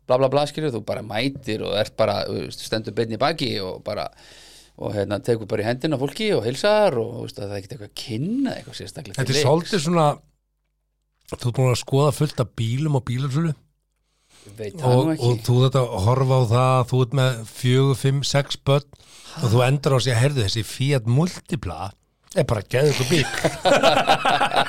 Speaker 4: bla bla bla skilur, þú bara mætir og ert bara, þú veist, stendur beinni í baki og bara, og hérna, tekur bara í hendina fólki og heilsar og, þú veist, að það er ekkert eitthvað að kynna eitthvað sérstaklega.
Speaker 3: Þetta
Speaker 4: til
Speaker 3: er
Speaker 4: leiks.
Speaker 3: svolítið svona þú ert búin að skoða fullt af bílum og bílarsölu
Speaker 4: Veit það
Speaker 3: og,
Speaker 4: nú
Speaker 3: og
Speaker 4: ekki.
Speaker 3: þú þetta horfa á það þú ert með fjögur, fimm, sex börn og þú endur á sig að herðu þessi Fiat Multipla er bara geðu ykkur bíl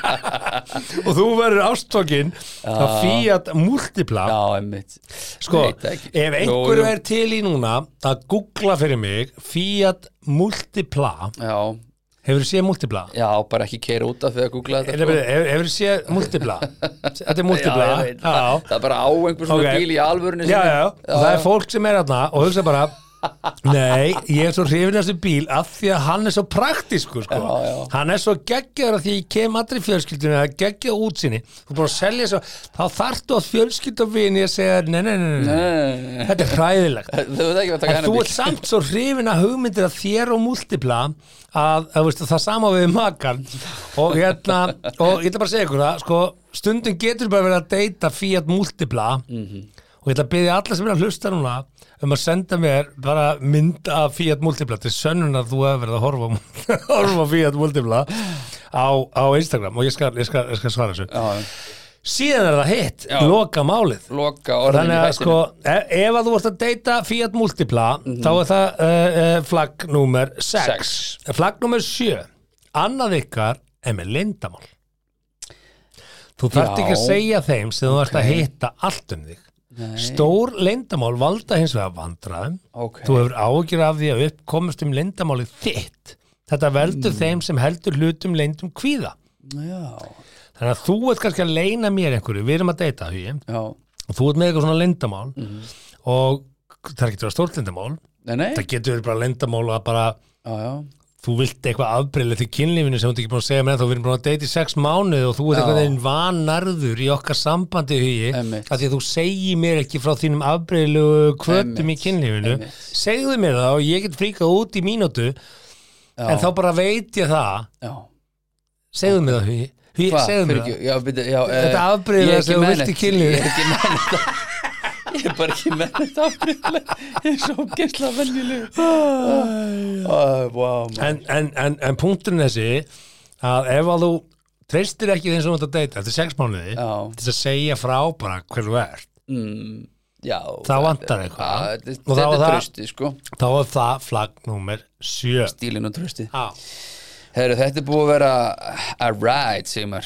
Speaker 3: og þú verður ástokkin að Fiat Multipla
Speaker 4: Já, emmitt.
Speaker 3: sko,
Speaker 4: Veit það ekki.
Speaker 3: ef
Speaker 4: Jú,
Speaker 3: einhverju
Speaker 4: jú.
Speaker 3: er til í núna að googla fyrir mig Fiat Multipla
Speaker 4: Já,
Speaker 3: hefur þú séð Multipla?
Speaker 4: já, bara ekki keira út af því að googla þetta. sko.
Speaker 3: Hefur þú séð Multipla? Þetta er Multipla
Speaker 4: Já, ég veit það. Það er bara á einhver svona
Speaker 3: Ok.
Speaker 4: bíl í alvörunni
Speaker 3: já,
Speaker 4: sinni.
Speaker 3: já, já. og það er fólk sem er aðna og hugsa bara Nei, ég er svo hrifin af þessu bíl af því að hann er svo praktísku sko.
Speaker 4: Já, já.
Speaker 3: hann er svo geggjaður af því að ég kem allri fjölskyldunni, það er geggjað útsinni þú er búin að selja svo, þá þarftu að fjölskylda vini að segja, nei, nei, nei, nei, nei.
Speaker 4: Nei,
Speaker 3: þetta er hræðilegt
Speaker 4: Þú veit ekki að taka
Speaker 3: En
Speaker 4: hennar
Speaker 3: þú
Speaker 4: bíl
Speaker 3: ert samt svo hrifin að hugmyndir að þér og múltipla að, að veist, það sama við makan og, hérna, og ég ætla bara að segja ykkur það sko, stundum getur bara verið að deyta Fiat múltipla
Speaker 4: Mhm.
Speaker 3: og ég ætla að byggja alla sem er að hlusta núna um að senda mér bara mynd af Fiat múltipla til sönnun að þú hefur verið að horfa, á- horfa á Fiat múltipla á, á Instagram og ég skal, ég skal, ég skal svara þessu
Speaker 4: Já,
Speaker 3: síðan er það hitt,
Speaker 4: Já.
Speaker 3: loka málið
Speaker 4: loka orðin
Speaker 3: Þannig að sko, e- ef að þú ert að deyta Fiat Multipla,
Speaker 4: Mhm.
Speaker 3: þá er það uh, uh, flagg númer 6.
Speaker 4: Sex.
Speaker 3: Flagg númer 7, annað ykkar er með lindamál. Þú þarft
Speaker 4: Já.
Speaker 3: ekki að segja þeim sem þú ert að hitta allt um þig. Stór lindamál valda hins vegar vandraðum.
Speaker 4: Ok.
Speaker 3: Þú hefur ágjur af því að upp komast um lindamálið þitt. Þetta veldur
Speaker 4: Mm.
Speaker 3: þeim sem heldur hlutum lindum kvíða.
Speaker 4: Já,
Speaker 3: Þannig að þú ert kannski að leina mér einhverju, við erum að deyta því
Speaker 4: já,
Speaker 3: og þú ert með eitthvað svona lindamál
Speaker 4: Mhm.
Speaker 3: og það er ekki að vera stórt lindamál
Speaker 4: nei, nei
Speaker 3: það getur verið bara lindamál að bara
Speaker 4: Já, já,
Speaker 3: þú vilt eitthvað afbreyla því kynlífinu sem þú ert ekki búin að segja mér þá við erum búin að deyta í sex mánuð og þú ert
Speaker 4: Já.
Speaker 3: eitthvað einn vanarður í okkar sambandi hugi
Speaker 4: Einmitt.
Speaker 3: að því að þú segir mér ekki frá þínum afbreylu kvötum í
Speaker 4: Einmitt,
Speaker 3: kynlífinu
Speaker 4: einmitt.
Speaker 3: segðu mér það og ég get fríkað út í mínútu en þá bara veit ég það
Speaker 4: já.
Speaker 3: segðu mér það hugi, hugi
Speaker 4: Hva?
Speaker 3: segðu mér
Speaker 4: Fyrirgefðu-
Speaker 3: það
Speaker 4: já, byrju, já, eh,
Speaker 3: Þetta afbrigði
Speaker 4: ég er
Speaker 3: það sem
Speaker 4: ekki
Speaker 3: þú
Speaker 4: með
Speaker 3: vilt í
Speaker 4: neitt.
Speaker 3: kynlífi.
Speaker 4: Ég er ekki með þetta Ég er bara ekki með þetta afbrigði Ég er svo gæsla venjuleg Æ, Vá, maður.
Speaker 3: en, en, en, en punkturinn þessi að ef að þú treystir ekki þeim sem þú ert að deyta eftir sex mánuði
Speaker 4: Já.
Speaker 3: til þess að segja frá bara hver þú ert
Speaker 4: Mm, Já
Speaker 3: Þá vantar
Speaker 4: þetta-
Speaker 3: eitthvað.
Speaker 4: Já, þetta-
Speaker 3: Og þá
Speaker 4: Þetta
Speaker 3: var
Speaker 4: er
Speaker 3: það-
Speaker 4: trösti, sko
Speaker 3: þá er það flagg númer 7
Speaker 4: Dílin og trösti
Speaker 3: Já,
Speaker 4: Herru, þetta er búið að vera a ride, Sigmar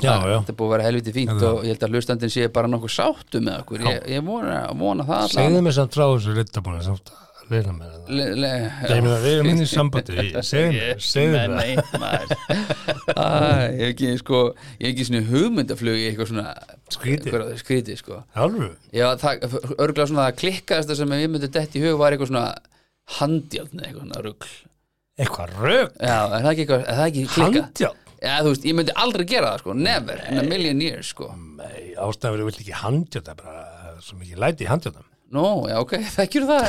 Speaker 3: Já, já.
Speaker 4: Þetta er búið að vera helviti fínt
Speaker 3: Þetta-
Speaker 4: og ég held að hlustandinn sé bara nokkuð sáttu með okkur Ég, ég vona, vona það allan.
Speaker 3: segðu mér samt frá þessu rittabúinu samt að leira mér það
Speaker 4: le, le,
Speaker 3: Ég meina, við erum inn í sambandi, ég- segðu mér, segðu mér það.
Speaker 4: mér Ég hef ekki, sko, ég hef ekki svona hugmyndaflug í eitthvað svona
Speaker 3: Skrítið.
Speaker 4: eitthvað Skrítið, sko
Speaker 3: Alveg,
Speaker 4: Já, það, örgulega svona það klikkaðasta sem ég myndi dett í hug var eitthvað svona handjáln eitthvað svona rugl
Speaker 3: eitthvað rök
Speaker 4: Já, er það ekki, eitthvað, er það ekki klikkað?
Speaker 3: Handjáln
Speaker 4: Já, þú veist, ég myndi aldrei gera það, sko, never in a million years, sko
Speaker 3: Nei, ástæðan verið vilt ekki handjáln það er bara eh, svo mikið læti í handjálnum
Speaker 4: Nó, já, ok, þekkjur það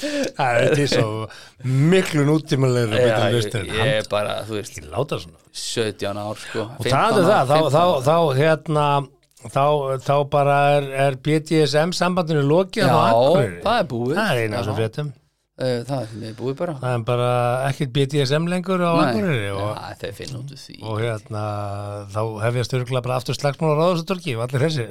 Speaker 3: Það er þetta svo miklu nútímalegri betur
Speaker 4: Já,
Speaker 3: laust en
Speaker 4: ég, ég
Speaker 3: handjáln
Speaker 4: er bara, þú veist,
Speaker 3: Ekki láta svona
Speaker 4: 17 ár, sko
Speaker 3: og um það er það, þá, þá, þá hérna þá, þá bara er, er BDSM sambandinu lokið
Speaker 4: Já,
Speaker 3: á Akureyri.
Speaker 4: það er búið.
Speaker 3: það er eina
Speaker 4: Já.
Speaker 3: svo fréttum
Speaker 4: Eh, Það er mér búið bara
Speaker 3: það er bara ekkert BDSM lengur á Akureyri og,
Speaker 4: Já, þeir finna út úr því
Speaker 3: og hérna þá hef ég styrkla bara aftur slagsmál á ráðasatorki og allir þessi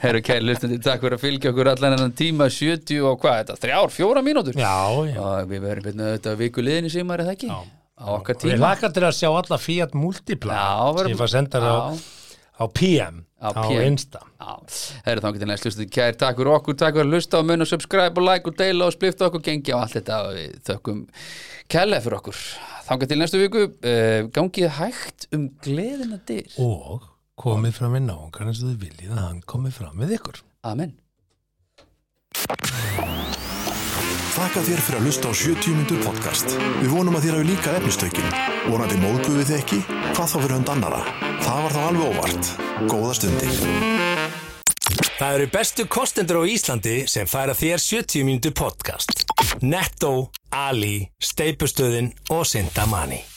Speaker 4: Herru kæri lustandi, takk fyrir að fylgja okkur allan enn tíma 70 og hvað er þetta, þrjár, fjóra mínútur
Speaker 3: já, já
Speaker 4: og við verðum byrna auðvitað viku liðin í símar eða ekki, á okkar
Speaker 3: Ég
Speaker 4: tíma
Speaker 3: laka til að sjá alla Fiat Multipla
Speaker 4: Já,
Speaker 3: sem
Speaker 4: verðum-
Speaker 3: ég fæ sendar á,
Speaker 4: Já.
Speaker 3: á PM á,
Speaker 4: Á PM.
Speaker 3: Insta
Speaker 4: Já, herru þá getur næst lustandi kæri, takk fyrir okkur, takk fyrir að lusta og mun og subscribe og like og deila og splifta okkur gengi og allt þetta og við þökkum kælega fyrir okkur þangað til næstu viku, uh, gangið hægt um gleðina dyr
Speaker 3: og komið fram með náungar eins og þið viljið að hann komið fram með ykkur
Speaker 4: Amen
Speaker 2: Þakka þér fyrir að hlusta á 70 mínútur podcast. Við vonum að þér hafi líka efnistökin. Vonandi móðguðu þið ekki? Hvað þá fyrir hund annara? Það var þá alveg óvart. Góða stundir.
Speaker 1: Það eru bestu kostendur á Íslandi sem færa þér 70 mínútur podcast. Netto, Ali, Steipustöðin og Sintamani.